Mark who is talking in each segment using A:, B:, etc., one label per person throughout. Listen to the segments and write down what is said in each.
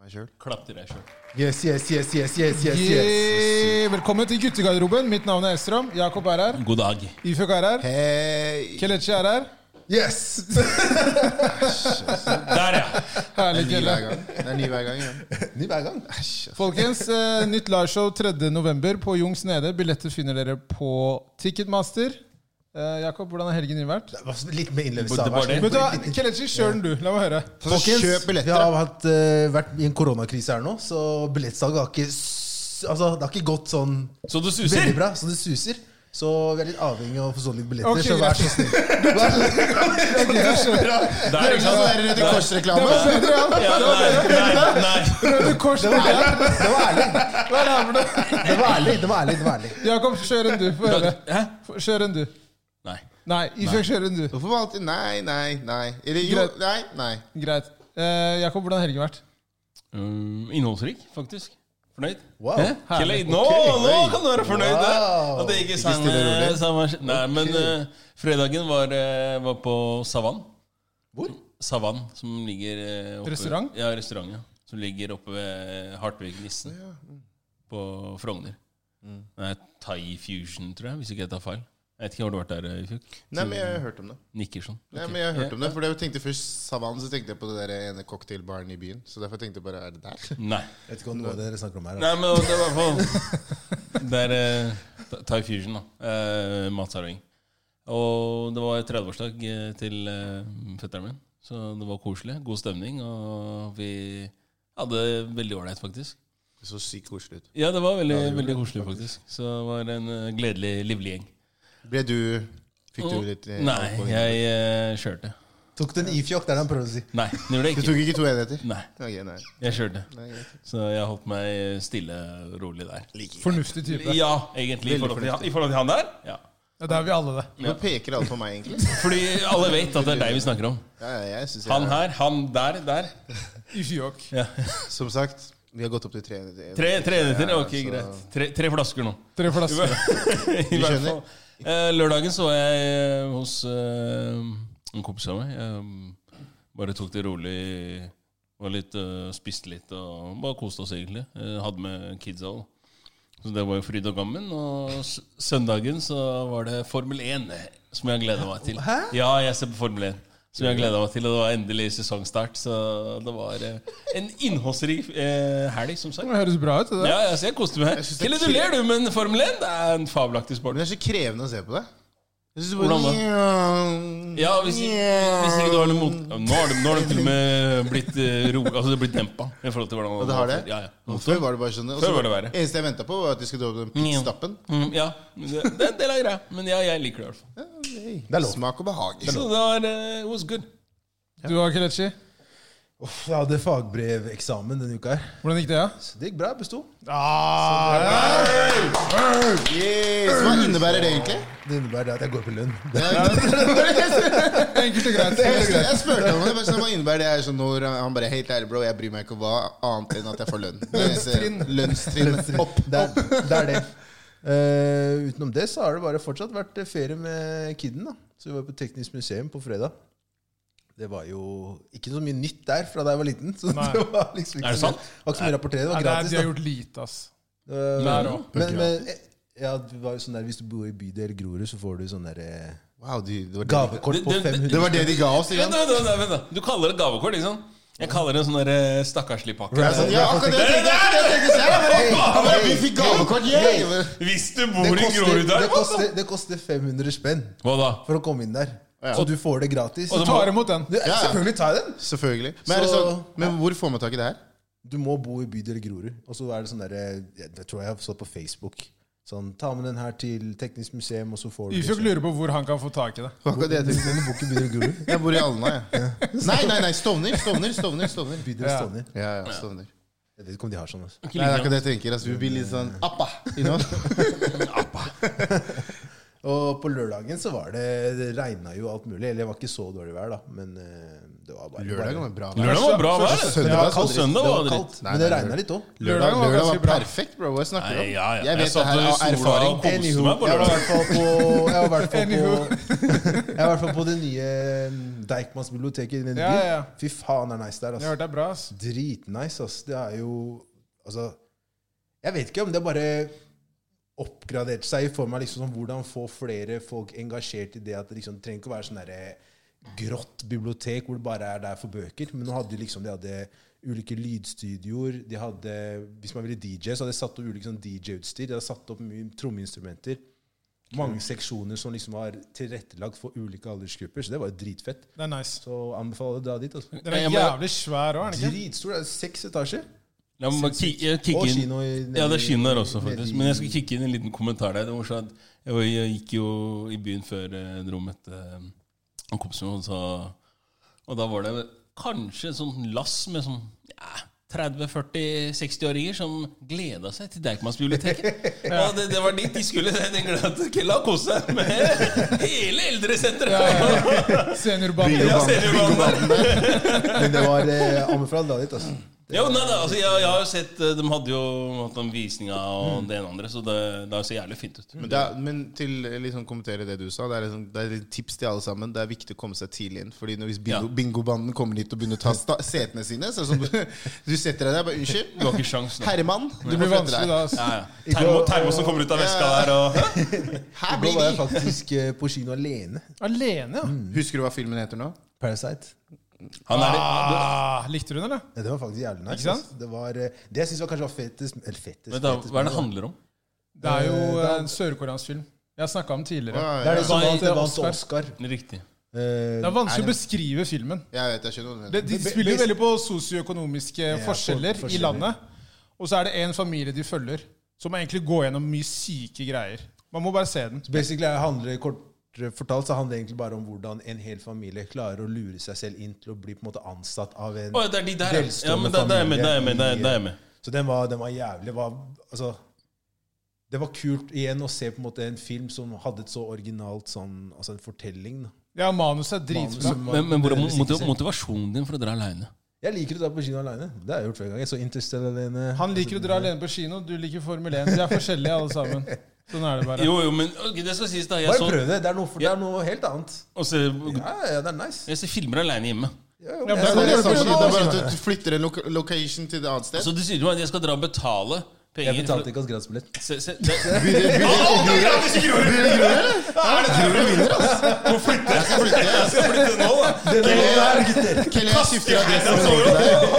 A: meg sjøl.
B: Klapp til deg sjøl.
A: Yes, yes, yes, yes, yes, yes, yes.
C: Yeah! Velkommen til guttegarderoben. Mitt navn er Estrøm. Jakob er her.
B: God dag.
C: Ifuk er her.
A: Hei.
C: Kelechi er her.
A: Yes!
B: Der, ja.
C: Herlig,
A: Ny
C: Kelle.
A: hver gang. Det er ny hver gang igjen. Ny hver gang? Æsj. ass.
C: Folkens, eh, nytt liveshow 3.11. på Jungs Nede. Billetter finner dere på Ticketmaster. Eh, Jakob, hvordan har helgen din vært?
D: Det var Litt mer
B: Det
D: innlevelse. da,
B: var
D: vær så
B: det.
D: god.
C: Vet du hva, Kelechi, kjør den du. La meg høre.
A: Så kjøp
D: Folkens, vi
A: billetter.
D: har hatt, eh, vært i en koronakrise her nå, så billettsalget har ikke s- Altså, det har ikke gått sånn
B: Så du
D: veldig
B: suser.
D: bra, så det suser. Så vi er litt avhengig av å få sånn litt billetter.
C: Ok,
D: så vær så
C: greit.
D: snill. Vær så
B: Der, ikke
A: Sånn
B: sant?
A: der Røde Kors-reklame.
B: Ja, nei, nei, nei.
C: Røde Kors, det er
D: Det var ærlig.
C: Hva er det her for noe?
D: Det var ærlig. det var ærlig, det var ærlig
C: Jakob, kjør en du. Få høre.
B: Hæ?
C: Kjør en du.
B: Nei.
C: Nei, Ifuk, kjør en du.
A: Hvorfor valgte Nei, nei, nei. Er det jo?
C: Greit.
A: Nei, nei.
C: Greit. Eh, Jakob, hvordan har helgen vært?
B: Mm, innholdsrik, faktisk. Fornøyd?
D: Wow.
B: Hæ? Kjell,
C: Herlig.
B: nå, nå
A: Oi.
B: kan du være fornøyd! der.
D: Wow.
B: At det ikke
A: Ikke
B: sang,
A: stille og rolig.
B: samme, nei, men eh, fredagen var, eh, var på Savann.
D: Hvor?
B: Savann, som ligger eh, oppe
C: Restaurant?
B: Ja, restaurant, ja. Som ligger oppe ved Hartvig-nissen på Frogner.
A: Mm.
B: Det er Thai Fusion, tror jeg, hvis ikke jeg tar feil. Jeg vet ikke, Har du vært der, eh, Ifuk?
A: Nei, men jeg har hørt om det.
B: Nikker sånn.
A: Nei,
B: Ok.
A: men jeg har hørt om det, for jeg tenkte først Savan, så tenkte jeg på det der ene cocktailbaren i byen. Så derfor tenkte jeg bare Er det der?
B: Nei.
D: Jeg vet ikke hva noe av det dere snakker om her. altså.
B: Nei, men det var i hvert fall Det er eh, Tha- Thai Fusion, da. Eh, matservering. Og det var 30-årsdag eh, til eh, fetteren min, så det var koselig. God stemning, og vi hadde det veldig ålreit, faktisk.
A: Så sykt koselig ut.
B: Ja, det var veldig, veldig koselig, faktisk. Så det var en eh, gledelig, livlig gjeng.
A: Ble du Fikk du litt eh,
B: Nei,
A: alkohol?
B: jeg eh, kjørte.
D: Tok du en ifjokk? Det er det han prøver å si.
B: Nei, det gjorde
A: Du
B: jeg ikke.
A: tok ikke to enheter?
B: Nei,
A: Ok, nei.
B: jeg kjørte.
A: nei greit.
B: Så jeg holdt meg stille og rolig der.
C: Fornuftig type.
B: Ja, egentlig. I forhold til han, i forhold til han der? Ja.
C: Ja, der er vi alle det.
A: Nå peker alle på meg, egentlig.
B: Fordi alle vet at det er deg vi snakker om.
A: Ja, ja, jeg synes jeg
B: Han her, han der, der.
C: Ifjok.
A: Som sagt, vi har gått opp til tre enheter.
B: Tre, tre enheter.
A: Ja,
B: Ok,
A: så-
B: greit. Tre, tre flasker nå.
C: Tre
B: I
C: flasker.
B: hvert fall.
A: skjønner.
B: Eh, Lørdagen så var jeg eh, hos eh, en kompis av meg. Jeg bare tok det rolig. Var litt, eh, spiste litt og bare koste oss, egentlig. Eh, hadde med kidsa òg. Så det var jo fryd og gammen. Og s- søndagen så var det Formel 1, som jeg gleda meg til.
D: Hæ?
B: Ja, jeg ser på Formel 1. Som jeg gleda meg til, og det var endelig sesongstart. Så det var eh, en innholdsrik eh, helg, som sagt.
C: Det høres bra ut. det der.
B: Ja, jeg, jeg koste meg.
A: Jeg synes det er
B: Kille, du ler, du, men Formel 1 det er en fabelaktig
A: Men
B: sport.
A: det er så krevende å se på det. Jeg synes
B: Hvordan da?
A: bare,
B: Ja, hvis, hvis ikke du har noe mot ja, Nå har de, nå har de til og med blitt eh, ro, Altså det er blitt dempa. I forhold til hvordan
A: Og det har det?
B: Ja, ja.
A: Før var det bare sånn. og
B: Før
A: så-
B: var det verre.
A: Eneste jeg venta på, var at de skulle ta opp den pitstappen.
B: Mm, ja. Det, det er en del av greia. Men ja, jeg liker det i hvert fall.
D: Det er lov.
A: Smak og behag. liksom.
B: Så det var eh, it was good.
C: Du og Kelechi,
D: Uff, jeg hadde fagbreveksamen denne uka her.
C: hvordan gikk det? Ja?
D: Så det gikk bra. jeg Besto.
A: Yes. Hva innebærer det egentlig?
D: Det innebærer det at jeg går på lønn. Det
C: Enkelt og greit.
A: Jeg, jeg spurte om det. bare sånn, Hva innebærer det? Jeg er sånn, når han bare Helt ærlig, bro, jeg bryr meg ikke om hva annet enn at jeg får lønn. Lønnstrinn. Lønnstrinn. Opp.
D: Det er det. Er det. Eh, utenom det så har det bare fortsatt vært eh, ferie med kidden. da Så vi var på Teknisk museum på fredag. Det var jo ikke så mye nytt der fra da jeg var liten. Så
C: Nei.
D: det var liksom ikke
B: Er det
D: så mye-
B: sant?
D: Det var ikke så mye å rapportere. Det
C: Ja,
D: var
C: det er,
D: gratis.
C: de har
D: da
C: gjort lite, ass.
D: Eh,
C: Der også.
D: Men, men eh, ja, det var jo sånn der, hvis du bor i bydel Grorud, så får du sånn der eh,
A: Wow, de, det, var det,
D: gavekort
B: Det-
D: på
B: det- det-
D: 500.
A: det var det de ga oss. Ikke
B: Vent,
A: sant?
B: vent, vent, vent, vent. Du kaller det gavekort, ikke sant? Jeg kaller det en sånn der, eh, stakkarslig pakke.
A: Jeg er sånn, Ja, akkurat det jeg tenkte jeg. Det tenkte jeg. Jeg bare, han bare, Vi fikk gavekort, yeah!
B: Hvis du
D: Det
B: bor i
D: koster,
B: Grorud der
D: det, koster, det koster 500 spenn
B: Hva da?
D: for å komme inn der. Så du får det gratis.
B: Og
C: Du tar imot den.
D: Du, Selvfølgelig tar jeg den!
A: Selvfølgelig. Men, er det sånn, men hvor får man tak i det her?
D: Du må bo i bydel Grorud. Og så er det sånn der Jeg jeg tror jeg har stått på Facebook. Sånn, Ta med den her til Teknisk museum, og så får du
C: Ifjok lurer på hvor han kan få tak i det.
A: Det var akkurat det jeg tenkte.
D: Men du bor ikke i bydel Grorud.
A: Jeg bor i Alna, jeg. Nei, nei, nei. Stovner. Stovner. Stovner. Stovner.
D: Bydel
C: Ja.
D: Stovner.
A: Ja, ja, Stovner.
D: Jeg vet ikke om de har sånn. Altså.
A: Nei, det er akkurat det jeg tenker. Altså, vi blir litt sånn appa. You know?
D: Og på lørdagen så var det Det regna jo alt mulig. Eller det var ikke så dårlig vær, da. Men eh, det var bare
A: Lørdag var bra vær.
B: Lørdag var bra vær.
A: Første
B: det. Ja,
A: søndag var
C: altså.
A: kaldt.
B: Søndag var
D: det
B: dritt.
D: kaldt, men det regna litt òg.
A: Lørdag,
C: var
A: lørdag var
C: ganske bra.
A: perfekt, bro. Hva snakker du om?
B: Nei, ja, ja.
A: Jeg vet det her av erfaring.
B: og koste meg på
D: jeg var i
B: lørdag.
D: hvert fall på Jeg var i hvert fall
C: Anywho.
D: på, jeg var i hvert fall på det nye mm, Deichmans biblioteket i den
C: Ja, ja, ja.
D: byen. Fy faen, det er nice der.
C: Jeg har
D: Altså.
C: hørt det er bra, ass.
D: Dritnice, ass. Det er jo Altså Jeg vet ikke om det bare oppgraderte seg i form av liksom sånn hvordan få flere folk engasjert i det at det liksom trenger ikke å være sånn derre grått bibliotek hvor det bare er der for bøker. Men nå hadde de liksom De hadde ulike lydstudioer. De hadde Hvis man ville DJ, så hadde de satt opp ulike sånn DJ-utstyr. De hadde satt opp mye trommeinstrumenter. Mange seksjoner som liksom var tilrettelagt for ulike aldersgrupper. Så det var jo dritfett.
C: Det er nice.
D: Så anbefaler jeg å dra dit. altså.
C: Den er
B: Jeg må-
C: jævlig svær òg, er den ikke?
D: Dritstor. Det er seks etasjer.
B: La meg bare ki- jeg kikke
D: Og
B: inn.
D: kino i
B: Ja, det skinner også,
D: nede i-
B: faktisk. Men jeg skal kikke inn en liten kommentar der. Det var sånn at jeg, var- jeg gikk jo i byen før jeg dro med et eh, en kompis min, og sa Og da var det kanskje et sånt lass med sånn ja, 30-40-60-åringer som gleda seg til Deichmansbiblioteket. Og det, det var dit de skulle. Den gleda til La kose seg med hele eldresenteret!
C: Seniorbane.
B: Ja, ser du hva det er?
D: Men det var eh, anbefaler å dra dit. altså.
B: Jo, nei, da, altså, jeg, jeg har jo sett eh, De hadde jo hatt den visninga og
D: Mm.
B: det ene og andre, så det, det ser jævlig fint ut.
A: Men, det er, men til å liksom kommentere det du sa, det er, liksom, det er et tips til alle sammen. Det er viktig å komme seg tidlig inn. Fordi når hvis bingo,
B: Ja.
A: bingobanden kommer hit og begynner å ta sta setene sine så er det sånn, du, du setter deg der bare 'Unnskyld,
B: Du har ikke sjans nå.
A: herremann, du
C: Det
A: må
C: blir
A: flytte
C: vanskelig
A: deg'.
C: da, ass.
B: Ja, ja. Termo, termosen kommer ut av veska der, og
A: Her
D: Da
A: blir
D: var jeg
A: vi!
D: faktisk eh, på kino alene.
C: Alene, ja.
A: Husker du hva filmen heter nå?
D: Parasite.
B: han er,
C: Ah, likte du den, eller?
D: Ja, det var faktisk jævlig nice.
C: Ikke sant?
D: altså. Det, var, eh, det jeg syns kanskje var fetest Eller fetest,
B: Vent da,
D: fetest
B: Hva er det det
D: men
B: handler om?
C: Det er jo
D: Eh, det er-
C: en sørkoreansk film. Jeg har snakka om den tidligere.
D: Det er det som
B: Nei,
D: vant
C: det er
D: vant
C: Oscar.
D: Oscar.
B: Riktig.
C: Det
D: Eh,
C: er vanskelig
A: Er
C: å
A: det-
C: beskrive filmen.
A: Jeg vet, jeg skjønner hva du
C: Det,
A: mener.
C: de
D: be-
C: spiller jo
D: best-
C: veldig på sosioøkonomiske forskjeller,
D: forskjeller.
C: i landet. Og så er det én familie de følger, som egentlig går gjennom mye syke greier. Man må bare se den.
D: Eh, basically er- handler kort eh, fortalt så handler det egentlig bare om hvordan en hel familie klarer å lure seg selv inn til å bli på en måte ansatt av en
B: Å, ja, det er de der, ja.
D: velstående
B: ja men da, da er jeg med, da er jeg med. Da er jeg-
D: familie.
B: da er jeg med.
D: Så den var, den var jævlig var, altså, Det var kult igjen å se på en måte en film som hadde et så originalt sånn, altså en fortelling. Da.
C: Ja, manuset er
D: Manus
C: dritbra.
D: som var-
B: Men, men hvor er
D: nødvendigvis ikke
B: motiv-
D: ser.
B: motivasjonen din for å dra aleine?
D: Jeg liker å dra på kino alene. Det har jeg gjort flere ganger. Jeg Så Interstellar alene.
C: Han liker å dra alene på kino, du liker Formel 1. Vi er forskjellige alle sammen. Sånn er det bare.
B: Jo, jo, men ok, det skal sies, da. Jeg,
D: Bare
B: så,
D: prøv det. Det er noe, for, det er noe helt annet.
B: og ser-
D: Ja, ja, det er nice.
B: jeg ser filmer aleine hjemme.
D: Ja, jo,
C: Ja, men
A: Ja,
D: jeg-
A: det er
C: kan du
A: det samme,
C: gjøre
A: det
C: på
A: er bare
C: kino.
A: at du flytter en loka- location til et annet sted.
B: Så du sier til meg at jeg skal dra og betale penger
D: jeg betalte ikke hans gratisbillett.
B: Se, se, det,
A: Jeg skal flytte, jeg skal flytte nå, da. Kelle,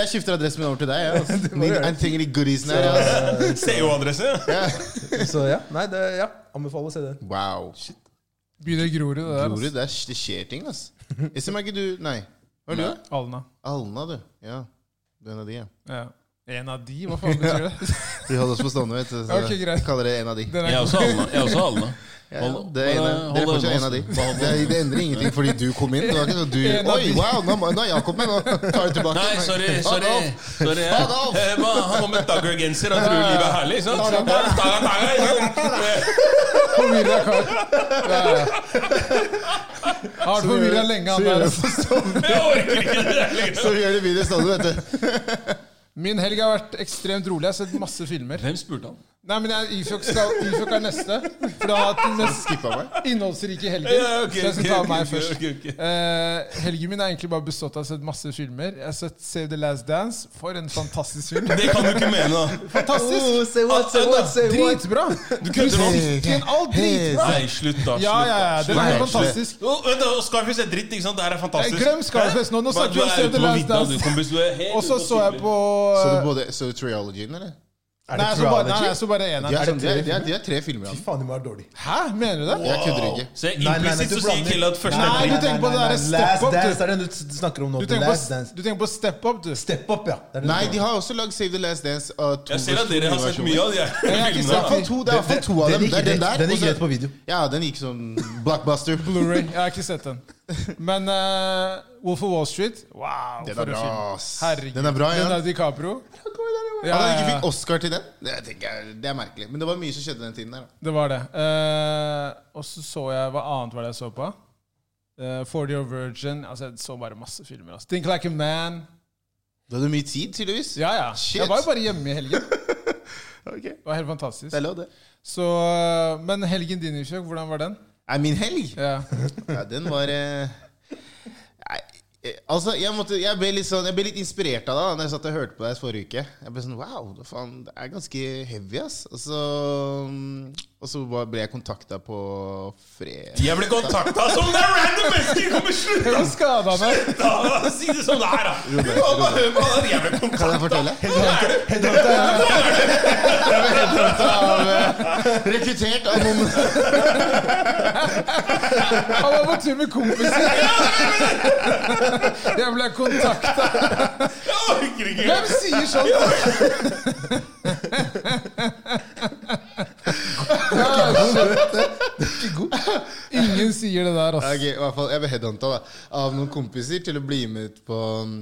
A: jeg skifter adressen min over til deg. Kelle, jeg skifter adressen min over til deg. jeg, ass. Ni- Jeg trenger de goodiesene her. ass.
B: CO-adresse?
D: Så ja, nei, det, ja, anbefaler å se den.
A: Wow.
C: Begynner Grorud, det der.
A: Bror,
C: altså.
A: det, er, det skjer ting, ass. Jeg ser meg ikke du Nei. Hva er du? da?
C: Alna.
A: Alna, du. Ja. Du er en av de, ja.
C: Ja. En av de? Hva faen betyr det?
A: Vi holder oss på stående, vet du. Så
C: Ja, ok, greit.
A: kaller det en av de.
C: Den
B: Jeg er
C: er
B: også Alna. Jeg er også Alna.
A: Ja,
B: Hold-
A: det er en,
B: hold-
A: dere er
B: hold
A: fortsatt
B: unna,
A: en av de.
B: hold- hold-
A: Det, det endrer ingenting fordi du kom inn. Det var ikke sånn du
C: En av
A: Oi,
C: de.
A: wow, nå, nå er Jakob med. Nå tar du tilbake.
B: Nei, sorry.
A: Fuck
B: sorry,
A: off.
B: sorry.
A: Fuck off!
B: Eh, hva, Han går med daggergenser og tror livet er herlig. ikke sant? Tanga, tanga, ikke sant?
C: forvirra kar. Ja, ja. Har vært forvirra lenge,
A: Så
C: han
A: gjør
C: der.
A: det
C: altså.
A: på stående.
B: Jeg orker ikke det der lenger.
A: Så gjør det videre stående, vet du.
C: Min helg har vært ekstremt rolig. Jeg har sett masse filmer.
B: Hvem spurte han?
C: Nei, men jeg, Ifjok, skal, Ifjok er neste. For det har hatt den mest
A: Skippa meg.
C: innholdsrike helgen.
B: Ja, ok,
C: så jeg skal
B: ok,
C: ta
B: ok,
C: meg
B: ok,
C: først.
B: ok, ok.
C: Eh, helgen min er egentlig bare bestått av å ha sett masse filmer. Jeg har sett Save the Last Dance. For en fantastisk film.
B: Det kan du ikke mene. da.
C: Fantastisk!
D: say what, say what, say what.
C: Dritbra!
B: Du kødder nå.
C: Musikken, alt dritbra!
B: Nei, slutt, da.
C: Ja,
B: Slutt.
C: ja, ja. Den er helt
A: Nei, slutt.
C: fantastisk.
B: Å, vent da, og Scarface er dritt, ikke sant? Det her er fantastisk.
C: Nei, glem Scarface nå, nå
B: Hva-
C: snakker vi
B: du
C: om
B: er
C: Save
B: ute
C: the
B: på
C: Last
B: vidda,
C: Dance.
B: du, kompis. Du er helt
C: Og så
B: ute
C: så jeg
B: sykler.
C: på eh,
A: Så du både Så triologien, eller?
D: Er
C: Nei,
D: det
C: jeg så bare, nei,
D: Trilogy?
C: jeg så bare én
A: De
C: her.
A: er, sånn, de er, de er, de er tre
D: Fy
A: filmer. han.
D: faen, det må være dårlig.
C: Hæ, mener du det?
A: Jeg kødder ikke.
B: Se,
D: Nei, nei, nei,
B: Implisitt
D: du
B: så sier
D: blander.
B: Killa at første
C: Nei,
B: er
C: du
B: dritt.
C: tenker på det
D: Nei, nei, nei,
C: derre Step
D: Last
C: Up,
D: Dance
C: du.
D: er det du s- snakker om nå.
C: Du
D: The
C: tenker på,
D: Last Dance.
C: du tenker på Step Up, du.
D: Step Up, ja. Det er det du
A: Nei,
D: snakker
A: de
D: om.
A: har også lagd Save the Last Dance. Uh, to
B: Jeg ser at dere har sett mye av de her
C: har ikke
A: Det er i hvert
B: filmene.
A: fall to, det er i hvert fall to
D: Den
A: av dem.
D: gikk
A: Det er den
D: rett-
A: der.
D: den
A: og
D: gikk
A: så-
D: rett på video.
A: Ja, den gikk sånn blockbuster.
C: Blu-ray. Jeg har ikke sett den. Men eh, Wolf of Wall Street Wow,
A: Den
C: for
A: er
C: en film.
A: bra, ass.
C: Herregud.
A: Den er bra, ja.
C: Den er DiCapro.
A: At
C: Ja,
A: han
C: ja,
A: ikke
C: ja.
A: fikk Oscar til den, det, tenker jeg, det er merkelig. Men det var mye som skjedde den tiden der. da.
C: Det var det. Eh, og så så jeg Hva annet var det jeg så på? eh, 40 Year Virgin Altså, jeg så bare masse filmer. Altså. Think Like a Man.
A: Du hadde mye tid, tydeligvis.
C: Ja, ja.
A: Shit.
C: Jeg var jo bare hjemme i helgen. Det
A: Ok,
C: var helt fantastisk.
A: det er lov, det.
C: Så, eh, men helgen din, Ishak, hvordan var den?
A: Er min helg?
C: Ja.
A: Ja, den var eh, Nei, eh, altså, jeg, måtte, jeg, ble litt sånn, jeg ble litt inspirert av det da Når jeg satt og hørte på deg forrige uke. Jeg ble sånn, wow, det faen, det er ganske heavy, ass. Og så, mm, og så bare ble jeg kontakta på fred...
B: Jeg ble kontakta som det er random mennesker! Kommer slutt!
C: Jeg var skada meg.
B: da! Si det som det er, da! Hør på- hør på han, Jeg ble
A: Kan
B: kontakta!
A: jeg fortelle?
B: Hva er det?
A: Av, eh, rekruttert av noen
C: Han var på tur med kompiser. Jeg ble kontakta.
B: Jeg orker ikke!
C: Hvem sier sånn? sånt? Ja, shit. Ikke god. Ingen sier det der,
A: Ja,
C: ass.
A: ok, i hvert fall, Jeg ble headhunta da, av noen kompiser til å bli med ut på mm,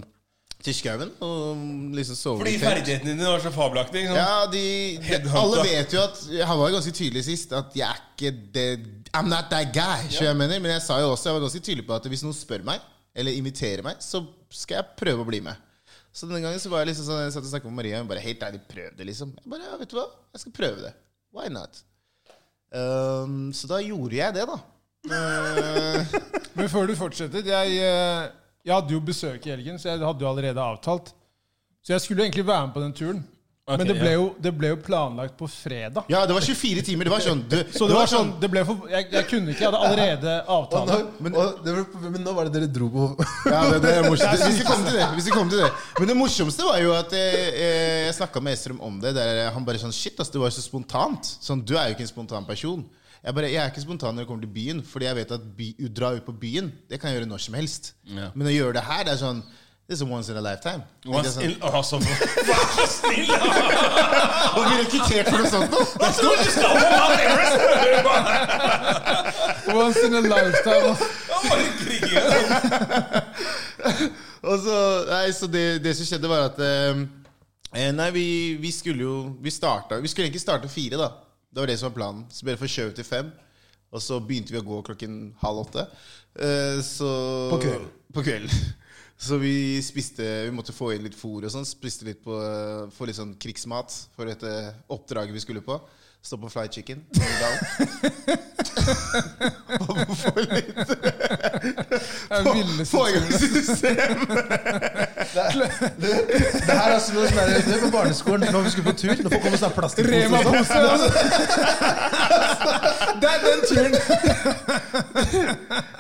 A: til skauen og liksom sove
B: Fordi
A: i telt.
B: ferdighetene dine var så fabelaktig. ikke sant?
A: Ja, de, de
B: Headhunta.
A: Alle vet jo at Han var jo ganske tydelig sist at jeg er ikke det I'm not that guy, skjønner jeg mener. Men jeg sa jo også Jeg var ganske tydelig på at hvis noen spør meg, eller imiterer meg, så skal jeg prøve å bli med. Så denne gangen så var jeg liksom sånn Jeg satt og snakket med Maria, og hun bare helt ærlig prøv det, liksom. Jeg bare, ja, vet du hva, jeg skal prøve det. Why not? Ehm, så da gjorde jeg det, da. Eh,
C: Men før du fortsetter jeg, eh, jeg hadde jo besøk i helgen, så jeg hadde jo allerede avtalt. Så jeg skulle jo egentlig være med på den turen.
B: Ok,
C: Men det
B: ja.
C: ble jo, det ble jo planlagt på fredag.
A: ja, det var 24 timer. Det var sånn du,
C: Så det var sånn, det ble for, jeg, jeg kunne ikke, jeg hadde allerede
D: Og nå,
C: avtale.
D: men, og det var, men nå var det dere dro på
A: Ja, det, det er morsomt. Hvis vi kom til det. Hvis vi kom til det. Men det morsomste var jo at eh, eh, jeg snakka med Estrøm om det. Der han bare sånn Shit, ass, det var jo så spontant. Sånn, Du er jo ikke en spontan person. Jeg bare, jeg er ikke spontan når jeg kommer til byen, fordi jeg vet at by, å dra ut på byen Det kan jeg gjøre når som helst.
B: Ja.
A: Men å gjøre det her, det er sånn This is once in a lifetime.
B: Vær
A: Det er
B: så
A: sånn,
B: snill, altså, vær så snill, da!
A: og vi rekruttert for noe sånt nå!
B: Hva tror du skal på Mount Everest?
C: Once in a lifetime. sånn ass.
B: Jeg orker ikke!
A: Og så, nei, så det, det som skjedde, var at eh, Nei, vi, vi skulle jo Vi starta Vi skulle egentlig starte fire, da. Det var det som var planen. Så ble det forskjøvet til fem. Og så begynte vi å gå klokken halv åtte. Eh, så
D: På kvelden.
A: På kvelden. Så vi spiste Vi måtte få inn litt fôr og sånn. Spiste litt på eh, Få litt sånn krigsmat for dette oppdraget vi skulle på. Stå på fried chicken. Og få litt
C: Det er ville
A: få i gang systemet.
D: Det her er altså som å smelle det på barneskolen når vi skulle på tur. Nå får komme snart plastikkpose. og sånn.
C: Rema-pose. altså. Det er den turen.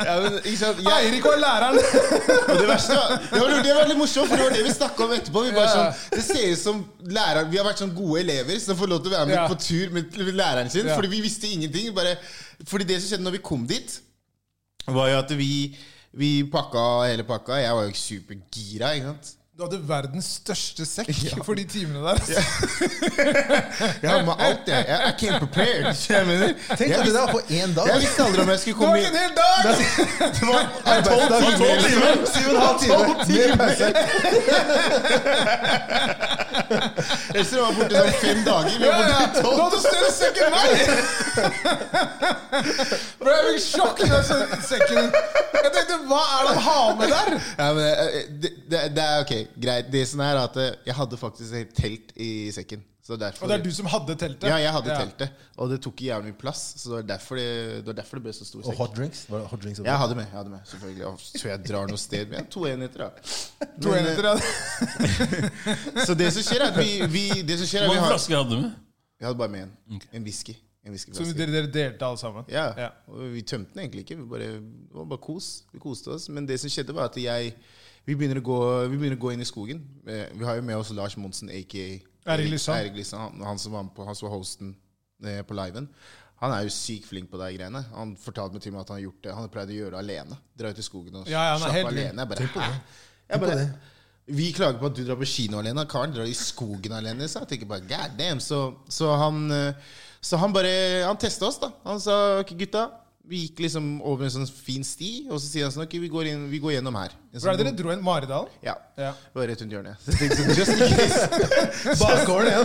A: Ja, men, ikke sant? Jeg,
C: Eirik var læreren.
A: Og det verste var Det var, det var litt morsomt, for det var det vi snakka om etterpå. Vi
C: Ja.
A: bare sånn, det ser ut som læreren, vi har vært sånn gode elever som får lov til å være med
C: Ja.
A: på tur med med læreren sin.
C: Ja.
A: Fordi vi visste ingenting. Bare, fordi det som skjedde når vi kom dit, var jo at vi, vi pakka hele pakka. Jeg var jo ikke supergira. ikke sant?
C: Du hadde verdens største sekk for de timene der. altså.
A: Jeg har med alt, jeg. jeg I came prepared. Jeg, mener.
D: Tenk at det
A: jeg, visste,
D: der på én dag.
A: jeg visste aldri om jeg skulle
C: Det var
A: komme
C: ikke en
A: inn.
C: hel dag!
A: Det var
D: Arbeidsdag
A: arbeidsdag.
D: i
A: med-
D: timer. Syv og en halv time. Med pause.
A: Ellers var jeg borte sånn fem dager. Vi
C: Ja,
A: var borte
C: ja.
A: i
C: Du
A: tolv.
C: hadde større sekk enn meg! Bro, jeg fikk sjokk i den se- sekken. Jeg tenkte, hva er det han har med der?
A: Ja, men, eh, det, det, det er ok, greit. Det som er at eh, jeg hadde faktisk et telt i sekken. Så derfor,
C: Og det er du som hadde teltet?
A: Ja, jeg hadde teltet. Og det tok ikke jævlig mye plass, så det var derfor det, det, var derfor det ble så stor
D: Og
A: sekk.
D: hot drinks. Var det hot drinks
A: Jeg hadde med, jeg hadde med, selvfølgelig. Og Så jeg drar noe sted med to enheter, da.
C: To
A: Men, eh,
C: enheter, ja.
A: Så det som skjer, er at vi, vi Det som skjer
B: Hvor
A: er at vi
B: mange
A: har
B: flasker hadde du med?
A: Jeg hadde bare med en. En whisky. En
C: Så
A: whiskyflaske.
C: dere, dere delte alle sammen?
A: Ja.
C: Ja.
A: Og vi tømte den egentlig ikke. Vi bare, det var bare kos. Vi koste oss. Men det som skjedde, var at jeg Vi begynner å gå, vi begynner å gå inn i skogen. Eh, Vi har jo med oss Lars Monsen, aka
C: Eirik Lysand.
A: Eirik Lysand, Han, han som var med på Han som var hosten eh, på liven. Han er jo sykt flink på de greiene. Han fortalte meg til og med at han har gjort det Han har pleid å gjøre det alene. Dra ut i skogen og
C: Ja, ja, han er
A: slappe
C: helt
A: av
C: vild.
A: alene. Jeg bare, Hæ? Jeg
D: på
A: bare,
D: det.
A: vi klager på at du drar på kino alene. Karen drar i skogen alene. Så jeg tenker bare, god damn. Så, så han eh, Så han bare Han testa oss, da. Han sa ok, gutta, Vi gikk liksom over en sånn fin sti, og så sier han sånn Ok, vi går, inn, vi går gjennom her. En
C: For er
A: sånn-
C: det dere dro en Maridalen?
A: Ja.
C: Ja.
A: Det var rett rundt hjørnet. Så jeg tenkte sånn, Just in case.
D: Bakgården igjen.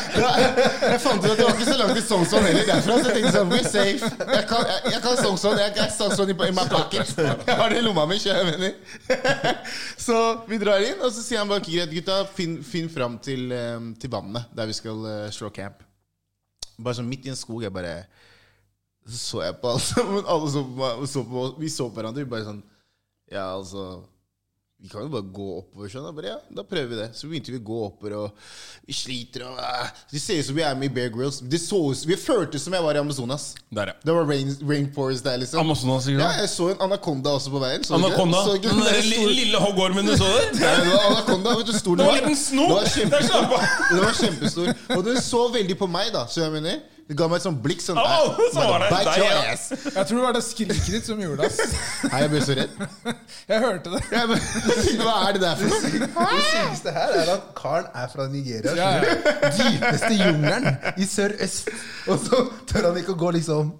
A: Jeg fant ut at det var ikke så langt til Sognsvann heller derfra, så jeg tenkte sånn We're safe. Jeg kan, jeg, jeg kan Sognsvann. Jeg er Sognsvann i, i my pocket. Jeg har det i lomma mi, kjører jeg mener. Så vi drar inn, og så sier han bare greit, gutta, finn, finn fram til, eh, til vannet der vi skal uh, slå camp. Bare sånn midt i en skog. Jeg bare Så så jeg på alle sammen. Alle så på, meg, og så på, vi så på hverandre. Vi bare sånn Ja, altså vi kan jo bare gå oppover. Sånn. Jeg Bare, ja, da prøver vi det. Så begynte vi å gå oppover, og vi sliter. Og, ah, det ser ut som vi er med i Bear Grylls. Det så ut vi føltes som jeg var i Amazonas.
B: Der, ja.
A: Det var rain, rainforest der, liksom.
B: Amazonas, ikke
A: ja,
B: sant?
A: jeg så en anakonda også på veien. Så du ikke det?
B: Anakonda.
A: Så du ikke
B: Den
A: det?
B: der
A: Det
B: li-
A: sto-
B: lille hoggormen du så der?
A: Nei, det var anakonda. Vet du hvor stor
B: Det
A: den
B: var
A: var?
B: en liten snok!
A: Den var
B: Der
A: kjempestor.
B: slapp av.
A: Den var kjempestor. Og den så veldig på meg, da. Så jeg mener Det ga meg et sånt blikk. Sånn,
B: Au,
A: «Nei,
B: så var det
A: bite
B: deg,
A: your
B: ja.»
A: ass.
C: Jeg tror det var det skriket ditt som gjorde det. ass.
A: Nei, jeg ble så redd.
C: Jeg hørte det.
A: Jeg bare, Hva er det der for noe?
D: Det sykeste her er at karen er fra Nigeria.
C: Ja,
D: skjønner
C: ja.
D: du? Dypeste jungelen i sørøst. Og så tør han ikke å gå, liksom.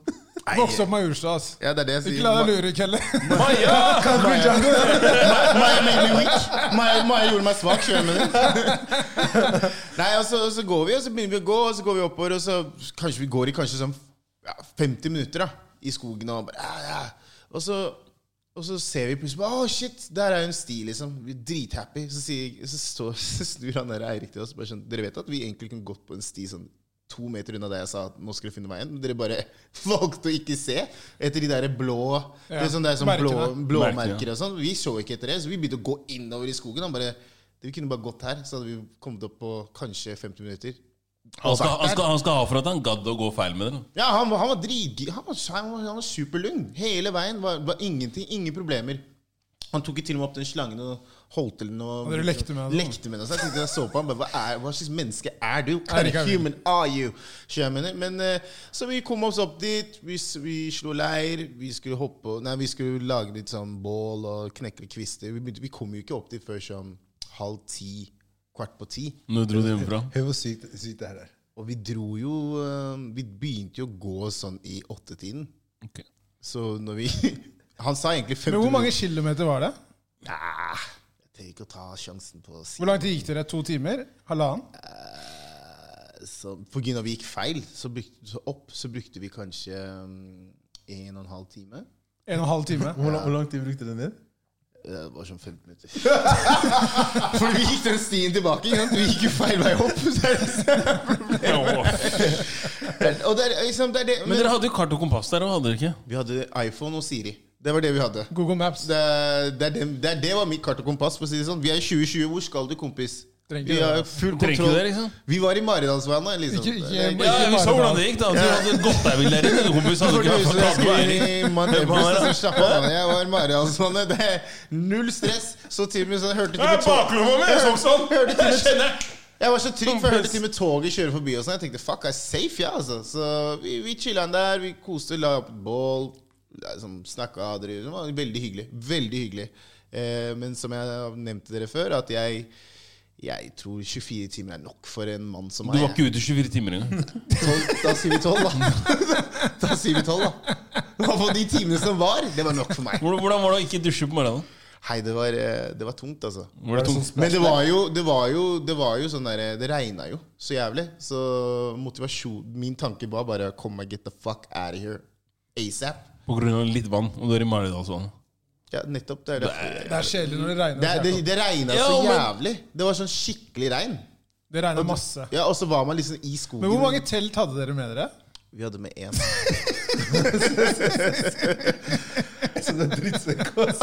C: Vokste opp med Urstad, ass.
A: Ja, det er det jeg sier.
C: Ikke la deg lure, Kelle.
B: Maja!
A: Maya made me weak. Maya, Maya gjorde meg svak. skjønner du hva jeg mener? Nei, og så, og så går vi, og så begynner vi å gå, og så går vi oppover, og så kanskje vi går i kanskje sånn ja, 50 minutter da, i skogen, og bare ja, ja. Og så, og så ser vi plutselig bare, Å, shit, der er jo en sti, liksom. Vi er drithappy. Så, sier, så, står, så snur han der Eirik til oss bare sånn Dere vet at vi egentlig kunne gått på en sti sånn to meter unna der jeg sa at nå skulle vi finne veien? Men dere bare valgte å ikke se etter de der blå
C: Ja,
A: Det er sånn, det er sånn blå,
C: merkene.
B: Merkene,
A: blåmerker og sånn. Vi så ikke etter det, så vi begynte å gå innover i skogen. Han bare, vi kunne bare gått her, så hadde vi kommet opp på kanskje 50 minutter.
B: Han skal, han, skal, han skal ha for at han gadd å gå feil med den.
A: Ja, han, var- han var dritgi- Han var, han var, han var superlung. Hele veien var, var ingenting. Ingen problemer. Han tok jo til og med opp den slangen og holdt til den. Og,
C: Og dere lekte med den.
A: lekte med den. Så jeg tenkte jeg så på han bare, hva, er, hva slags menneske er du? What
C: Er det
A: kind
C: ikke
A: of human are you? Skjønner jeg mener. Men, eh, så vi kom oss opp dit. Vi, s- vi slo leir. Vi skulle hoppe og- Nei, vi skulle lage litt sånn bål og knekke litt kvister. Vi, begynte, vi kom jo ikke opp dit før sånn halv ti, kvart på ti.
B: Når du dro det hjemmefra.
D: Hør hvor sykt, sykt det her er.
A: Og vi dro jo eh, Vi begynte jo å gå sånn i åttetiden.
B: Ok.
A: Så når vi Han sa egentlig 50
C: Men hvor mange kilometer var det?
A: minutter. Nah, jeg tør ikke å ta sjansen på å si
C: Hvor langt gikk dere? To timer? Halvannen?
A: Eh, så, På grunn av vi gikk feil, så, brukte, så opp, så brukte vi kanskje um, en og en halv time.
C: En og en halv time?
D: Hvor, lang- hvor lang tid brukte du ned?
A: Eh, Det var sånn 15 minutter. For vi gikk den stien tilbake. Ikke sant? Vi gikk jo feil vei opp. Så er det- og det er liksom det er det,
B: Men dere hadde jo kart og kompass der, og hadde dere ikke?
A: Vi hadde iPhone og Siri. Det var det vi hadde.
C: Google Maps.
A: Det, det, er det, det, er det var mitt kart og kompass. For å si det sånn. Vi er i 2020. Hvor skal du, kompis?
C: Trenger
A: vi
C: ikke
A: har
C: det.
A: full
B: Trenger ikke
A: kontroll.
B: det, liksom.
A: Vi var i Maridalsvannet, liksom.
C: Ikke- ikke-
A: Det-
B: Ja, Vi så hvordan det gikk, da. Du hadde gått deg vill der inne, du, kompis.
A: Det
B: Hadde
A: var
B: ikke vært
A: det som
B: for
A: jeg
B: tatt på
A: skulle
B: Eirik.
A: i Mount
B: Det var
A: Everest,
B: det.
A: altså, slapp av, jeg var i Maridalsvannet. Det er null stress. Så til og med så hørte til og med tog-
B: baklomma mi! Jeg så sånn! Jeg kjenner
A: Jeg var så trygg, for jeg hørte til og med toget kjøre forbi og sånn. Jeg tenkte fuck, jeg er safe, ja, altså. Så vi, vi chilla der, vi koste, la opp et bål, liksom, snakka og drev. Det var veldig hyggelig. Veldig hyggelig. Eh, men som jeg nevnte dere før, at jeg jeg tror 24 timer er nok for en mann som
B: Du
A: meg.
B: var ikke ute i 24 timer engang.
A: Tolv- Da sier vi 12, da. Da sier vi 12, da. Og for de timene som var, det var nok for meg.
B: Hvordan hvordan var det å ikke dusje på morgenen?
A: Hei, det var, eh, det var tungt, altså.
B: Var det tungt?
A: Men det var jo, det var jo, det var jo sånn der, Det regna jo så jævlig. Så motivasjon Min tanke var bare Kom meg get the fuck out of here asap.
B: På grunn av litt vann, og du er i Maridalsvannet.
A: Ja, nettopp. Det er derfor.
C: Det er kjedelig når det regner.
A: Det, det, det regna så
B: Ja, men-
A: jævlig. Det var sånn skikkelig regn.
C: det regner masse.
A: Ja, Og så var man liksom i skogen.
C: Men hvor mange telt hadde dere med dere?
A: Vi hadde med én.
D: Som en drittsekk. ass.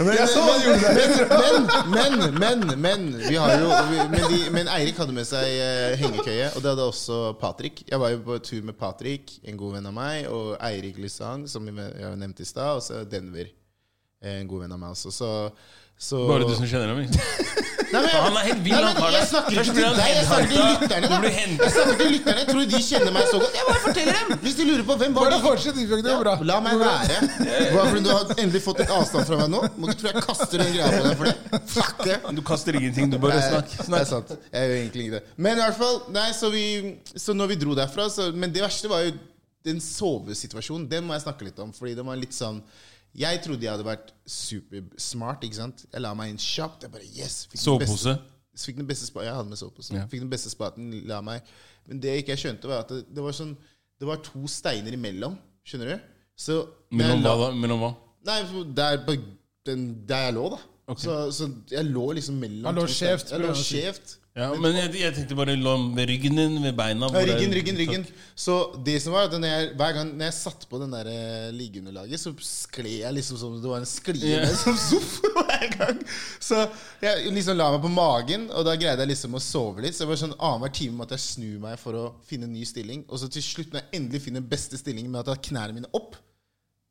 A: Men,
D: Jeg så han gjorde det.
A: men, men, men, men, vi har jo, vi, men, de, men Eirik hadde med seg eh, hengekøye, og det hadde også Patrick. Jeg var jo på tur med Patrick, en god venn av meg, og Eirik Lysang, som jeg jeg nevnte i stad, og så Denver, eh, en god venn av meg også. Så, så
B: Bare du som kjenner ham? ikke sant?
A: Nei, men, jeg-
B: Han er helt vill,
A: Nei,
B: han
A: men
B: karen der.
A: Jeg snakker
B: Først
A: ikke
B: blir
A: til
B: han
A: deg, jeg snakker til
B: hentet.
A: lytterne.
B: Du
A: da
B: blir hentet.
A: Jeg snakker til lytterne, Tror du de kjenner meg så godt? Jeg bare forteller dem! Hvis de lurer på hvem var
C: Bare
A: det
C: fortsett, Ingeborg, det går bra.
A: La meg være. Bare fordi du har endelig fått litt avstand fra meg nå, må du tro jeg kaster den greia på deg for det. Fuck det.
B: Du kaster ingenting, du bare
A: Nei,
B: snakker.
A: Det er
B: Snakk.
A: sant. Jeg gjør egentlig ikke det. Men i hvert fall, nei, så, vi, så når vi dro derfra så, Men det verste var jo den sovesituasjonen, den må jeg snakke litt om. Fordi det var litt sånn Jeg trodde jeg hadde vært supersmart, ikke sant. Jeg la meg inn kjapt. Jeg bare yes! fikk den beste-
B: Sovepose.
A: så fikk den beste spa, jeg hadde med sovepose.
B: Ja.
A: Fikk den beste spaten, la meg. Men det jeg ikke skjønte, var at det, det var sånn Det var to steiner imellom. Skjønner du? Så
B: Mellom
A: jeg la-
B: hva da? Mellom hva?
A: Nei, for der, på den, der jeg lå, da.
B: Ok.
A: Så, så jeg lå liksom mellom
C: Han lå
A: to
C: skjevt,
A: steiner.
C: prøver
A: Jeg lå
C: han å si.
A: skjevt.
B: Ja, men jeg, jeg tenkte bare la- ved ryggen din, ved beina.
A: Ja,
B: hvor er-
A: ryggen, ryggen, ryggen. Så det som var at når jeg, Hver gang når jeg satt på den der eh, liggeunderlaget, så skled jeg liksom som det var en sklie
B: Ja.
A: ned som sofa hver gang. Så jeg liksom la meg på magen, og da greide jeg liksom å sove litt. Så det var sånn annenhver time måtte jeg snu meg for å finne en ny stilling. Og så til slutt, når jeg endelig finner beste stilling med at jeg har knærne mine opp,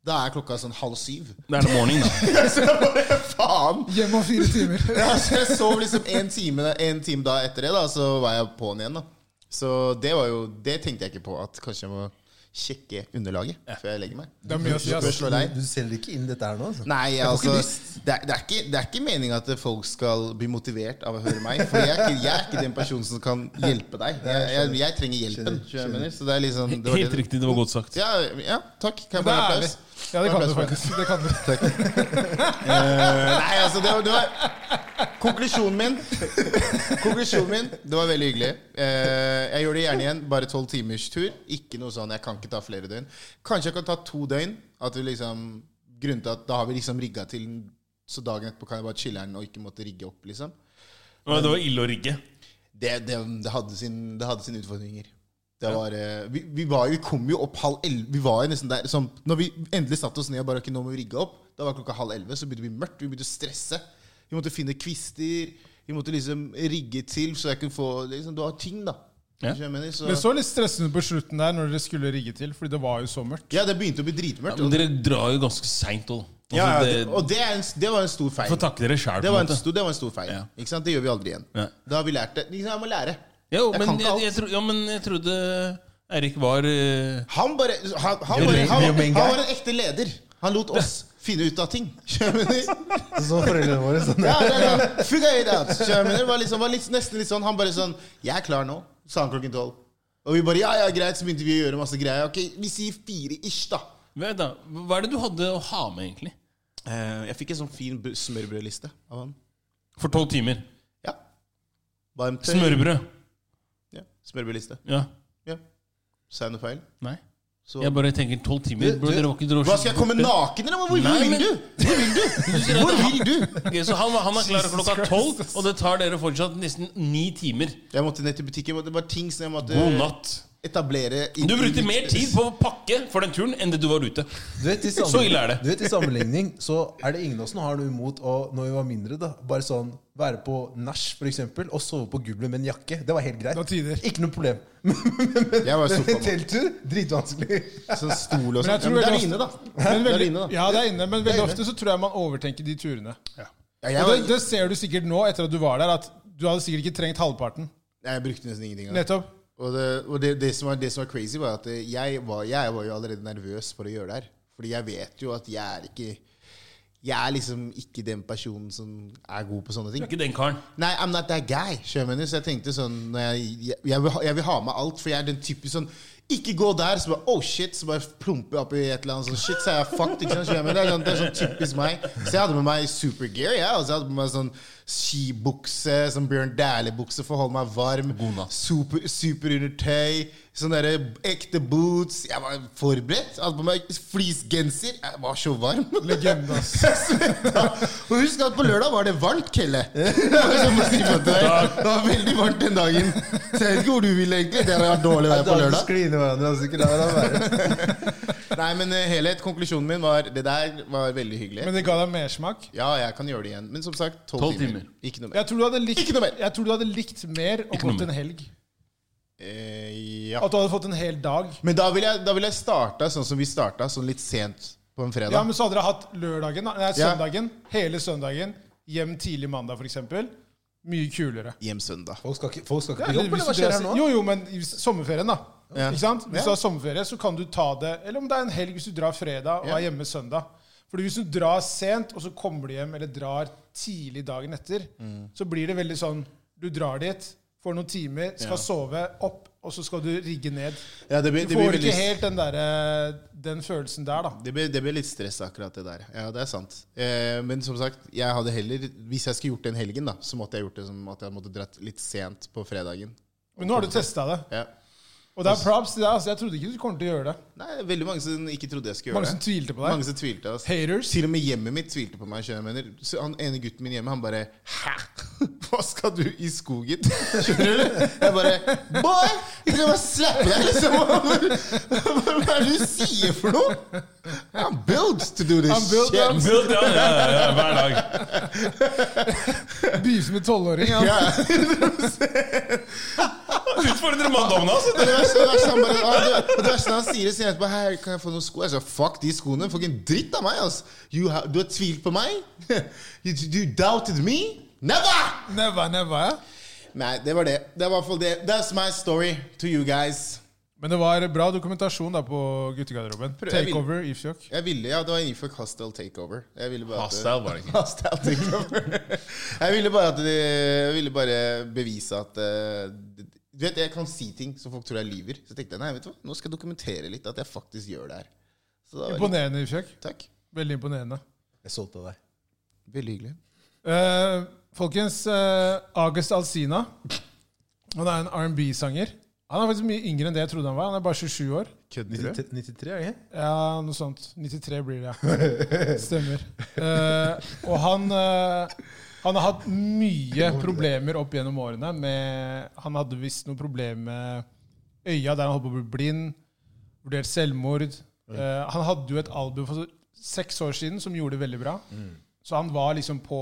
A: da er klokka sånn halv syv.
B: Det er det morning, da.
A: Så jeg bare, faen!
C: Hjemme om fire timer.
A: Ja, så jeg sov liksom en time, en time da etter det, da, så var jeg på'n igjen. da Så det var jo Det tenkte jeg ikke på, at kanskje jeg må sjekke underlaget før jeg legger meg.
C: Det er mye å si,
A: Før jeg
C: ass.
A: slår deg.
D: Du selger ikke inn dette her nå, altså.
A: Nei, altså det er, det, er ikke, det er ikke meninga at folk skal bli motivert av å høre meg. For jeg er ikke, jeg er ikke den personen som kan hjelpe deg. Jeg, jeg, jeg trenger hjelpen.
D: Skjønner,
A: skjønner jeg mener. Så det er liksom det var
B: Helt
A: det-
B: riktig, det var godt sagt.
A: Ja, ja, takk. Kan
C: Det
A: jeg få en
C: er ærlig.
A: applaus?
C: Ja, det kan du faktisk. Det kan du.
A: Nei, altså, det var, det var Konklusjonen min Konklusjonen min Det var veldig hyggelig. Eh, jeg gjør det gjerne igjen. Bare tolv timers tur. Ikke noe sånn, jeg kan ikke ta flere døgn. Kanskje jeg kan ta to døgn. At vi liksom Grunnen til at da har vi liksom rigga til den, så dagen etterpå kan jeg bare chille den og ikke måtte rigge opp, liksom.
B: Men Det var ille å rigge.
A: Det, det, det, hadde, sin, det hadde sine utfordringer. Det var, eh, vi, vi, var, jo- vi kom jo opp halv elleve. Vi var jo nesten der som, Når vi endelig satte oss ned og bare ikke nå må vi rigge opp, da var klokka halv elleve. Så begynte vi mørkt. Vi begynte å stresse. Vi måtte finne kvister. Vi måtte liksom rigge til så jeg kunne få liksom, Du har ting, da.
B: Ja.
A: Skjønner du hva jeg mener? Så-
C: Det så litt stressende på slutten der når dere skulle rigge til, fordi det var jo så mørkt.
A: ja, det begynte å bli dritmørkt.
B: Men dere drar jo ganske seint òg.
A: og, ja, ja, det,
B: det,
A: og det, er en, det var en stor feil.
B: får takke dere sjæl,
A: Det
B: på en
A: var en,
B: måte.
A: stor, det var en stor feil.
B: Ja.
A: Ikke sant? Det gjør vi aldri igjen.
B: Ja.
A: Da har vi lært det. Liksom, jeg må lære.
B: Jo,
A: Jeg
B: men
A: kan ikke
B: jeg,
A: alt.
B: jeg, tro, ja, men jeg trodde Eirik var eh,
A: Han bare Han, han,
B: You're
A: bare,
B: main-
A: han,
D: you're main
A: han
D: guy.
A: var en ekte leder. Han lot oss finne ut av ting. Skjønner du?
D: Så foreldrene våre sånn
A: Ja, det er det. Figure it out. Skjønner du? Det var, liksom, var litt, nesten litt sånn Han bare sånn 'Jeg er klar nå', sa han klokken tolv. Og vi bare 'Ja, ja, greit', så begynte vi å gjøre masse greier. Ok, Vi sier fire ish, da.
B: Vent da, Hva er det du hadde å ha med, egentlig?
A: Eh, jeg fikk en sånn fin br- smørbrødliste av han.
B: For tolv timer.
A: Ja. Varmt tøy.
B: Smørbrød.
A: Ja, smørbrødliste.
B: Ja.
A: Ja. Sa jeg noe feil?
B: Nei.
A: Så
B: Jeg bare tenker tolv timer.
D: Du-
B: Bro,
D: du-
B: dere var ikke dere var
A: Hva
B: så
A: skal jeg komme
B: borte.
A: naken, eller?
B: Nei,
A: Hvor, hvor vil
B: men-
A: du? Hvor vil du? Hvor vil du?
B: Ok, så han, han er klar klokka tolv, og det tar dere fortsatt nesten ni timer.
A: Jeg måtte ned til butikken. Det var ting som jeg måtte
B: God natt.
A: etablere i-
B: Du brukte mer tid på å pakke for den turen enn det du var ute.
D: Du vet, i sammen-
B: Så ille er det.
D: Du vet, I sammenligning så er det ingen av oss som har noe imot å når vi var mindre, da, bare sånn være på nach f.eks. og sove på gulvet med en jakke. Det var helt greit.
C: Det var tider.
D: Ikke noe problem. Men
A: Jeg var
D: en
A: sofamann.
D: telttur dritvanskelig.
A: Sånn stol
C: Men jeg
A: og sånn. Ja,
C: tror
A: men det er
C: veldig
A: inne, da.
C: Men
A: Det er
C: veldig,
A: inne, da.
C: ja, det er inne, men veldig
D: inne.
C: ofte så tror jeg man overtenker de turene.
A: Ja,
C: Og det,
A: jeg,
C: det
A: var,
C: ser du sikkert nå, etter at du var der, at du hadde sikkert ikke trengt halvparten.
A: jeg brukte nesten ingenting. av det.
C: Nettopp.
A: Og, det, og det, det, som var, det som var crazy, var at eh, jeg var, jeg var jo allerede nervøs for å gjøre det her. Fordi jeg vet jo at jeg er ikke Jeg er liksom ikke den personen som er god på sånne ting.
B: Ikke den karen.
A: Nei, I'm not that guy. skjønner du? Så jeg tenkte sånn når jeg, jeg, jeg, vil ha, jeg vil ha med alt, for jeg er den typen sånn Ikke gå der, så bare oh shit, så bare plumper jeg opp i et eller annet sånn shit, så er jeg fucked. ikke sant? Skjønner du? Det er sånn- Det er sånn typisk meg. Så jeg hadde med meg supergear. jeg, altså, jeg hadde med meg sånn skibukse, sånn Bjørn Dæhlie-bukse for å holde meg varm.
B: God natt.
A: Super, superundertøy. Sånne der ekte boots. Jeg var forberedt. Jeg Hadde på meg fleecegenser. Jeg var så varm.
C: Legende, ass.
A: Jeg svetta. Og husk at på lørdag var det varmt, Kelle. Det var som å si på til deg. Det var veldig varmt den dagen. Så jeg vet ikke hvor du ville egentlig. Dere har dårlig vær på lørdag.
D: Skline hverandre, altså, ikke la være.
A: Nei, men eh, helhet, konklusjonen min var det der var veldig hyggelig.
C: Men det ga deg mersmak.
A: Ja, jeg kan gjøre det igjen. Men som sagt, tolv
B: 12
A: timer.
B: timer.
A: Ikke noe mer.
C: Jeg tror du hadde likt,
A: Ikke noe mer.
C: Jeg tror du hadde likt mer og
B: Ikke noe mer.
C: gått en helg.
A: Eh, ja.
C: At du hadde fått en hel dag.
A: Men da ville jeg, da vil jeg starta sånn som vi starta, sånn litt sent på en fredag.
C: Ja, men så hadde dere hatt lørdagen, da. nei,
A: Ja.
C: søndagen, hele søndagen, hjem tidlig mandag f.eks. Mye kulere.
A: Hjem søndag.
D: Folk skal ikke, folk skal ikke
C: Ja,
D: på jobb,
C: eller
D: eller
C: hvis
D: hva
C: du
D: skjer
C: er-
D: her nå?
C: Jo, jo, men i s- sommerferien, da.
A: Ja.
C: Ikke sant? Hvis
A: Ja.
C: du har sommerferie, så kan du ta det Eller om det er en helg, hvis du drar fredag og
A: Ja.
C: er hjemme søndag. Fordi hvis du drar sent, og så
A: Mm.
C: kommer du hjem eller drar tidlig dagen etter, så blir det veldig sånn Du drar dit, får noen timer, skal
B: Ja.
C: sove opp, og så skal du rigge ned.
A: Ja, det blir,
C: Du
A: det blir
C: får
A: veldig
C: ikke helt den, der, eh, den følelsen der, da.
A: Det ble, det ble litt stress, akkurat det der. Ja, det er sant. Eh, men som sagt, jeg hadde heller Hvis jeg skulle gjort den helgen, da, så måtte jeg gjort det som at jeg måtte dratt litt sent på fredagen.
C: Men nå har du testa det.
A: Ja.
C: Og det er props til deg. Altså, jeg trodde ikke du kom til å gjøre det.
A: Nei, det er veldig mange som ikke trodde jeg skulle
C: Mange
A: gjøre
C: som
A: det.
C: tvilte på deg.
A: Mange som tvilte. ass.
C: Haters.
A: Til og med hjemmet mitt tvilte på meg. skjønner du hva jeg mener. Så han ene gutten min hjemme, han bare Hæ? Hva skal du i skogen? Skjønner du? Jeg bare Boy! Jeg skal bare slappe deg, liksom. Hva er det du sier for noe? I'm built to do this
C: I'm built,
A: shit.
C: ja.
B: Build, ja, ja, ja, hver dag.
C: Beef med tolvåring. Ja.
A: Ja.
B: Utfordrer manndommen hans.
A: Det verste, det verste, han bare, ah, du, det verste han sier, sier etterpå Her, kan jeg få noen sko? Jeg sa, fuck de skoene. Fuck en dritt av meg, ass. You ha, du har tvilt på meg? You, you doubted me? Never!
C: Never, never, ja.
A: Nei, det var det. Det var i hvert fall det. That's my story to you guys.
C: Men det var bra dokumentasjon da på guttegarderoben.
A: Prøv- jeg vil-
C: Takeover, Ifjok.
A: Jeg ville, ja, Det var innenfor Hostile Takeover. Jeg ville bare at-
B: Hostile var det ikke.
A: Hostile Takeover. Jeg ville bare, at det, jeg ville bare bevise at eh, Du vet, Jeg kan si ting som folk tror jeg lyver. Så tenkte jeg nei, vet du hva, nå skal jeg dokumentere litt at jeg faktisk gjør det her. Så da, var det-
C: Imponerende, Ifjok.
A: takk.
C: Veldig imponerende.
D: Jeg solgte deg.
A: Veldig hyggelig.
C: Eh, folkens, eh, August Alsina. Han er en R&B-sanger. Han er faktisk mye yngre enn det jeg trodde han var. Han er bare 27 år.
D: 93, 93 er det ikke?
C: Ja, noe sånt. 93 blir det, ja. Stemmer. Eh, og han eh, Han har hatt mye problemer opp gjennom årene. Med, han hadde visst noen problemer med øya, der han holdt på å bli blind. Vurdert selvmord. Eh, han hadde jo et album for seks år siden som gjorde det veldig bra. Så han var liksom på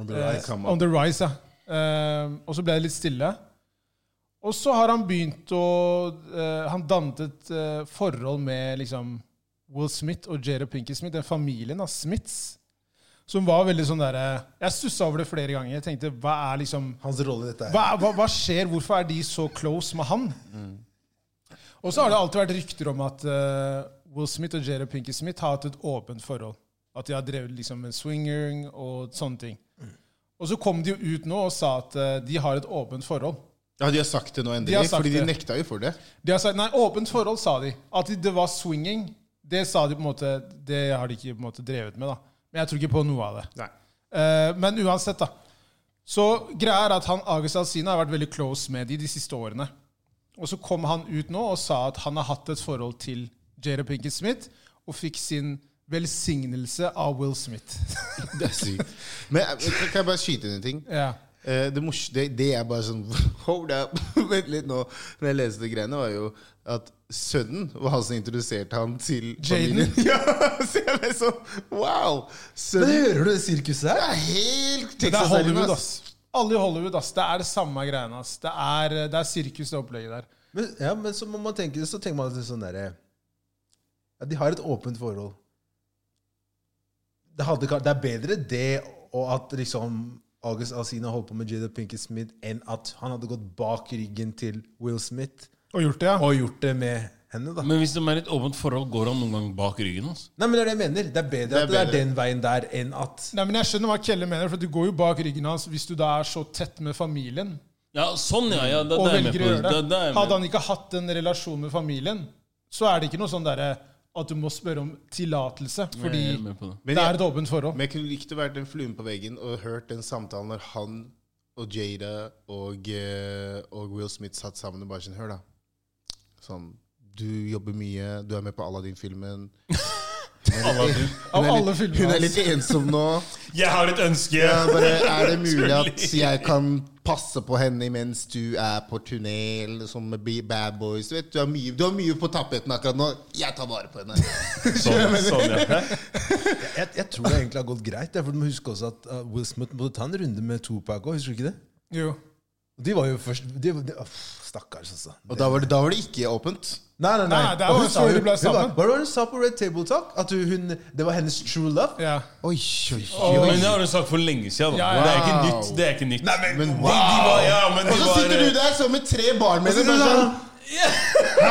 D: On the
C: eh,
D: rise.
C: On the rise, ja. Eh, og så ble det litt stille. Og så har han begynt å eh, Han dannet et eh, forhold med liksom Will Smith og Jada Pinkett Smith, den familien av Smiths, som var veldig sånn derre Jeg stussa over det flere ganger. Jeg tenkte, hva er liksom
D: Hans rolle i dette her.
C: hva, hva, hva skjer? Hvorfor er de så close med han? Og så har det alltid vært rykter om at eh, Will Smith og Jada Pinkett Smith har hatt et åpent forhold. At de har drevet liksom med swinging og sånne ting. Og så kom de jo ut nå og sa at eh, de har et åpent forhold.
A: Ja, De har sagt det nå endelig,
C: De har sagt
A: fordi de
C: det.
A: nekta jo for det.
C: De har sagt, nei, åpent forhold, sa de. At det var swinging, det sa de på en måte, det har de ikke på en måte drevet med. da. Men jeg tror ikke på noe av det.
A: Nei.
C: Eh, men uansett, da. Så greia er at han Agus Alsina har vært veldig close med de de siste årene. Og så kom han ut nå og sa at han har hatt et forhold til Jada Pinkett Smith, og fikk sin velsignelse av Will Smith.
A: Det er sykt. Men eh, kan jeg bare skyte inn en ting?
C: ja.
A: Eh, Det, mors- det, det er bare sånn Hold up! Vent litt nå. Når jeg leste de greiene, var jo at sønnen var han som introduserte han til
C: Jaden?
A: familien. Ja, så jeg ble sånn Wow!
D: Men
A: Sønnen
D: hører du det sirkuset her?
A: er helt
C: Det er
A: Texas
C: Hollywood, ass. Alle i Hollywood, ass. Det er det samme greiene, ass. Det er, det er sirkus, det opplegget der.
D: Men, ja, men så må man tenke Så tenker man litt sånn derre ja, De har et åpent forhold. Det, hadde, ka- det er bedre det og at liksom August Alsina holdt på med Jada Pinkett Smith, enn at han hadde gått bak ryggen til Will Smith
C: Og gjort det, ja.
D: og gjort det med henne, da.
B: Men hvis de er i et åpent forhold, går han noen gang bak ryggen altså? hans?
D: Nei, men det er det jeg mener. Det er bedre
A: er
D: at det
A: bedre.
D: er den veien der enn at
C: Nei, men Jeg skjønner hva Kelle mener, for du går jo bak ryggen hans hvis du da er så tett med familien.
B: Ja, sånn, ja. ja det,
C: og
B: det er jeg med
C: velger
B: på.
C: å gjøre det.
B: Det, det er jeg
C: Hadde
B: med.
C: han ikke hatt en relasjon med familien, så er det ikke noe sånn derre at du må spørre om tillatelse, fordi
B: Jeg er med på det.
A: Men
C: det
A: jeg-
C: er et åpent forhold.
A: Men jeg kunne likt å være den fluen på veggen og hørt den samtalen når han og Jada og, eh, og Will Smith satt sammen og bare sånn Hør, da. Sånn Du jobber mye, du er med på Aladdin-filmen.
C: Av
A: Hun er
C: alle
A: litt- Hun
C: filmene
A: er litt
C: hans.
A: ensom nå.
B: Jeg har et ønske!
A: Ja, bare, er det mulig at jeg kan passe på henne mens du er på turné eller sånn med Be- Bad Boys? Du vet, du har mye, du har mye på tapeten akkurat nå. Jeg tar vare på henne.
B: Sånn, sånn, ja.
D: Jeg, jeg tror det egentlig har gått greit. ja, For du må huske også at uh, Will Smith måtte ta en runde med Tupac òg, husker du ikke det?
C: Jo.
D: Og De var jo først de, de, åh, Stakkars, altså.
A: Og da var det, da var det ikke åpent.
D: Nei, nei, nei.
C: Nei, Ah, det er
D: Og
C: jo
D: hun sa
C: før
D: jo-
C: de ble
D: hun
C: sammen.
D: bare- Hva var det hun sa på Red Table Talk? At hun, det var hennes true love?
C: Ja.
A: Oi, oi,
B: Jo,
A: oi.
B: men det har du sagt for lenge siden. Da.
C: Ja, ja.
B: Det er ikke
A: Wow.
B: nytt. Det er ikke nytt.
A: Men
B: de, de var, ja, men
A: Og
B: de
A: så
B: var,
A: sitter du der sånn med tre barn med deg. bare sånn,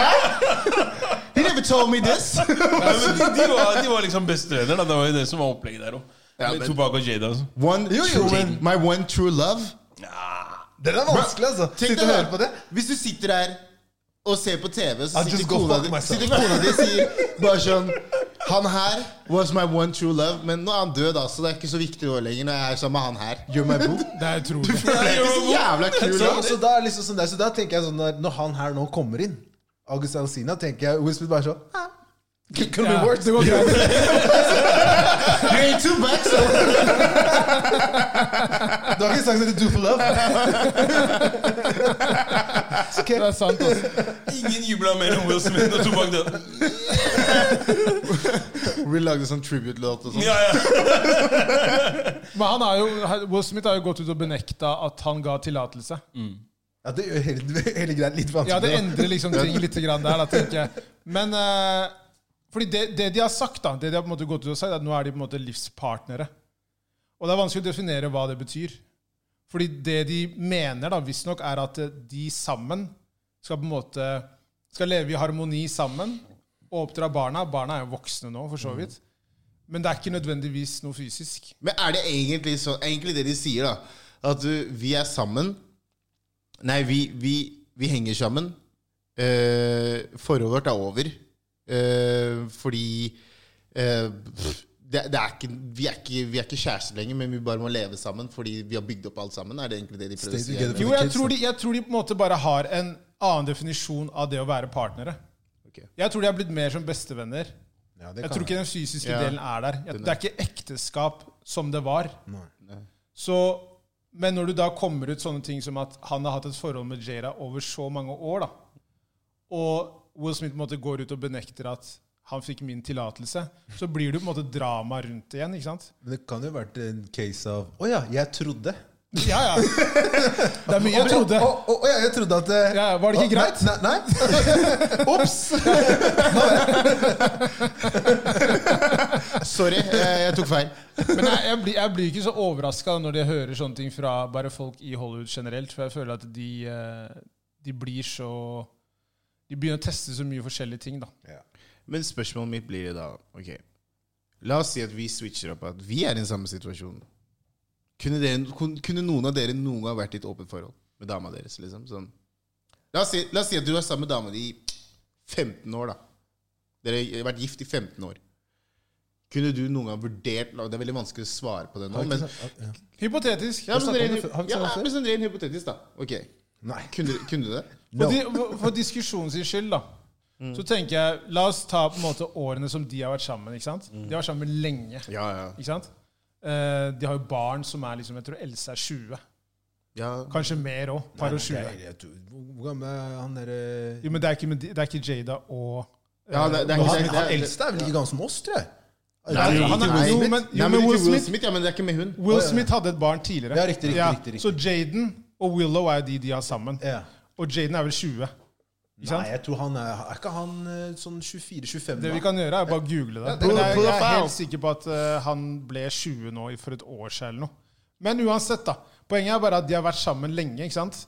A: He never told me this!
B: Nei, men de, de, var, de var liksom bestevenner. Da. Det var jo det som var opplegget der òg.
A: Ja,
B: Med
A: men-
B: Tobakk og Jada. Altså.
A: One
D: jo,
A: true,
D: men-
A: my one true love.
D: Den er vanskelig, altså.
A: Tenk
D: Sitte og
A: deg da,
D: høre på det.
A: Hvis du sitter der og ser på TV, så
D: I'll
A: sitter
D: just go
A: kona,
D: fuck
A: di,
D: myself.
A: sitter kona di sier bare sånn Han her was my one true love, men nå er han død, altså. Det er ikke så viktig nå lenger når jeg er sammen med han her. Gjør meg bro.
C: Det er utrolig.
A: Det er ikke så jævla kul.
D: Så,
A: da.
D: så, da er det liksom sånn der, så da tenker jeg sånn når, når han her nå kommer inn, August Alsina, tenker jeg Will Smith bare sånn ah, Could could
C: Ja,
D: be worse.
C: det går greit.
A: You ain't too bad, so.
D: Du har ikke sagt noe do for love.
C: Det er sant, altså.
B: Ingen jubla mer enn Will Smith og Tobakk Død.
A: Vi lagde sånn tribute-låt og sånn.
B: Ja, ja.
C: Men han har jo, Will Smith har jo gått ut og benekta at han ga tillatelse.
D: Ja, det gjør hele, hele greia litt vanskelig.
C: Ja, det endrer liksom ting litt grann der, da, tenker jeg. Men eh, fordi det, det de har sagt, da, det de har på en måte gått ut og sagt, er at nå er de på en måte livspartnere. Og det er vanskelig å definere hva det betyr. Fordi det de mener, da, visstnok, er at eh, de sammen skal på en måte skal leve i harmoni sammen og oppdra barna. Barna er jo voksne nå, for så vidt. Men det er ikke nødvendigvis noe fysisk.
A: Men er det egentlig sånn Egentlig det de sier, da. At du, vi er sammen. Nei, vi, vi, vi henger sammen. Eh, forholdet vårt er over. Eh, fordi eh, pff, det, det er ikke, vi, er ikke, vi er ikke kjærester lenger, men vi bare må leve sammen fordi vi har bygd opp alt sammen. Er det egentlig det de prøver
D: Stay
A: å
D: together.
A: si?
C: Jo,
D: the
C: jeg
D: kids,
C: tror,
D: da.
C: de, jeg tror de på en måte bare har en annen definisjon av det å være partnere.
A: Ok.
C: Jeg tror de har blitt mer som bestevenner.
D: Ja, det kan
C: Jeg tror ikke den fysiske
A: Ja.
C: delen er der. Jeg, det er ikke ekteskap som det var.
D: Nei.
C: Så, men når du da kommer ut sånne ting som at han har hatt et forhold med Jada over så mange år, da, og Will Smith på en måte går ut og benekter at han fikk min tillatelse, så blir det jo på en måte drama rundt det igjen. ikke sant?
D: Men det kan jo ha vært en case av Å ja, jeg trodde.
C: Ja, ja. Det er mye jeg trodde.
D: Å, å, å ja, jeg trodde at eh,
C: Ja, var det
D: å,
C: ikke greit?
D: Nei. nei, nei. Ops!
A: Sorry, jeg, jeg tok feil.
C: Men jeg, jeg, blir, jeg blir ikke så overraska når jeg hører sånne ting fra bare folk i Hollywood generelt, for jeg føler at de, eh, de blir så De begynner å teste så mye forskjellige ting, da.
A: Men spørsmålet mitt blir da Ok, la oss si at vi switcher opp At vi er i den samme situasjonen Kunne, dere, kun- kunne noen av dere noen gang vært i et åpent forhold Med dama deres liksom sånn. la, oss si, la oss si at du er sammen med dama di I 15 år da Dere har vært gift i 15 år Kunne du noen gang vurdert Det er veldig vanskelig å svare på det nå men,
D: Ja.
C: Hypotetisk.
A: ja, men,
D: snakket om
A: ren,
D: det før? Har vi snakket
A: ja,
D: om det før?
A: men sånn ren hypotetisk da Ok,
D: Nei.
A: kunne, kunne du det?
D: No.
C: For, di, for- for diskusjonens skyld, da. Så tenker jeg, La oss ta på en måte årene som de har vært sammen. ikke sant? De har vært sammen lenge.
A: Ja, ja,
C: ikke sant? Eh, de har jo barn som er liksom, jeg tror Else er 20.
A: ja.
C: Kanskje mer òg. Par og 20.
D: Jeg- jeg tror- Hvor gammel er han eh? derre
C: Jo, men det er ikke, med de- det er ikke Jada og
A: Ja, det, det er
D: Han,
A: ikke
D: han,
A: det- det er-
D: eldste er vel ikke gammel som oss, tror jeg?
A: Nei,
C: Nei,
A: han er-
C: Will
A: jo,
C: Smith.
A: men-
C: Jo,
A: Nei,
C: men
A: men
C: Will
A: ikke Will
C: Smith-
A: Smith, ja, men det er ikke med hun.
C: Will Smith hadde et barn tidligere.
D: Ja, riktig, riktig, riktig, riktig.
C: Så Jaden og Willow er de de har sammen.
D: Ja.
C: Og Jaden er vel 20. Ikke sant?
D: Nei, jeg tror han er Er ikke han eh, sånn 24-25?
C: Det
D: da?
C: vi kan gjøre, er bare å google det.
A: det kan
C: Men jeg,
A: jeg-
C: jeg er
A: profile.
C: helt sikker på at eh, han ble 20 nå i- for et år siden eller noe. Men uansett, da. Poenget er bare at de har vært sammen lenge. ikke sant?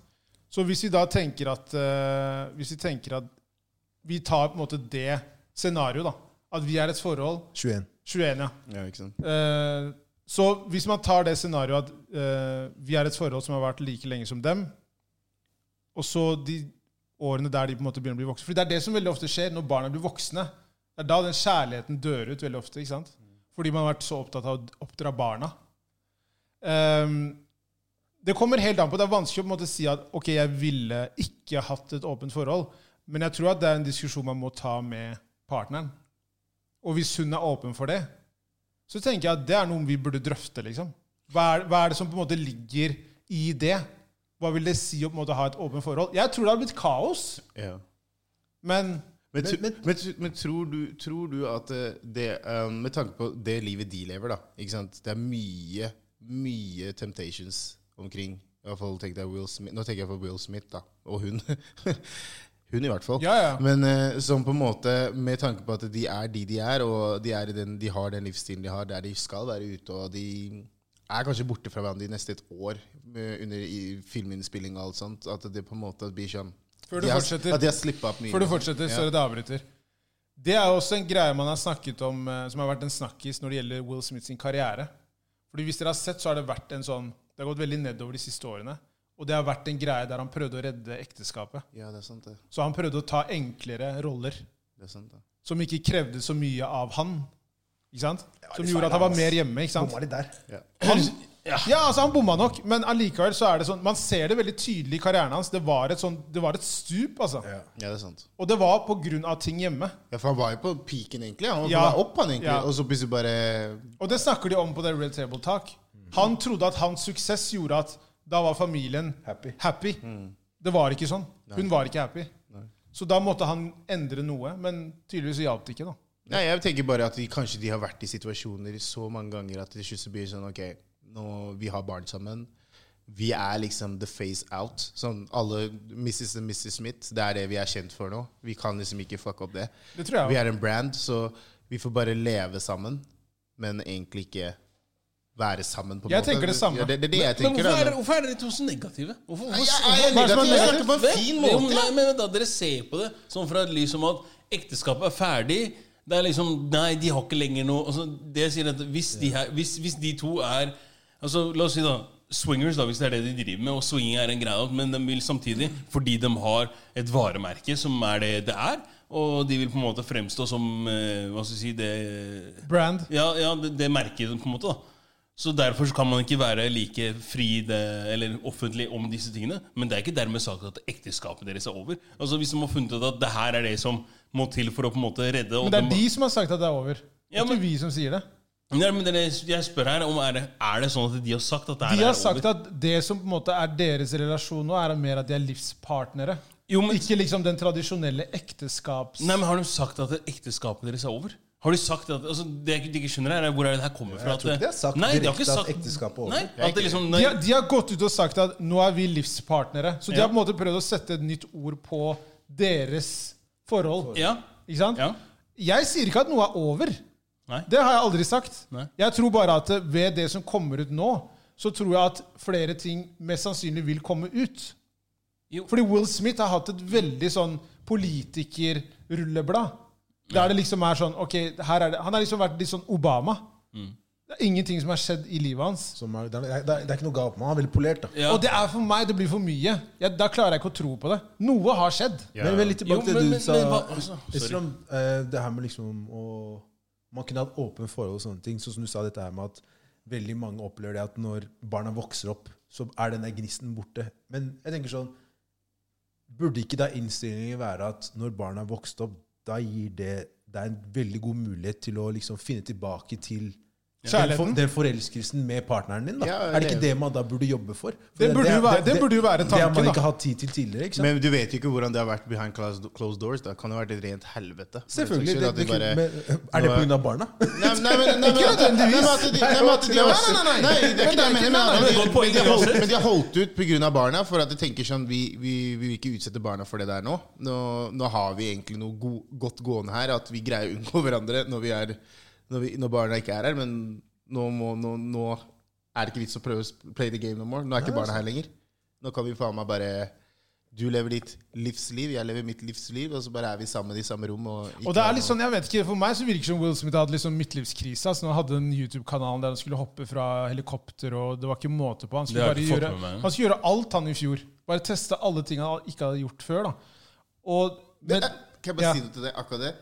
C: Så hvis vi da tenker at eh, Hvis vi tenker at vi tar på en måte det scenarioet, da. At vi er et forhold
D: 21.
C: 21, ja.
A: Ja, ikke sant?
C: Eh, så hvis man tar det scenarioet at eh, vi er et forhold som har vært like lenge som dem, og så de årene der de på en måte begynner å bli voksne For det er det som veldig ofte skjer når barna blir voksne. Det er da den kjærligheten dør ut veldig ofte. ikke sant? Fordi man har vært så opptatt av å oppdra barna. Ehm, det kommer helt an på. Det er vanskelig å på en måte si at ok, jeg ville ikke hatt et åpent forhold. Men jeg tror at det er en diskusjon man må ta med partneren. Og hvis hun er åpen for det, så tenker jeg at det er noe vi burde drøfte. liksom. Hva er, hva er det som på en måte ligger i det? Hva vil det si å på en måte ha et åpent forhold? Jeg tror det har blitt kaos,
A: Ja.
C: men
A: Men,
D: Men-
A: tro-
D: men-
A: men tro- men tror, du, tror du at eh, det eh, Med tanke på det livet de lever, da ikke sant? Det er mye, mye temptations omkring. I hvert fall tenkte jeg Will Smith, Nå tenker jeg på Will Smith, da. Og hun. hun, i hvert fall.
C: Ja, ja.
A: Men eh, som på en måte Med tanke på at de er de de er, og de, er i den, de har den livsstilen de har, der de skal være ute, og de er kanskje borte fra hverandre i nesten et år eh, under i filminnspilling og alt sånt. At det på en måte blir sånn
C: Før du
A: de har,
C: fortsetter.
A: At de har slippa opp mye.
C: før du fortsetter, sorry at jeg avbryter. Det er jo også en greie man har snakket om, eh, som har vært en snakkis når det gjelder Will Smith sin karriere. Fordi hvis dere har sett, så har det vært en sånn Det har gått veldig nedover de siste årene. Og det har vært en greie der han prøvde å redde ekteskapet.
A: Ja, det er sant, det.
C: Så han prøvde å ta enklere roller
A: det, er sant, det.
C: som ikke krevde så mye av han. Ikke sant?
D: var
C: Som
D: litt
C: gjorde at
D: feil,
C: han var
D: ass.
C: mer hjemme. ikke sant?
D: Bomma litt der.
C: Han, ja, altså han bomma nok, men allikevel så er det sånn Man ser det veldig tydelig i karrieren hans. Det var et, sånn, det var et stup, altså.
A: Ja, det er sant.
C: Og det var på grunn av ting hjemme.
A: Ja, for han var jo på peaken, egentlig. Han var
C: Ja.
A: på vei opp, han egentlig.
C: Ja.
A: Og så plutselig bare
C: Og det snakker de om på det Red Table Talk. Han trodde at hans suksess gjorde at da var familien
D: Happy.
C: Det var ikke sånn. Hun var ikke happy. Så da måtte han endre noe, men tydeligvis så hjalp det ikke, da.
A: Nei, jeg tenker bare at de, kanskje de har vært i situasjoner så mange ganger at til slutt så blir det sånn OK, nå, vi har barn sammen. Vi er liksom the face out. Sånn alle Mrs. og Mrs. Smith. Det er det vi er kjent for nå. Vi kan liksom ikke fucke opp det.
C: Det tror
A: Vi
C: jeg.
A: er en brand, så vi får bare leve sammen, men egentlig ikke være sammen. på en
C: Jeg
A: måte.
C: tenker det samme.
A: Ja, det, det er det jeg
B: Men
A: tenker.
B: hvorfor er,
A: da.
B: det- hvorfor er dere to så negative? Hvorfor, hvorfor,
A: Nei, jeg-
B: hvorfor-
A: jeg er
C: Hva er det som er
A: negativ. Jeg
C: negativt?
A: snakker på en fin
B: Jo,
A: måte.
B: nei, men vent da, Dere ser på det sånn fra et lys som at ekteskapet er ferdig. Det er liksom Nei, de har ikke lenger noe altså, Det jeg sier at hvis de, her, hvis, hvis de to er Altså, La oss si, da. Swingers, da, hvis det er det de driver med, og swinging er en greie, men de vil samtidig, fordi de har et varemerke som er det det er, og de vil på en måte fremstå som eh, Hva skal jeg si det
C: Brand.
B: ja, ja det, det merker de på en måte da Så derfor så kan man ikke være like fri det, Eller offentlig om disse tingene Men det er ikke dermed sagt at ekteskapet deres er over Altså hvis de har funnet ut at det her er det som Må til for å på en måte redde og
C: Men det er de som har sagt at det er over. Det
B: Ja,
C: er
B: men-
C: ikke vi som sier det.
B: Nei, men dere, jeg spør her om er det, er det sånn at de har sagt at det her
C: De
B: er
C: har
B: over
C: sagt at det som på en måte er deres relasjon nå, er mer at de er livspartnere.
B: Jo, men-
C: Ikke liksom den tradisjonelle ekteskaps...
B: Nei, men har de sagt at ekteskapet deres er over? Har de sagt at, altså Det jeg ikke skjønner, her er hvor er det her kommer fra.
D: Jeg tror ikke de har sagt
B: nei, de har ikke
D: direkte at
B: sagt-
D: ekteskapet er over.
B: Nei, at det liksom,
C: De, har, de har gått ut og sagt at nå er vi livspartnere. Så de
B: Ja.
C: har på en måte prøvd å sette et nytt ord på deres forhold.
B: ja,
C: Ikke sant?
B: ja,
C: Jeg sier ikke at noe er over.
B: Nei.
C: Det har jeg aldri sagt.
B: Nei.
C: Jeg tror bare at eh, ved det som kommer ut nå, så tror jeg at flere ting mest sannsynlig vil komme ut.
B: Jo.
C: Fordi Will Smith har hatt et veldig sånn politikerrulleblad. Der det liksom er sånn ok, her er det, Han har liksom vært litt sånn Obama.
B: Mm.
C: Det er ingenting som har skjedd i livet hans.
D: Som er, det, er, det, er, det er ikke noe galt med han. Han er veldig polert, da.
B: ja.
C: Og det er for meg, det blir for mye. Jeg, da klarer jeg ikke å tro på det. Noe har skjedd.
D: Men, men litt
B: Jo,
D: tilbake til
B: men-
D: det
B: men-
D: du sa.
B: men hva- altså, sorry.
D: Islam, eh, det her med liksom å Man kunne hatt åpne forhold og sånne ting. Sånn som du sa dette her med at veldig mange opplever det at når barna vokser opp, så er den der gnisten borte. Men jeg tenker sånn Burde ikke da innstillingen være at når barna har vokst opp, da gir det det er en veldig god mulighet til å liksom finne tilbake til den, for,
C: Kjærligheten.
D: den forelskelsen med partneren din. Da.
A: Ja,
D: er det ikke
A: det-
D: det man da burde jobbe for? for
C: Det burde jo være- det burde jo være
D: Det har
C: tanken,
D: man
C: da.
D: ikke hatt tid til tidligere. ikke sant?
A: Men du vet jo ikke hvordan det har vært behind closed closed doors. Da kan det ha vært et rent helvete.
D: Selvfølgelig.
A: For
D: Det,
A: at
D: det,
A: de bare-
D: men, er det
A: Nå er-
D: pga. barna?
A: Nei, nei, men- nei, men- nei, men at de- nei, men at de-
C: Nei,
A: nei, nei, nei, nei, det er ikke det jeg mener, men
B: nei,
A: at de-
B: det er et godt poeng,
A: men de har holdt-
B: uansett.
A: Men de har holdt ut pga. barna, for at de tenker sånn vi, vi, vi vil ikke utsette barna for det der nå. Nå, nå har vi egentlig noe go godt gående her, at vi greier å unngå hverandre når, vi er, når, vi, når barna ikke er her. Men nå, må, nå, nå er det ikke vits å prøve å sp- play the game no more. Nå er ikke barna her lenger. Nå kan vi faen meg bare Du lever ditt livsliv, jeg lever mitt livsliv, og så bare er vi sammen i samme rom. Og, ikke
C: Og det
A: har
C: er litt
A: noe-
C: sånn, jeg vet ikke, For meg så virker det som Will Smith hadde litt sånn midtlivskrise. Altså, han hadde den YouTube-kanalen der han skulle hoppe fra helikopter, og det var ikke måte på. Han
B: Det
C: skulle,
B: har jeg
C: bare
B: ikke fått
C: gjøre,
B: med meg.
C: han skulle gjøre alt han i fjor. Bare teste alle ting han ikke hadde gjort før. da. Og,
A: Men, eh,
C: men,
A: kan jeg bare
C: ja.
A: si noe til deg akkurat det?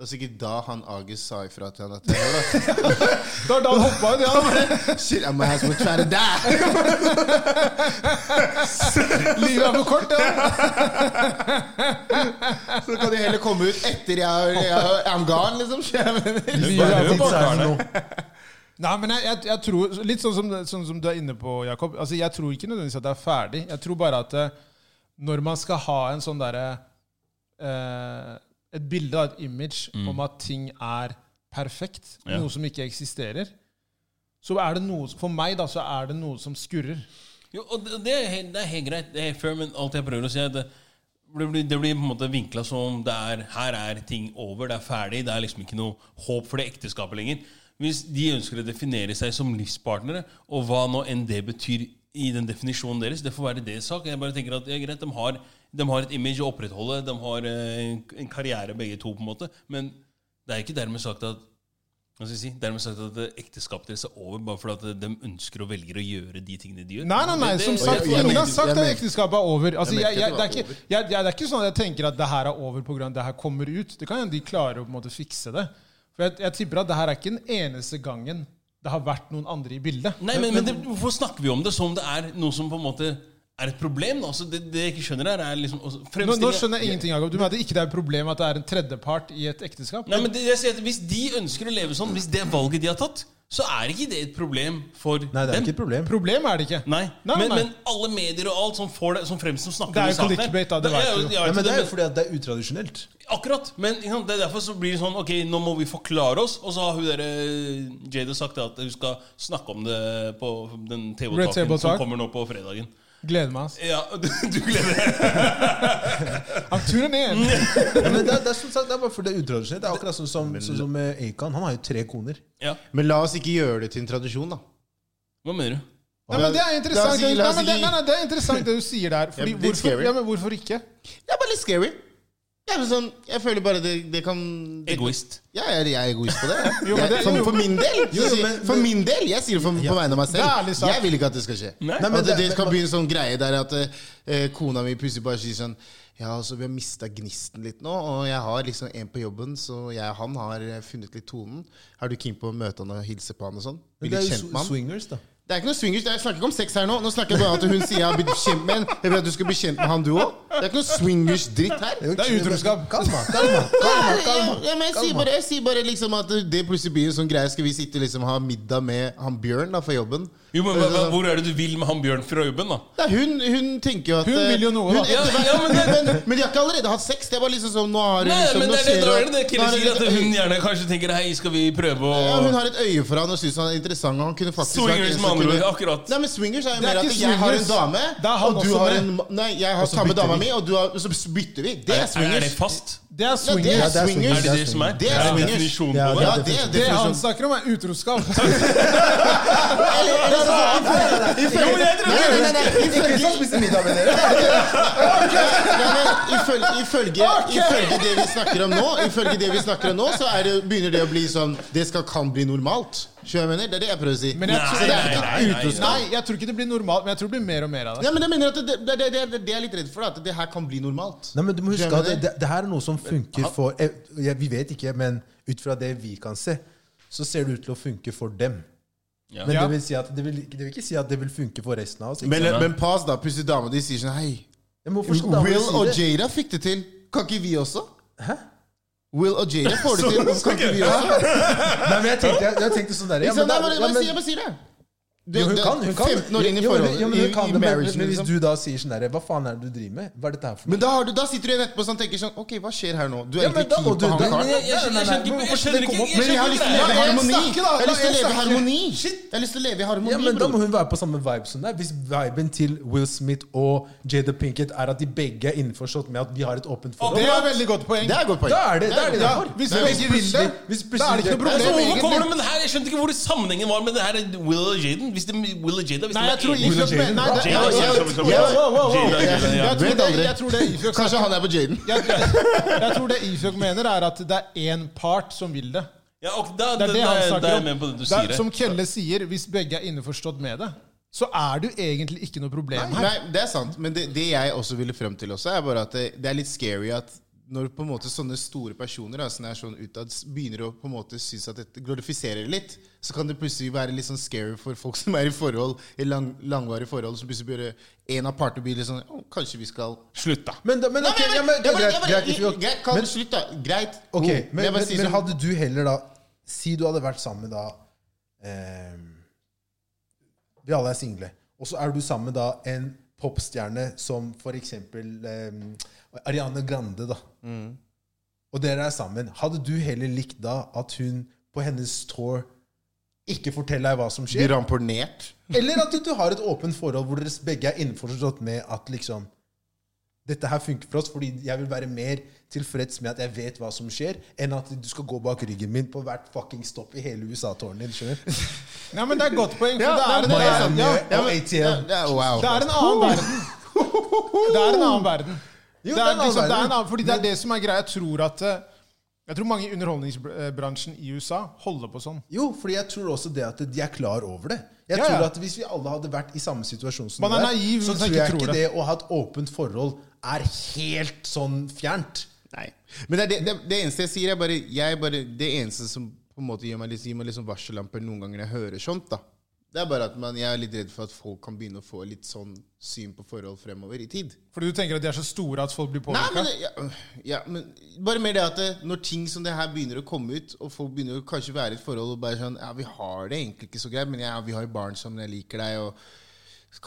A: Det var sikkert da han Agus sa ifra til han at det var da.
C: det var da han hoppa ut. Ja.
A: Shit, I'm ass with trying to die.
C: Livet er for kort. Ja.
A: Så kan de heller komme ut etter jeg, jeg I'm gone, liksom.
C: Livet er for kort.
D: Barna.
C: Nei, men jeg, jeg, jeg tror, Litt sånn som, sånn som du er inne på, Jakob. Altså, jeg tror ikke nødvendigvis at det er ferdig. Jeg tror bare at eh, når man skal ha en sånn derre eh, Et bilde av et image om at ting er perfekt,
B: Ja.
C: noe som ikke eksisterer, så er det noe For meg, da, så er det noe som skurrer.
B: Jo, og det, det, er helt, det er helt greit. Det er helt fair, men alt jeg prøver å si, er at det, det, blir, det blir på en måte vinkla som om det er, her er ting over, det er ferdig, det er liksom ikke noe håp for det ekteskapet lenger. Hvis de ønsker å definere seg som livspartnere, og hva nå enn det betyr i den definisjonen deres, det får være deres sak. Jeg bare tenker at ja, greit, de har, de har et image å opprettholde, de har eh, en- en karriere begge to, på en måte, men det er ikke dermed sagt at Hva skal jeg si? Dermed sagt at eh, ekteskapet deres er over bare fordi at de ønsker og velger å gjøre de tingene de gjør.
C: Nei, nei, nei,
B: Det-
C: som
B: det-
C: sagt,
A: jeg- jeg
C: ingen har
A: mente-
C: sagt
A: jeg
C: at
A: mente-
C: ekteskapet er over. Altså,
A: jeg
C: jeg,
A: mente
C: jeg,
A: det
C: det,
A: var
C: er ikke,
A: over.
C: jeg, jeg, det er ikke sånn at jeg tenker at det her er over pga. det her kommer ut. Det kan hende de klarer å på en måte fikse det. For jeg, jeg tipper at det her er ikke den eneste gangen det har vært noen andre i bildet.
B: Nei, men, men det, Hvorfor snakker vi om det som om det er noe som på en måte er et problem? da? Altså, det, det jeg ikke skjønner her, er liksom også
C: Nå, nå
B: fremstille-
C: skjønner jeg ingenting, Jakob. Du mener ikke det er et problem at det er en tredjepart i et ekteskap?
B: Nei, men det, jeg sier at Hvis de ønsker å leve sånn, hvis det er valget de har tatt, så er ikke det et problem for
D: Nei, det er
B: dem.
D: ikke et problem.
C: Problem er det ikke.
B: Nei,
C: Nei,
B: men,
C: nei.
B: men alle medier og alt som, får det, som fremst som snakker
C: Det er
B: om
C: jo
B: saken her.
C: clickbait, da, det
B: er
C: vet
B: jo-
C: du.
B: ja,
D: Nei, men Det er
B: det-
D: jo fordi at det er utradisjonelt.
B: Akkurat. Men ikke sant, det er derfor så blir det sånn Ok, nå må vi forklare oss. Og så har hun der, eh, Jada sagt at hun skal snakke om det på den
C: Red Table
B: TV-taken som
C: Talk.
B: kommer nå på fredagen.
C: Gleder meg, ass.
B: Ja, du, du gleder deg.
C: I'm tuning in.
D: Ja, men det, er- det, er, som sagt, det er bare fordi det er utradisjonelt. Det er akkurat sånn som, sånn som eh, Acon. Han har jo tre koner.
B: Ja,
A: Men la oss ikke gjøre det til en tradisjon, da.
B: Hva mener du?
C: Nei, men det er
A: La
C: interessant,
A: oss gi-
C: det,
A: la
C: nei,
A: oss
C: men det,
A: gi-
C: nei, nei, det er interessant det du sier der. Fordi
A: Ja, litt
C: hvorfor,
A: scary.
C: ja, men hvorfor ikke?
A: Det er bare litt scary. Jeg, er sånn, jeg føler bare det, det kan det,
B: Egoist.
A: Ja, jeg, er- jeg er egoist på det. jeg.
C: Jo, men det-
A: jeg, for,
C: jo.
A: for min del!
D: Jo,
A: så sier-
D: men-
A: for min del, Jeg sier det for, på vegne av meg
C: Det er ærlig
A: selv.
C: sagt.
A: Jeg vil ikke at det skal skje.
B: Nei.
D: Nei, men
A: at det,
D: det-
A: det kan bli en sånn greie der at eh, kona mi plutselig bare sier sånn Ja, altså, vi har mista gnisten litt nå, og jeg har liksom en på jobben, så jeg og han har eh, funnet litt tonen. Er du keen på å møte han og hilse på han og sånn?
D: Men
A: Bli
D: det er jo
A: litt kjent med
D: sw-
A: han?
D: swingers, da.
A: Det er ikke noe swingers. Jeg snakker ikke om sex her nå. Nå snakker jeg bare at hun sier jeg har blitt kjent med en. Jeg vil at du skal bli kjent med han, du òg. Det er ikke noe swingers-dritt her.
D: jo
C: Det er
D: kjent-
C: utroskap.
D: Kalm deg, kalm deg, kalm deg, kalm deg.
A: Ja, men jeg, sier bare, jeg sier bare liksom at det plutselig blir en sånn greie. Skal vi sitte og liksom ha middag med han Bjørn da for jobben?
B: Jo, men hva, hva, Hvor er det du vil med han Bjørn fra jobben, da?
A: Nei, hun, hun tenker jo at eh,
C: Hun vil jo noe, da.
A: hun,
B: Ja, ja, men det,
A: men, men de har ikke allerede hatt sex. Det er bare liksom sånn Nå har hun
B: nei,
A: liksom
B: men
A: nå
B: det er det,
A: ser
B: da
A: hun
B: er det det Kille
A: nå har hun
B: sier, at
A: et øye-
B: hun gjerne kanskje tenker Hei, skal vi prøve å
A: ja, Hun har et øye for han og syns han er interessant. Og han kunne faktisk vært en
B: Swingers,
A: som
B: med andre ord.
A: kunne-
B: Akkurat.
A: Nei, men swingers er
C: Det er
A: jo mer at
C: ikke
A: jeg har en
C: swingers.
A: dame,
C: Da er han
A: og du
C: også
A: har
C: med.
A: en ma- Nei, jeg har
D: så
A: samme
D: bytter
A: dama
D: vi.
A: mi, og du har, så bytter vi. Det
B: Er,
A: er
B: er det
A: swingers.
B: fast?
C: Det er
A: Ja, det
C: swingers.
A: er
D: Ja, det er
A: swingers.
B: Er det det som er?
A: Det er
B: en
A: swingers.
B: definisjon
D: Ja,
B: på det?
A: Ja, det er
C: Det han
A: definisjon.
C: snakker om, er utroskap.
A: Eller, eller, sånn-
B: Jo, men jeg tror-
A: Nei, nei, nei, nei,
D: Ikke
A: ifølge-
D: sant, spise middag med dere.
A: Nei, men ifølge, ifølge, ifølge det vi snakker om nå, Ifølge det vi snakker om nå så er det, begynner det å bli sånn Det skal, kan bli normalt. Skjønner du hva jeg mener? Det er det jeg prøver å si.
C: Men jeg tror,
A: så det er
B: Nei,
A: ikke
B: nei, nei,
A: et
B: nei.
A: utroskap.
C: Nei, jeg tror ikke det blir normalt, men jeg tror det blir mer og mer av det.
A: Ja, men jeg mener at det, det, det, det, det er jeg litt redd for, da, at det her kan bli normalt.
D: Nei, men du må huske
A: Skjønner
D: at det,
A: du?
D: det, det her er noe som funker for eh, ja, Vi vet ikke, men ut fra det vi kan se, så ser det ut til å funke for dem.
B: Ja.
D: Men
C: Ja.
D: det, vil si at, det, vil, ikke- det vil ikke si at det vil funke for resten av oss. Ikke?
A: Men,
B: sant?
A: men pass, da. Plutselig dama di sier sånn Hei,
D: Men hvorfor skal damer
A: Will
D: si
A: og
D: det?
A: Jada fikk det til. Kan ikke vi også?
D: Hæ?
A: Will og Jada får det til. Kan ikke vi også?
D: Nei, men jeg tenkte, jeg, jeg tenkte sånn der ja,
A: Ikke sant?
D: da-
A: Nei,
D: ja,
A: bare- bare si- Jeg bare sier det. Du-
D: Jo, hun
A: du-
D: kan, hun kan.
A: 15 år inn i
D: Jo, men-
A: forholdet.
D: jo, men hun
A: i-
D: kan
A: i
D: det, men-
A: marriagen,
D: Men hvis
A: liksom.
D: du da sier sånn derre Hva faen er det du driver med? Hva er dette her for noe?
A: Men da, har du, da sitter du igjen etterpå sånn, tenker sånn Ok, hva skjer her nå? Du er
D: Ja, men
A: egentlig
D: da
A: keen
D: må du-
A: på han
D: da-
A: karen.
D: men
B: Jeg- jeg skjønner ikke- jeg
D: Hvorfor skal
B: skjønner
D: det
B: ikke-
D: komme opp?
A: Men jeg har lyst til å leve i harmoni!
C: snakke, da.
A: Jeg har
C: La
A: lyst til å
C: en
A: leve i
C: snakke.
A: harmoni! Jeg har lyst til å leve i harmoni,
D: Ja, men Da må
A: bror.
D: hun være på samme vibe som deg. Hvis viben til Will Smith og Jada Pinkett er at de begge er innforstått med at de har et åpent forhold,
C: Det er et veldig godt poeng.
A: Det er et godt poeng.
D: da er det da er det
C: Ja,
D: derfor.
C: hvis
D: Da er
C: vi
D: det
C: ikke vil det,
D: plutselig- hvis
C: da er det ikke noe
B: Altså,
C: problem.
B: hvorfor
C: egentlig.
B: kommer du med det her? Jeg skjønte ikke hvor det sammenhengen var med det her Will og Jaden. Hvis det er Will og Jada hvis
C: Nei,
B: de er
C: jeg tror
B: enige.
C: Ifjok
D: Jada,
C: mener- nei,
B: Jada,
C: det- jeg-
B: Jada,
C: jeg-
B: Jada,
C: jeg-
B: Jada.
C: wow, wow, wow.
B: Jada, Jada, ja.
C: Jeg tror
A: Vet
C: det-
A: aldri.
C: jeg tror det Ifjok
A: Kanskje han er på Jaden.
C: jeg, jeg tror det Ifjok mener, er at det er én part som vil det.
B: Ja, og da, da,
C: Det er det han
B: da er jeg
C: snakker
B: med på
C: om.
B: det du
C: Det
B: sier.
C: er, som Kelle sier, hvis begge er innforstått med det, så er det jo egentlig ikke noe problem her.
A: Nei, det er sant. Men det, det jeg også ville frem til også, er bare at det, det er litt scary at når på en måte sånne store personer da, som er sånn utad, s- begynner å på en måte synes at dette glorifiserer det litt, så kan det plutselig være litt sånn scary for folk som er i forhold, i lang, langvarige forhold, som plutselig bare en av partene blir litt sånn «Å, Kanskje vi skal
B: Slutt, da.
D: Men, da- men,
A: Nei,
D: ok,
A: men-
D: ja, men,
A: jeg bare-
D: greit,
A: jeg bare-
D: greit, Ifjok.
A: greit, kan
D: Men-
A: du slutte, da? Greit.
D: Ok,
A: Jo,
D: men,
A: jeg bare
D: men,
A: sier
D: men
A: sånn-
D: hadde du heller da Si du hadde vært sammen med da eh, Vi alle er single. Og så er du sammen med da en popstjerne som for eksempel eh, Ariane Grande, da.
A: Mm.
D: Og dere er sammen. Hadde du heller likt da at hun på hennes tour ikke forteller deg hva som
A: Blir
D: skjer?
A: ramponert?
D: Eller at du har et åpent forhold hvor dere begge er innforstått med at liksom dette her funker for oss, fordi jeg vil være mer tilfreds med at jeg vet hva som skjer, enn at du skal gå bak ryggen min på hvert fucking stopp i hele USA-tårnet din. skjønner du?
C: Nei, men det er et godt poeng. For det, er, det, er,
D: Miami
C: ja,
D: og ATL.
A: sånn, Det er, wow.
C: det er en annen verden. Det er en annen verden.
D: Jo,
C: det, er
D: det er en annen
C: liksom, det er
D: verden.
C: en annen, fordi det er det som er greia. Jeg tror at eh, Jeg tror mange i underholdningsbransjen i USA holder på sånn.
D: Jo, fordi jeg tror også det at de er klar over det. Jeg
C: Ja, ja.
D: tror at Hvis vi alle hadde vært i samme situasjon som
C: Man
D: du
C: er
D: er,
C: naiv
D: så
C: hvis man
D: tror
C: ikke
D: jeg
C: tror
D: ikke
C: det.
D: det å ha et åpent forhold er helt sånn fjernt.
A: Nei. Men det, er det, det, det eneste jeg sier, er bare, jeg bare Det eneste som på en måte gir meg litt, gir meg litt sånn varsellamper noen ganger når jeg hører sånt, da. Det er bare at man, jeg er litt redd for at folk kan begynne å få litt sånn syn på forhold fremover i tid.
C: Fordi du tenker at de er så store at folk blir
A: Nei,
C: påvirka?
A: men, det- ja, øh, ja, men Bare mer det at det, når ting som det her begynner å komme ut, og folk begynner å kanskje være i et forhold og bare sånn Ja, vi har det egentlig ikke så greit, men ja, vi har barn sammen, jeg liker deg, og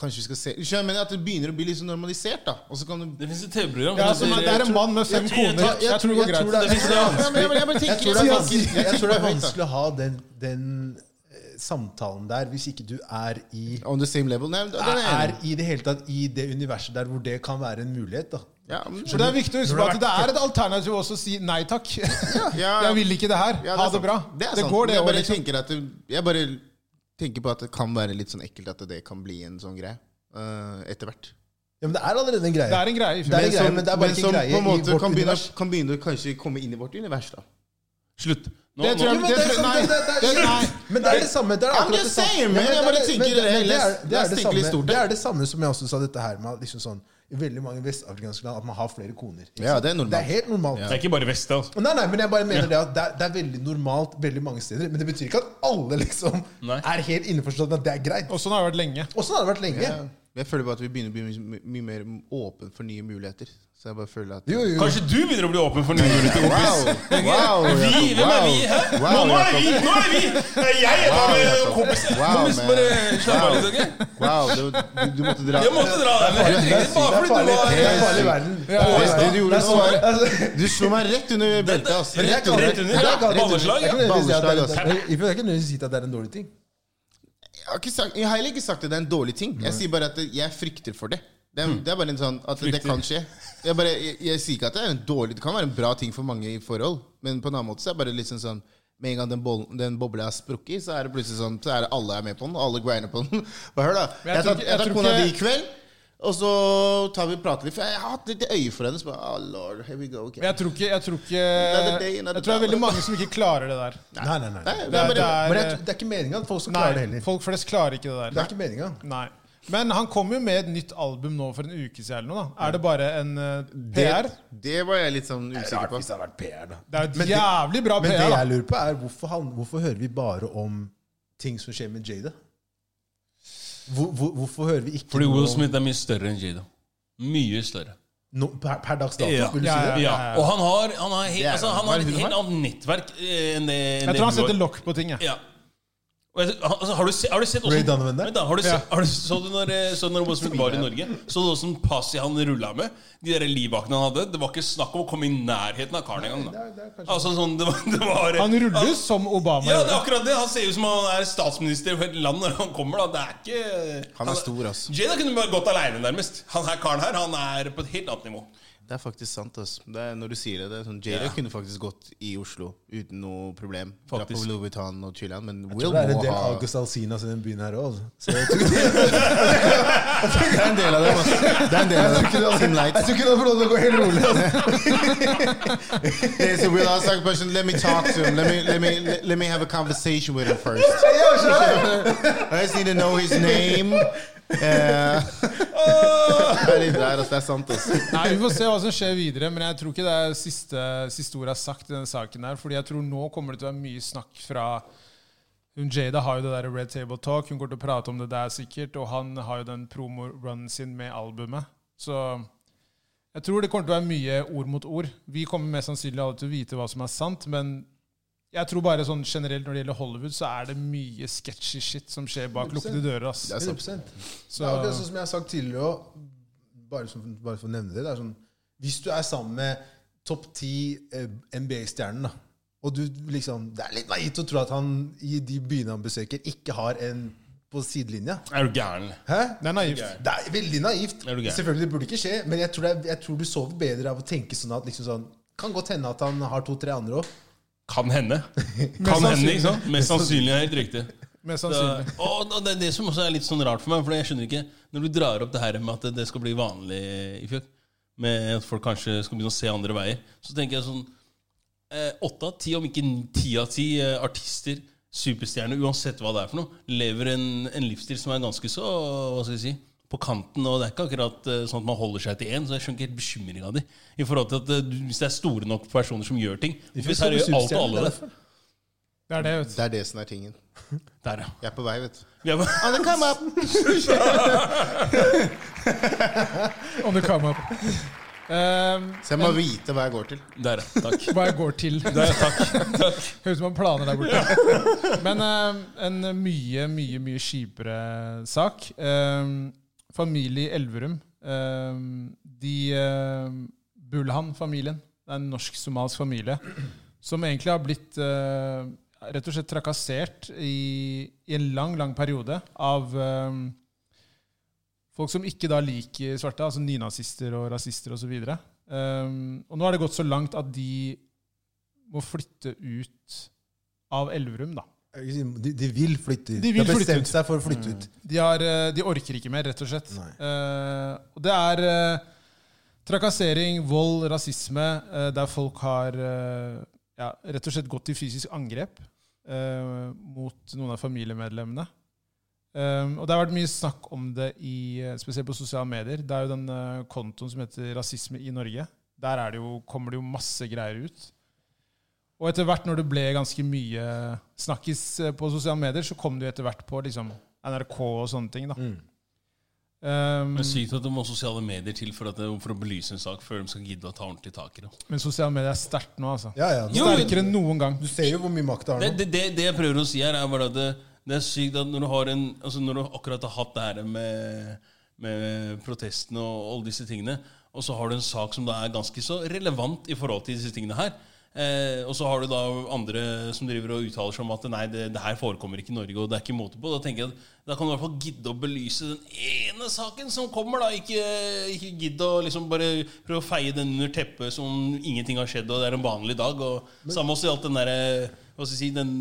A: kanskje vi skal se Skjønner du, men At det begynner å bli litt sånn normalisert, da. Og så kan du
B: Det fins et TV-program.
C: Ja,
B: som
C: altså, men
B: heter-
C: det er en mann med fem
B: Jeg tror- jeg
C: koner.
B: tror-
C: Jeg, tror det går
D: jeg tror det er-
C: greit.
B: Det er vanskelig.
A: Ja, men- men-
D: Jeg
A: men tenker-
D: tror det er
A: jeg
D: vanskelig,
A: tenker-
D: jeg tror det er
A: høyt, da.
D: vanskelig å ha den, den eh, samtalen der hvis ikke du er i
A: On the same level? Nei, men det- det er
D: er i det hele tatt i det universet der hvor det kan være en mulighet. da.
A: ja, men,
C: For det er viktig å huske på at det er et alternativ også å si nei takk.
A: Ja.
C: Jeg vil ikke det her.
A: Ja,
C: Ha
A: er
C: det
A: sant.
C: bra.
A: Det, er
C: Det
A: sant.
C: går, det liksom.
A: jeg,
C: òg.
A: bare tenker at det, jeg bare tenker på at det kan være litt sånn ekkelt at det kan bli en sånn greie eh, etter hvert.
D: Ja, Men det er allerede en greie.
C: Det er en greie. i
D: Det er
C: filmen.
D: en greie, men det er bare ikke en greie
A: på en
D: i
A: måte
D: vårt
A: kan begynne,
D: univers.
A: kan begynne å kanskje komme inn i vårt univers, da.
B: Slutt. Nå,
C: Det tror
B: nå-
C: jeg-
D: Jo, men det er
C: tror-
D: sant,
C: nei.
D: det- det- det er-
C: Det- nei.
D: Men det er det samme. Det er
A: I'm
D: akkurat det
A: just
D: samme.
A: saying, man.
D: Ja, men
A: Jeg bare
D: det er-
A: tenker
D: men det-
A: det-
D: men det er-
A: let's-
D: det er
A: let's
D: det
A: think litt
D: samme-
A: stort
D: Det
A: her.
D: er det samme som jeg også sa dette her med liksom sånn, i veldig mange vestafrikanske land at man har flere koner. ikke
A: Ja,
D: sant?
A: det er normalt.
D: Det er helt normalt.
B: Det er ikke bare Vest, altså.
D: Nei, nei, men jeg bare mener det at det er, det er veldig normalt veldig mange steder. Men det betyr ikke at alle liksom
B: Nei.
D: er helt innforstått med at det er greit.
C: Og sånn har det vært lenge.
D: Og sånn har det vært lenge.
A: Jeg føler bare at vi begynner å bli mye, mye mer åpen for nye muligheter. Så jeg bare føler at
D: Jo, jo, jo.
B: Kanskje du begynner å bli åpen for nye muligheter?
A: Wow! wow
B: Vi? Hvem er vi? Hæ?
A: Wow,
B: nå, nå er
A: Jakob.
B: vi! Nå er vi! Det er Jeg er
A: Wow,
B: bare
A: Jakob.
B: kompis.
A: Wow,
B: Kompis,
A: man.
B: bare slapp av
A: Wow.
B: litt, ok?
A: Wow, det, du, du måtte dra
B: Jeg måtte dra deg med.
D: Det er
B: Bare fordi du
D: farlig.
B: var
D: Det er farlig i verden. Det er
A: Det,
D: farlig i
A: det
D: verden.
A: du gjorde nå, var
D: Altså,
A: Du slo meg rett under beltet, ass.
D: men jeg
A: Rett
D: kan-
A: under.
B: rett under.
D: jeg kan-
B: Balleslag,
D: jeg kan
A: ja.
D: nødvendigvis si at det er-
A: Balleslag, altså.
D: Jeg kan nødvendigvis si at det er en dårlig ting.
A: Jeg har, ikke sagt, jeg har heller ikke sagt at det er en dårlig ting. Jeg sier bare at jeg frykter for det. Det er, det er bare en sånn at det
B: Frykter.
A: kan skje. Jeg, bare, jeg, jeg sier ikke at det er en dårlig Det kan være en bra ting for mange i forhold, men på en annen måte så er det bare liksom sånn med en gang den, bol- den bobla er sprukket, så er det plutselig sånn Så er det alle er med på den, og alle griner på den. Bare hør, da.
C: Men jeg
A: Jeg
C: tror
A: tar,
C: ikke- jeg
A: jeg tar
C: tror
A: kona
C: ikke-
A: di i kveld, og så tar vi og prater litt. For jeg har hatt litt øye for henne. Så bare, oh, lord, here we go
C: Men
A: again.
C: jeg tror ikke Jeg tror ikke
A: Another day, another
C: Jeg tror det er veldig mange som ikke klarer det der.
D: Nei, nei, nei. Men
A: Nei, det er
C: Det
A: bare,
C: er-
D: jeg tror- det er ikke meninga at folk skal klare det
C: Nei,
D: heller.
C: folk flest klarer ikke det
D: Det er
C: der.
D: ikke meninga.
C: Nei. Men han kom jo med et nytt album nå for en uke siden eller noe. da. Er det bare en eh, PR?
A: det, det var jeg litt sånn usikker på.
D: har vært PR, da.
C: Det er jo
D: Men
C: et
D: det-
C: jævlig bra
D: Men det
C: PR. da.
D: jeg lurer på, er hvorfor, han, hvorfor hører vi bare om ting som skjer med Jada? Hvor, hvor, hvorfor hører vi ikke
B: Fordi
D: noe
B: Will
D: om-
B: Smith er mye større enn Jada. Mye større.
D: no, per, per dags dato?
B: Ja.
D: Vil du
C: Ja,
D: si det?
B: Ja,
C: ja, ja.
B: Og han har, han har, helt,
A: Det er-
B: altså, han har
A: hva er det
B: et
A: hun
B: helt
A: har?
B: annet nettverk eh, enn det enn
C: Jeg
B: det
C: tror han
B: du har.
C: setter lokk på ting. jeg.
B: Ja. Og jeg, altså, har, du se, har du sett
D: Ray
B: hvordan-
D: Donovan der?
B: Vent da, har du se,
C: Ja.
B: har du, så du når, eh, så du når Will Smith var i Norge? Så du åssen passet han rulla med? De der livvaktene han hadde? Det var ikke snakk om å komme i nærheten av karen engang. da. Altså, sånn, det var, det var,
C: Han ruller som Obama.
B: Ja, det er
C: gjør.
B: akkurat det. Han ser ut som han er statsminister for et land når han kommer. da Det er ikke
A: Han er stor, ass.
B: Jada kunne bare gått aleine, nærmest. Han her karen her, han er på et helt annet nivå.
A: Det er faktisk sant. ass. Det er, når du sier det, det er sånn, Jada kunne faktisk gått i Oslo uten noe problem. Dra på
B: Faktisk.
A: Louis Vuitton og chiller'n, men
D: Jeg
A: Will
D: tror det er en
A: må
D: del
A: ha Det
D: August Alsinas i den byen her altså. òg. Så jeg tror,
A: er en del av dem, ass. Det er en del av dem. Sim
D: jeg
A: light.
D: tror ikke det får lov til å gå helt rolig. altså.
A: They say, Will, I was like, person, let me talk to him. Let me, let, me, let, me have a conversation with him first. I just need to know his name. Eh, det er litt der, ass. Det er sant, ass.
C: Nei, Vi får se hva som skjer videre, men jeg tror ikke det er siste, siste ordet er sagt i denne saken. her, fordi jeg tror nå kommer det til å være mye snakk fra hun Jada har jo det der Red Table Talk, hun går til å prate om det der sikkert, og han har jo den promo-runnen sin med albumet. Så jeg tror det kommer til å være mye ord mot ord. Vi kommer mest sannsynlig alle til å vite hva som er sant, men jeg tror bare sånn generelt når det gjelder Hollywood, så er det mye sketchy shit som skjer bak lukkede dører. ass.
A: Det er sant.
D: 100
C: Så-
D: Det er akkurat sånn som jeg har sagt tidligere også, bare, som, bare for å nevne det, det er sånn, Hvis du er sammen med topp ti eh, NBA-stjernen, da, og du liksom Det er litt naivt å tro at han i de byene han besøker, ikke har en på sidelinja.
B: Er du gæren?
D: Hæ?
C: Det er naivt.
D: Det er veldig naivt.
B: Er du gæren?
D: Selvfølgelig det burde ikke skje, men jeg tror, det er, jeg tror du sover bedre av å tenke sånn at liksom sånn Kan godt hende at han har to-tre andre òg.
B: Kan hende. Kan hende,
C: sannsynlig.
B: ikke sant? Mest sannsynlig er helt riktig.
C: Mest
B: Det,
C: sannsynlig.
B: og det er det som også er litt sånn rart for meg, for jeg skjønner ikke Når du drar opp det her med at det skal bli vanlig i fjor, med at folk kanskje skal begynne å se andre veier, så tenker jeg sånn eh, åtte av ti, om ikke ni- ti av ti, eh, artister, superstjerner, uansett hva det er for noe, lever en, en livsstil som er ganske så hva skal jeg si, på kanten. Og det er ikke akkurat eh, sånn at man holder seg til én, så jeg skjønner ikke helt bekymringa di. I forhold til at eh, du- Hvis det er store nok personer som gjør ting
D: De
B: Hvis
D: får
B: her gjør
D: sånne
B: alt og
D: superstjerner,
B: alle det.
D: det er
C: Det er det, vet du.
A: Det er det som er tingen.
B: Der, ja.
A: Jeg er på vei, vet du.
B: Vi er bare-
A: On the come up!
C: On the come up. Um,
A: Så jeg må vite hva jeg går til.
B: Der, ja. Takk.
C: hva jeg går til.
B: Der, ja, takk.
C: Høres ut som han planer der borte. Men eh, en mye, mye, mye kjipere sak. Eh, familie i Elverum. Eh, de eh, Bulhan-familien. Det er en norsk-somalisk familie som egentlig har blitt eh, rett og slett trakassert i, i en lang, lang periode av eh, folk som ikke da liker svarte, altså nynazister og rasister osv. Um, og nå har det gått så langt at de må flytte ut av Elverum, da.
D: De, de vil flytte ut.
C: De
D: De,
C: vil
D: har
C: flytte
D: bestemt
C: ut.
D: seg for å flytte ut.
C: De, har, eh, de orker ikke mer, rett og slett.
D: Nei.
C: Eh, og det er eh, trakassering, vold, rasisme, eh, der folk har eh, ja, rett og slett gått til fysisk angrep eh, mot noen av familiemedlemmene. Um, og det har vært mye snakk om det i, eh, spesielt på sosiale medier. Det er jo den eh, kontoen som heter Rasisme i Norge. Der er det jo, kommer det jo masse greier ut. Og etter hvert når det ble ganske mye snakkis eh, på sosiale medier, så kom det jo etter hvert på liksom, NRK og sånne ting. da.
D: Mm.
C: Um,
B: Det er sykt at de må ha sosiale medier til for, at, for å belyse en sak før de skal gidde å ta ordentlig tak i det.
C: men sosiale medier er sterkt nå, altså.
D: Ja, ja.
B: Jo,
C: Sterkere enn noen gang.
D: Du ser jo hvor mye makt
B: Det,
D: det har nå.
B: det, det, det jeg prøver å si her, er bare at det, det er sykt at når du, har en, altså når du akkurat har hatt det her med, med protestene og alle disse tingene, og så har du en sak som da er ganske så relevant i forhold til disse tingene her, eh, og så har du da andre som driver og uttaler seg om at nei, det, det her forekommer ikke i Norge, og det er ikke måte på, da tenker jeg at da kan du i hvert fall gidde å belyse den ene saken som kommer, da. Ikke, ikke gidde å liksom bare prøve å feie den under teppet som om ingenting har skjedd, og det er en vanlig dag. Og samme også gjaldt den eh, derre Hva skal jeg si den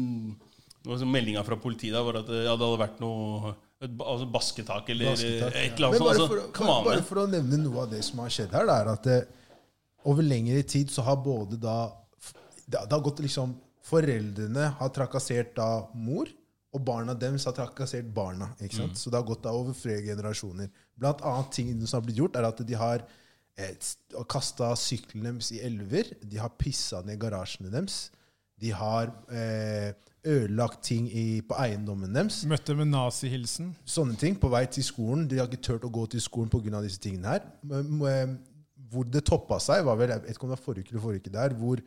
B: meldinga fra politiet da, var at ja, det hadde vært noe et, ba- altså basketak eller
D: Basketak,
B: et eller annet
D: Men
B: sånt.
D: bare for,
B: Altså, come on,
D: bare
B: man.
D: for å nevne noe av det som har skjedd her, det er at eh, over lengre tid så har både da Det, det har gått liksom Foreldrene har trakassert da mor, og barna deres har trakassert barna. ikke
B: Mm.
D: sant? Så det har gått da over flere generasjoner. Blant annet ting som har blitt gjort, er at de har eh, kasta syklene deres i elver. De har pissa ned garasjene deres. De har eh, ødelagt ting i, på eiendommen deres
C: Møtte med nazihilsen.
D: sånne ting på vei til skolen. De har ikke turt å gå til skolen pga. disse tingene her. Men, men, Hvor det toppa seg, var vel jeg vet ikke om det var forrige uke eller forrige uke der, hvor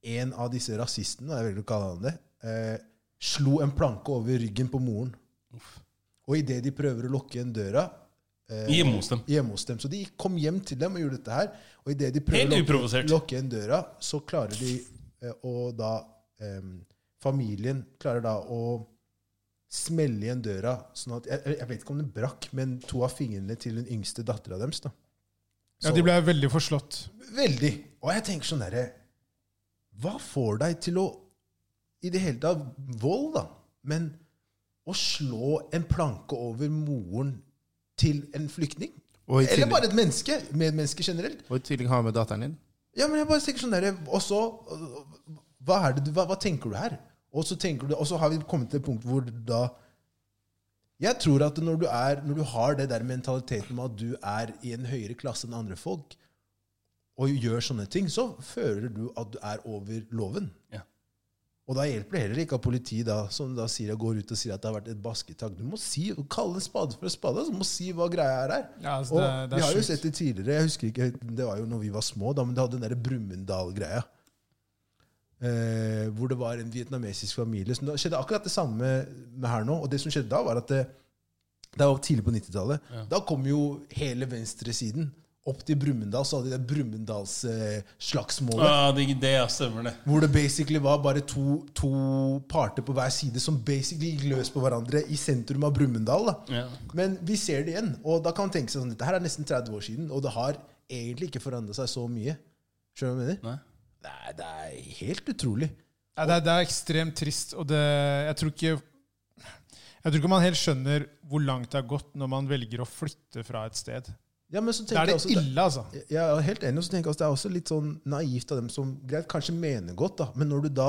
D: en av disse rasistene, jeg velger å kalle han det, eh, slo en planke over ryggen på moren. Og idet de prøver å lukke igjen døra eh,
B: Hjemme hos dem.
D: hjemme hos dem Så de kom hjem til dem og gjorde dette her. Og idet de prøver
B: Helt
D: å lukke,
B: uprovosert.
D: lukke igjen døra, så klarer de eh, å da eh, Familien klarer da å smelle igjen døra. sånn at, jeg, jeg vet ikke om den brakk, men to av fingrene til den yngste dattera deres. Da.
C: Ja, De ble veldig forslått.
D: Veldig. Og jeg tenker sånn derre Hva får deg til å I det hele tatt vold, da. Men å slå en planke over moren til en flyktning?
A: Og i
D: Eller
A: tillegg,
D: bare et menneske? Med et menneske generelt?
A: og i tillegg har jeg med datteren din.
D: Ja, men jeg bare tenker sånn derre Og så øh, hva, er det, du- hva, hva tenker du her? Og så tenker du, og så har vi kommet til et punkt hvor da Jeg tror at når du, er, når du har det der mentaliteten med at du er i en høyere klasse enn andre folk, og gjør sånne ting, så føler du at du er over loven.
B: Ja.
D: Og da hjelper det heller ikke at politiet da, som da sier, går ut og sier at det har vært et basketak. Du må si, kalle en spade for en spade. altså. Du må si hva greia er her.
C: Ja, altså,
D: Og
C: det, er- det
D: vi
C: er
D: har jo
C: sjukt.
D: sett det tidligere. Jeg husker ikke, Det var jo når vi var små, da, men det hadde den der Brumunddal-greia. Eh, hvor det var en vietnamesisk familie. Så det skjedde akkurat det samme med her nå. Og det som skjedde da, var at det, det var tidlig på 90-tallet. Da kom jo hele venstresiden opp til Brumunddal, så hadde de det Brumunddalsslagsmålet.
B: Ja, det, det ja, stemmer, det.
D: Hvor det basically var bare to, to parter på hver side som basically gikk løs på hverandre i sentrum av Brumunddal. da.
B: Ja.
D: Men vi ser det igjen, og da kan man tenke seg sånn Dette her er nesten 30 år siden, og det har egentlig ikke forandra seg så mye. Skjønner du hva jeg mener?
B: Nei.
D: Nei, det er helt utrolig.
C: Ja, det, er, det er ekstremt trist, og det, jeg tror ikke jeg tror ikke man helt skjønner hvor langt det har gått når man velger å flytte fra et sted.
D: Ja, men så tenker
C: Da er
D: jeg
C: det
D: også
C: ille, altså.
D: Jeg er helt enig, og så tenker jeg også, det er også litt sånn naivt av dem som greit, kanskje mener godt, da, men når du da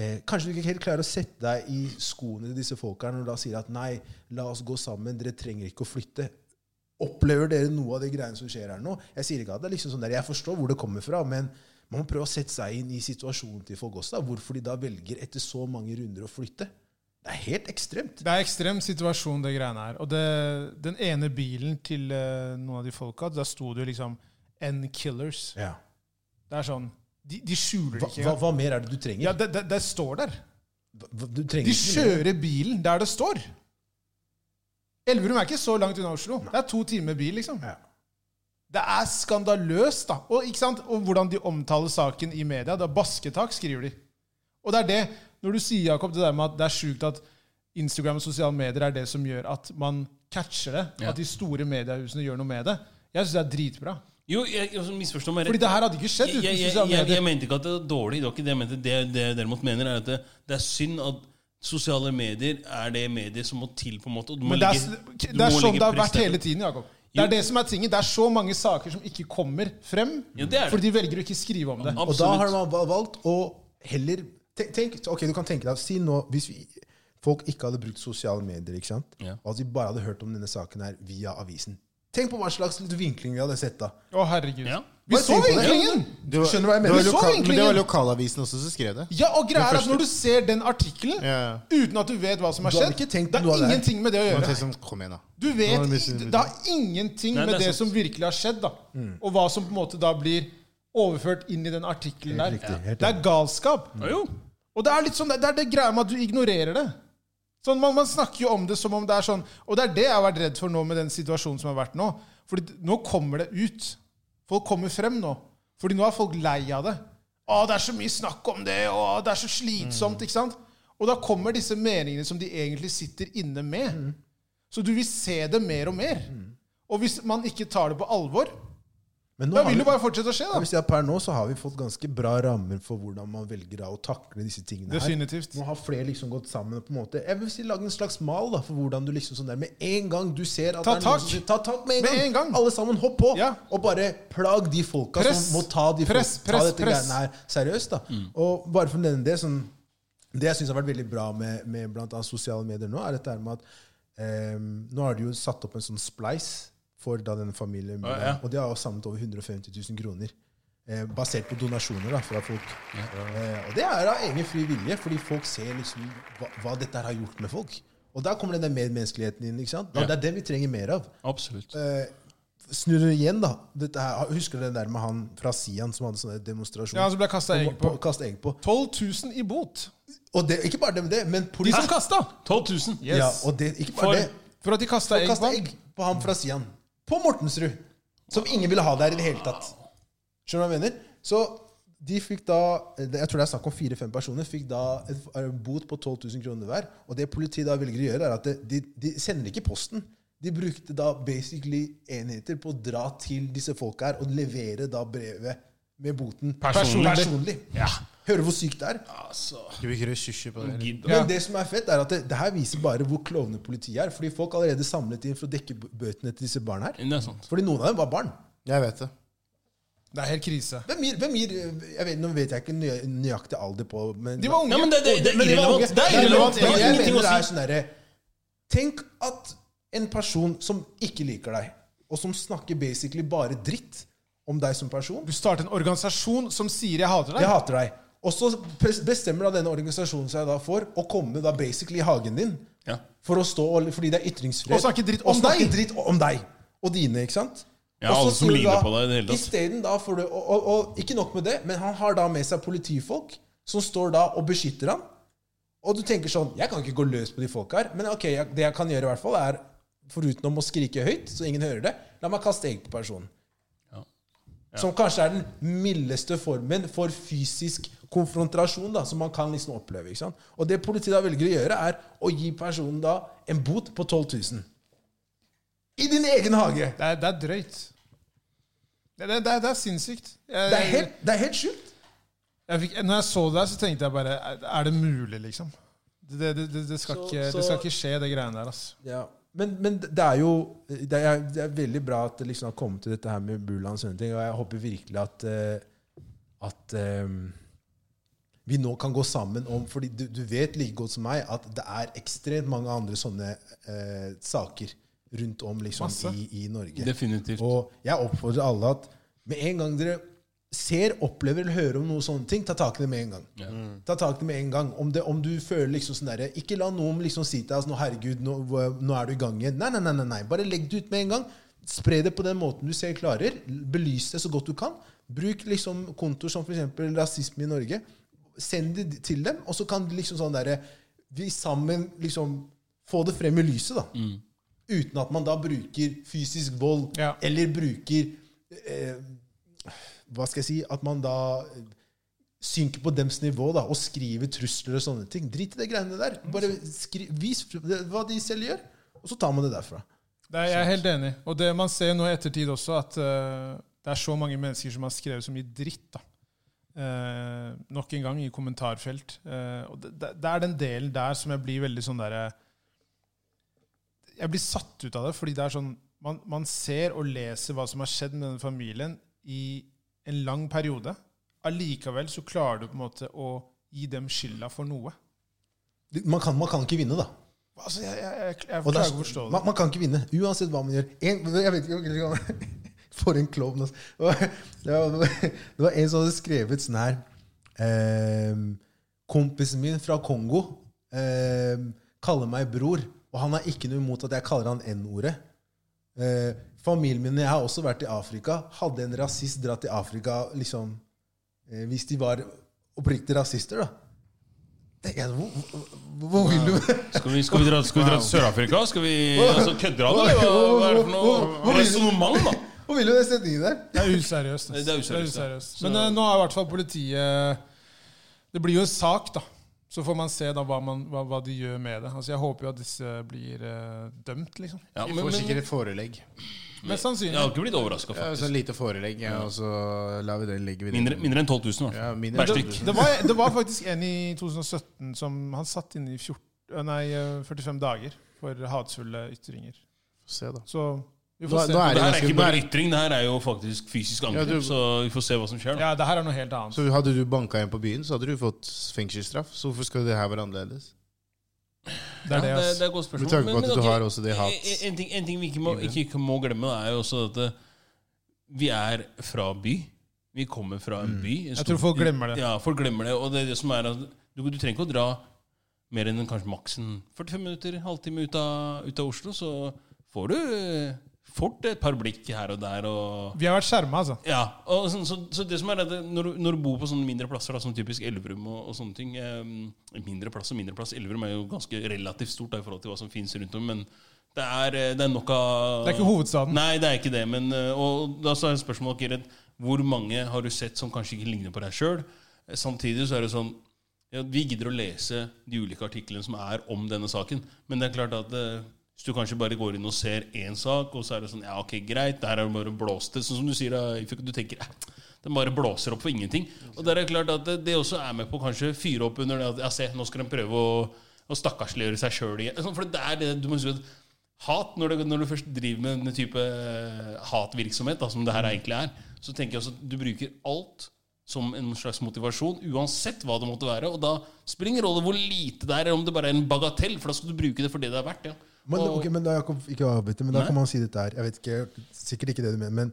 D: eh, Kanskje du ikke helt klarer å sette deg i skoene til disse folka når du da sier at nei, la oss gå sammen, dere trenger ikke å flytte. Opplever dere noe av de greiene som skjer her nå? Jeg sier ikke at det er liksom sånn der, jeg forstår hvor det kommer fra, men man må prøve å sette seg inn i situasjonen til folk også. Da. Hvorfor de da velger etter så mange runder å flytte. Det er helt ekstremt.
C: Det er ekstrem situasjon, det greiene her. Og det, den ene bilen til eh, noen av de folka, da sto det jo liksom N Killers.
D: Ja.
C: Det er sånn De, de
D: Hva,
C: skjuler det ikke.
D: hva,
C: engang.
D: hva mer er det du trenger?
C: Ja, det, det, det står der.
D: Hva- Du trenger
C: De
D: ikke mer.
C: kjører bilen der det står. Elverum er ikke så langt unna Oslo. Det er to timer bil, liksom.
D: Ja.
C: Det er skandaløst, da. Og, ikke sant? og hvordan de omtaler saken i media. Det er basketak, skriver de. Og det er det, når du sier, Jakob, det der med at det er sjukt at Instagram og sosiale medier er det som gjør at man catcher det.
B: Ja.
C: At de store mediehusene gjør noe med det. Jeg syns det er dritbra.
B: Jo, jeg, jeg misforstå meg
C: Fordi
B: rett.
C: det her hadde ikke skjedd
B: Jeg,
C: uten
B: jeg, jeg,
C: sosiale
B: jeg, jeg
C: medier.
B: mente ikke at det var dårlig. Det var ikke det jeg mente. Det, det jeg derimot mener, er at det, det er synd at sosiale medier er det mediet som må til, på en måte. Og du må
C: Men det
B: legge-
C: er,
B: du
C: det er
B: må
C: sånn
B: legge
C: det har
B: press
C: vært
B: der.
C: hele tiden, Jakob. Det
B: Jo.
C: er det som er tingen. Det er så mange saker som ikke kommer frem,
B: Ja, det er det.
C: fordi de velger å ikke skrive om det.
B: Absolutt.
D: Og da har man va- valgt å heller tenk, tenk, Ok, du kan tenke deg Si nå hvis vi, folk ikke hadde brukt sosiale medier, ikke sant?
B: Ja.
D: og at vi bare hadde hørt om denne saken her via avisen. Tenk på hva slags litt vinkling vi hadde sett da.
C: Å, herregud.
B: Ja.
C: Vi
D: Bare
C: så
D: tenk på det.
C: vinklingen!
A: Det var-
D: Skjønner du hva jeg
A: det var
D: mener?
C: Du så
A: lokal- Men det var
C: vinklingen.
A: lokalavisen også som skrev det.
C: Ja, og greia er at
A: første-
C: Når du ser den artikkelen
A: Ja.
C: uten at du vet hva som har
D: Du hadde
C: skjedd
D: ikke tenkt
C: Det
D: noe av
C: er
D: det her.
C: ingenting med det å
A: Man
C: gjøre.
A: tenkte sånn, Kom igjen, da.
C: Du vet,
A: Nå har vi mistet-
C: i- Det har ingenting
B: Nei,
C: med
B: det er
C: det
B: sant.
C: som virkelig har skjedd, da. og hva som på en måte da blir overført inn i den artikkelen der.
D: Helt riktig, helt
C: det er galskap.
B: Ja, jo.
C: Og det er litt sånn, det er det greia med at du ignorerer det. Sånn, man, man snakker jo om det som om det er sånn Og det er det jeg har vært redd for nå med den situasjonen som har vært nå. Fordi d- nå kommer det ut. Folk kommer frem nå. Fordi nå er folk lei av det. Å, det er så mye snakk om det, og det er så
D: Mm.
C: slitsomt, ikke sant? Og da kommer disse meningene som de egentlig sitter inne med.
D: Mm.
C: Så du vil se det mer og mer. Og hvis man ikke tar det på alvor,
D: Men Mm. nå
C: da
D: har
C: vil
D: vi,
C: det bare fortsette å skje,
D: jeg vil
C: da.
D: si at per nå så har vi fått ganske bra rammer for hvordan man velger da å takle disse tingene
C: Definitivt.
D: her. Nå har flere liksom gått sammen og på en måte Jeg vil si lag en slags mal da, for hvordan du liksom sånn der Med en gang du ser at
C: Ta
D: det er noen
C: tak.
D: som sier- Ta tak med en,
C: Med
D: gang.
C: en gang.
D: Alle sammen, hopp på!
C: Ja.
D: Og bare plag de folka
C: Press.
D: som må ta, de
C: Press,
D: folk,
C: press,
D: ta dette
C: press.
D: greiene her seriøst. da Og bare for å nevne det sånn det jeg syns har vært veldig bra med, med bl.a. sosiale medier nå, er dette her med at eh, nå har de jo satt opp en sånn spleis for da denne familien.
B: Ja, ja.
D: Og de har jo samlet over 150 000 kroner. Eh, basert på donasjoner da, fra folk. Eh, og det er av egen fri vilje, fordi folk ser liksom hva, hva dette her har gjort med folk. Og der kommer den der medmenneskeligheten inn. ikke sant? Da,
B: Ja.
D: Det er det vi trenger mer av.
B: Absolutt.
D: Eh, snur det igjen, da. Dette her, husker du den der med han fra Sian som hadde sånne demonstrasjoner?
C: Ja, altså, han som ble kastet egg på.
D: Kastet egg på.
C: 12 000 i bot.
D: Og det, ikke bare det med det, men
C: De
D: politi...
C: som kasta!
B: 12 000.
C: Yes.
D: Ja, og det, ikke bare
B: For-
D: det.
C: For at de kasta egg på
D: Kaste
C: ham.
D: egg på ham fra Sian. På Mortensrud. Som ingen ville ha der i det hele tatt. Skjønner du hva jeg mener? Så de fikk da Jeg tror det er snakk om fire-fem personer. Fikk da et en bot på 12 000 kroner hver. Og det politiet da velger å gjøre, er at de, de sender ikke posten. De brukte da basically enheter på å dra til disse folka her og levere da brevet med boten
B: Personlig.
D: personlig. Hører du hvor sykt det er?
B: Altså,
A: Du vil ikke røre kysje på det?
B: gidd.
C: Ja.
D: Men det som er fett, er at det, det her viser bare hvor klovne politiet er. Fordi folk allerede samlet inn for å dekke b- bøtene til disse barna her.
B: Det er sant.
D: Fordi noen av dem var barn.
A: Jeg vet det.
C: Det er helt krise.
D: Hvem gir, hvem gir jeg vet, Nå vet jeg ikke nøy- nøyaktig alder på men,
C: De var unge.
B: Ja, men det, det, det er
D: Men de var
B: irrelevant.
D: unge.
B: Det er irrelevant. Det
D: Men
B: har
D: jeg
B: ingenting å
D: mener det er
B: si.
D: sånn derre Tenk at en person som ikke liker deg, og som snakker basically bare dritt om deg som person
C: Du starter en organisasjon som sier 'jeg hater
D: Jeg
C: deg'.
D: hater deg. Og så pres- bestemmer da denne organisasjonen seg da for å komme da basically i hagen din.
B: Ja.
D: For å stå, og- fordi det er ytringsfrihet.
C: Og snakke dritt om
D: Og snakke
C: deg.
D: dritt om deg. Og dine, ikke sant?
B: Ja,
D: Og så
B: alle som
D: sier du
B: ligner
D: da,
B: på deg i det hele tatt.
D: Isteden da får du og, og, og ikke nok med det, men han har da med seg politifolk som står da og beskytter ham. Og du tenker sånn Jeg kan ikke gå løs på de folka her, men ok, jeg, det jeg kan gjøre, i hvert fall er foruten om å skrike høyt, så ingen hører det, la meg kaste egg på personen.
B: Ja.
D: Som kanskje er den mildeste formen for fysisk konfrontasjon da, som man kan liksom oppleve. ikke sant? Og det politiet da velger å gjøre, er å gi personen da en bot på 12 000. I din egen hage!
C: Det er, det er drøyt. Det, det, det, er- det er sinnssykt. Jeg,
D: Det er helt, det er helt sjukt.
C: jeg fikk, når jeg så det der, så tenkte jeg bare Er er det mulig, liksom? Det, det, det, det, skal,
D: Så-
C: ikke,
D: så-
C: det skal ikke skje, det greiene der. Altså.
D: Ja. Men, men det er jo det er, det er veldig bra at det liksom har kommet til dette her med Bulan og sånne ting. Og jeg håper virkelig at, eh, at eh, vi nå kan gå sammen om fordi du, du vet like godt som meg at det er ekstremt mange andre sånne eh, saker rundt om liksom,
C: Masse.
D: i, i Norge.
B: Definitivt.
D: Og jeg oppfordrer alle at med en gang dere ser, opplever eller hører om noen sånne ting, ta tak i det med en gang. Ta tak i det med en gang. Om, det, om du føler liksom sånn derre Ikke la noen liksom si til deg sånn herregud, nå, nå er du i gang igjen. Nei, nei, nei, nei, nei. Bare legg det ut med en gang. Spre det på den måten du ser klarer. Belys det så godt du kan. Bruk liksom kontoer som f.eks. rasisme i Norge. Send det til dem, og så kan de liksom sånn derre Vi sammen liksom få det frem i lyset, da. Uten at man da bruker fysisk vold,
C: Ja.
D: eller bruker eh, Hva skal jeg si At man da eh, synker på dems nivå da, og skriver trusler og sånne ting. Drit i de greiene der. Bare skri, vis hva de selv gjør, og så tar man det derfra.
C: Det er jeg er helt enig. Og det man ser nå i ettertid også, at eh, det er så mange mennesker som har skrevet så mye dritt. da. Eh, nok en gang i kommentarfelt. Eh, og det, det, det er den delen der som jeg blir veldig sånn derre Jeg blir satt ut av det, fordi det er sånn man, man ser og leser hva som har skjedd med den familien i en lang periode. Allikevel så klarer du på en måte å gi dem skylda for noe.
D: Man kan, man kan ikke vinne, da.
C: Altså, jeg, jeg, jeg, jeg
D: Og det
C: klarer
D: er,
C: ikke å forstå det.
D: man, man kan ikke vinne, uansett hva man gjør. En, jeg vet ikke om- For en klovn, altså. Det var, det, var, det var en som hadde skrevet sånn her ehm, Kompisen min fra Kongo ehm, kaller meg bror, og han har ikke noe imot at jeg kaller han N-ordet. Eh, familien min, jeg har også vært i Afrika, hadde en rasist dratt til Afrika liksom, eh, hvis de var oppriktig rasister, da. Tenker jeg, hvor, hvor, hvor vil du
B: Skal vi, skal vi dra, skal vi dra til Sør-Afrika? Skal vi altså, Kødder han, eller? Hva, hva er det for noe resonnement, da?
D: Hvor vil du den setningen der?
C: Det er useriøst. ass.
B: Det er useriøst, ja.
C: useriøst. Men eh, nå er i hvert fall politiet Det blir jo en sak, da. Så får man se da hva, man, hva, hva de gjør med det. Altså Jeg håper jo at disse blir eh, dømt, liksom.
B: Ja,
E: Vi
B: men,
E: får
B: men,
E: sikkert et forelegg.
C: Mest
B: jeg har
C: sannsynlig.
B: ikke blitt overraska,
E: Ja,
B: faktisk.
E: så lite forelegg, ja, og så lar vi det ligge. videre.
B: Mindre, mindre enn 12 000, i hvert
E: Ja,
B: fall.
E: mindre
B: Per
E: enn
B: stykk.
C: Det var, det var faktisk en i 2017 som han satt inne i 14, eh, nei, eh, 45 dager for hatefulle ytringer.
E: Se da.
C: Så vi
E: Nå-
C: får se.
E: nå
B: Det her er
E: ganske-
B: ikke bare ytring, det her er jo faktisk fysisk
E: Ja, du-
B: angrep, så vi får se hva som skjer. da.
C: Ja, det her er noe helt annet.
E: Så hadde du banka en på byen, så hadde du fått fengselsstraff. Så hvorfor skal det her være annerledes?
C: Det er det,
B: Ja, det,
C: ass.
B: det er et godt spørsmål.
E: Med tanke på at du
B: ok,
E: har også det hat-
B: en- En ting, en ting vi ikke må, ikke, ikke må glemme, er jo også at eh, vi er fra by. Vi kommer fra en by. en stor
C: Mm. tror folk
B: by.
C: glemmer det.
B: Ja, folk glemmer det. Og det er det som er at du, du trenger ikke å dra mer enn kanskje maks en 45 minutter, halvtime ut av, ut av Oslo, så får du eh, fort et par blikk her og der. og...
C: Vi har vært skjerma, altså.
B: Ja, og sånn, så, så det som er at det- når, du- når du bor på sånne mindre plasser, da, som typisk Elverum og, og sånne ting eh, Mindre plass og mindre plass. Elverum er jo ganske relativt stort da, i forhold til hva som finnes rundt om, men det er, eh, det er nok av
C: Det er ikke hovedstaden.
B: Nei, det er ikke det. Men, eh, og da så er spørsmålet Gerrit, hvor mange har du sett som kanskje ikke ligner på deg sjøl? Samtidig så er det sånn ja, Vi gidder å lese de ulike artiklene som er om denne saken. Men det er klart at eh, hvis du kanskje bare går inn og ser én sak, og så er det sånn Ja, ok, greit, det her er jo bare blåste. Sånn som du sier, da, Ifuk, du tenker eh, den bare blåser opp for ingenting. Og der er det klart at eh, det, det også er med på å kanskje fyre opp under det at ja, se, nå skal de prøve å, å stakkarsliggjøre seg sjøl igjen. Sånn, For det er det du må huske at Hat, når du, når du først driver med denne type eh, hatvirksomhet, da, som det
C: Mm.
B: her egentlig er, så tenker jeg også at du bruker alt som en slags motivasjon, uansett hå det måtte være. Og da spiller det ingen rolle hvor lite det er, eller om det bare er en bagatell, for da skal du bruke det for det det er verdt. Ja.
D: Men,
B: Og-
D: ok, men da, Jakob, ikke avbryte, men da
B: Nei.
D: kan man si dette her. Jeg vet ikke, sikkert ikke det du mener, men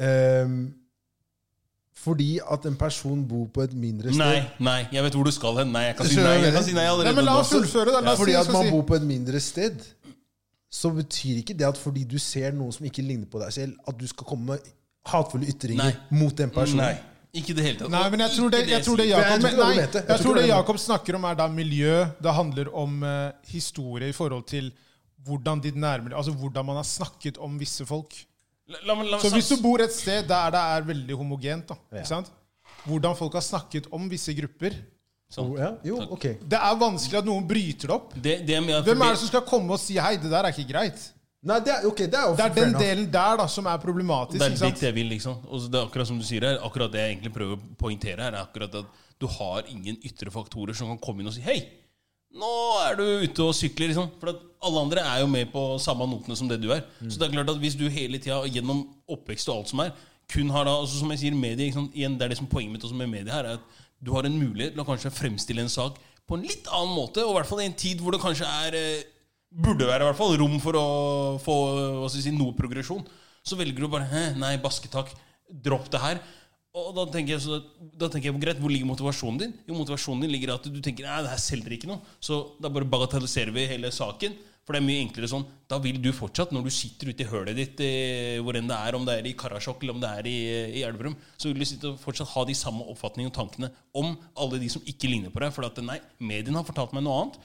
D: ehm, Fordi at en person bor på et mindre sted
B: Nei, nei, jeg vet hvor du skal hen. Nei, jeg kan si
D: Skjønner
B: nei,
D: du hva jeg
B: jeg kan si nei
C: Nei,
B: allerede
C: men la
B: nå. altså.
C: oss fullføre det. La oss si
D: Fordi
C: hva
D: at
C: vi
D: man
C: skal si.
D: bor på et mindre sted, så betyr ikke det at fordi du ser noen som ikke ligner på deg selv, at du skal komme med hatefulle ytringer
B: Nei.
D: mot den personen.
B: Nei, ikke i det hele tatt.
C: Nei, men jeg tror det,
B: Ikke
C: jeg tror det
B: sier-
D: Jeg
C: Jakob
D: tror ikke det
C: nei,
D: du mente. Jeg
C: Jeg
D: tror ikke
C: tror det
D: det du
C: Jakob snakker om, er da miljø. Det handler om eh, historie i forhold til hvordan de nærmere, altså hvordan man har snakket om visse folk.
B: La, la, meg- la, meg
C: Så hvis
B: sats-
C: du bor et sted der det er veldig homogent, da, ikke sant? hvordan folk har snakket om visse grupper
B: sånn.
D: Ja, jo, ok.
C: Det er vanskelig at noen bryter det opp.
B: det, det, men jeg-
C: Hvem er det som skal komme og si 'hei, det der er ikke greit'?
D: Nei, det er, ok, det er jo
C: Det er
D: fair
C: den
D: enough.
C: delen der da som er problematisk.
B: Det er
C: ikke sant?
B: dit jeg vil, liksom. Og så det er akkurat som du sier her, akkurat det jeg egentlig prøver å poengtere her, er akkurat at du har ingen ytre faktorer som kan komme inn og si hei. Nå er du ute og sykler, liksom. For at alle andre er jo med på samme notene som det du er. Så det er klart at hvis du hele tida gjennom oppvekst og alt som er, kun har da altså Som jeg sier, medie, ikke sant? Igjen, det er det som er poenget mitt også med media her, er at du har en mulighet til å kanskje fremstille en sak på en litt annen måte, og i hvert fall i en tid hvor det kanskje er eh, Burde være i hvert fall rom for å få eh, hva skal jeg si, noe progresjon. Så velger du bare Hæ, nei, basketak. Dropp det her. Og da tenker jeg, så, da tenker jeg greit, Hvor ligger motivasjonen din? Jo, motivasjonen din ligger i at du tenker Nei, det her selger ikke noe. Så da bare bagatelliserer vi hele saken. For det er mye enklere sånn. Da vil du fortsatt, når du sitter ute i hølet ditt, eh, hvor enn det er, om det er i Karasjok eller om det er i, i Elverum, så vil du sitte og fortsatt ha de samme oppfatningene og tankene om alle de som ikke ligner på deg. For at nei, mediene har fortalt meg noe annet.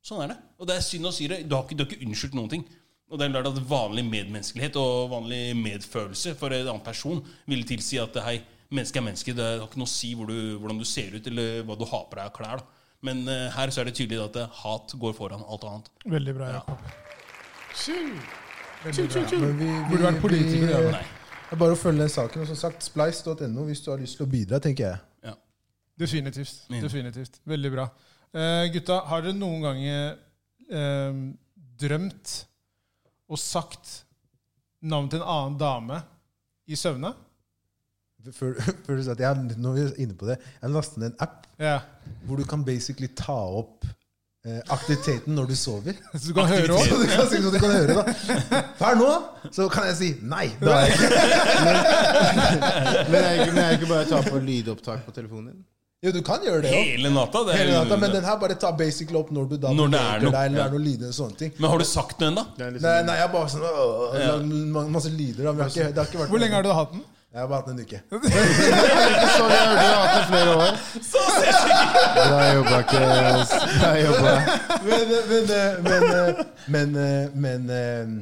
B: Sånn er det. Og det er synd å si det. Du har ikke, du har ikke unnskyldt noen ting. Og det er klart at Vanlig medmenneskelighet og vanlig medfølelse for en annen person ville tilsi at hei, menneske er menneske. Det har ikke noe å si hvor du, hvordan du ser ut, eller hva du har på deg av klær. Da. Men eh, her så er det tydelig at eh, hat går foran alt annet.
C: Veldig bra, Jakob. Veldig bra.
D: Men vi, vi,
C: Burde vært politiker,
D: vi-
C: ja.
B: Nei.
D: Det er bare å følge den saken. Og som sagt, splice.no hvis du har lyst til å bidra, tenker jeg.
B: Ja.
C: Definitivt.
B: Min.
C: definitivt. Veldig bra. Eh, gutta, har dere noen gang eh, drømt og sagt navnet til en annen dame i søvne?
D: Før, før du sa at jeg, har- når vi er inne på det, jeg lastet ned en app
C: Ja.
D: hvor du kan basically ta opp eh, aktiviteten når du sover.
C: Så du kan høre
D: Så
C: opp?
D: du kan, si- så du kan høre da. Hva er nå? Så kan jeg si nei. Da er jeg ikke.
A: Men er ikke, men er ikke bare å ta på lydopptak på telefonen din?
D: Jo, du kan gjøre det òg.
B: Hele natta. Det er
D: Hele natta, men
B: umulig.
D: den her bare tar basically opp når du da
B: Når det er
D: beveger
B: noe.
D: deg, eller
B: Ja.
D: er noe lyder og sånne ting.
B: men har du sagt noe ennå?
D: Nei, nei, jeg bare sånn øh, øh, ma- Masse lyder. Da. men jeg har ikke, det har ikke vært
C: Hvor lenge har du hatt den?
D: Jeg har bare hatt den en uke.
A: Så jeg hørte du sånn har hatt det flere år. Bra jobba, Kes. Bra jobba.
D: men, men, men, eh, men, men, men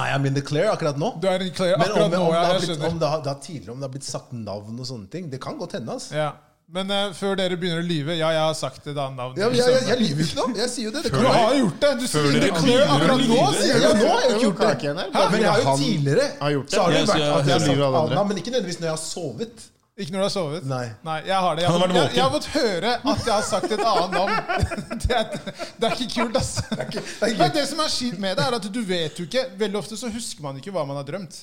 D: Nei, I'm in the clear akkurat nå.
C: Du er en klar
D: Men om, om, det
C: akkurat nå, ja.
D: har
C: Jeg
D: blitt, om,
C: skjønner.
D: det har, det har tidligere om det har blitt sagt navn og sånne ting, det kan godt hende. ass.
C: Ja. Men eh, før dere begynner å lyve Ja, jeg har sagt et annet navn.
D: Ja,
C: i
D: jeg, jeg,
C: søvne.
D: jeg lyver ikke nå. Jeg sier jo det. det
C: Du
D: kan,
C: har gjort det! Du sier
B: dere
C: det
B: begynner å
C: akkurat nå!
B: lyve?
D: ja,
C: sier du.
D: ja, nå har jeg
A: Det
D: ikke
A: var
D: gjort det.
A: kaken her.
D: Hæ? Men jeg har jo
A: Han
D: tidligere
A: har gjort det.
D: Så har det
B: Ja,
D: jo
B: så
D: vært
B: jeg-
D: at jeg har
A: jeg lyver
D: sagt
A: alle andre.
D: Anna, men ikke nødvendigvis når jeg har sovet.
C: Ikke når du har sovet?
D: Nei.
C: jeg har det. Jeg,
B: Han har vært
C: jeg, jeg har
B: våken.
C: fått høre at jeg har sagt et annet navn. Det er, det er ikke kult, ass. Det,
D: ikke- det er ikke
C: det som er skitt med det, er at du vet jo ikke Veldig ofte så husker man ikke hva man har drømt.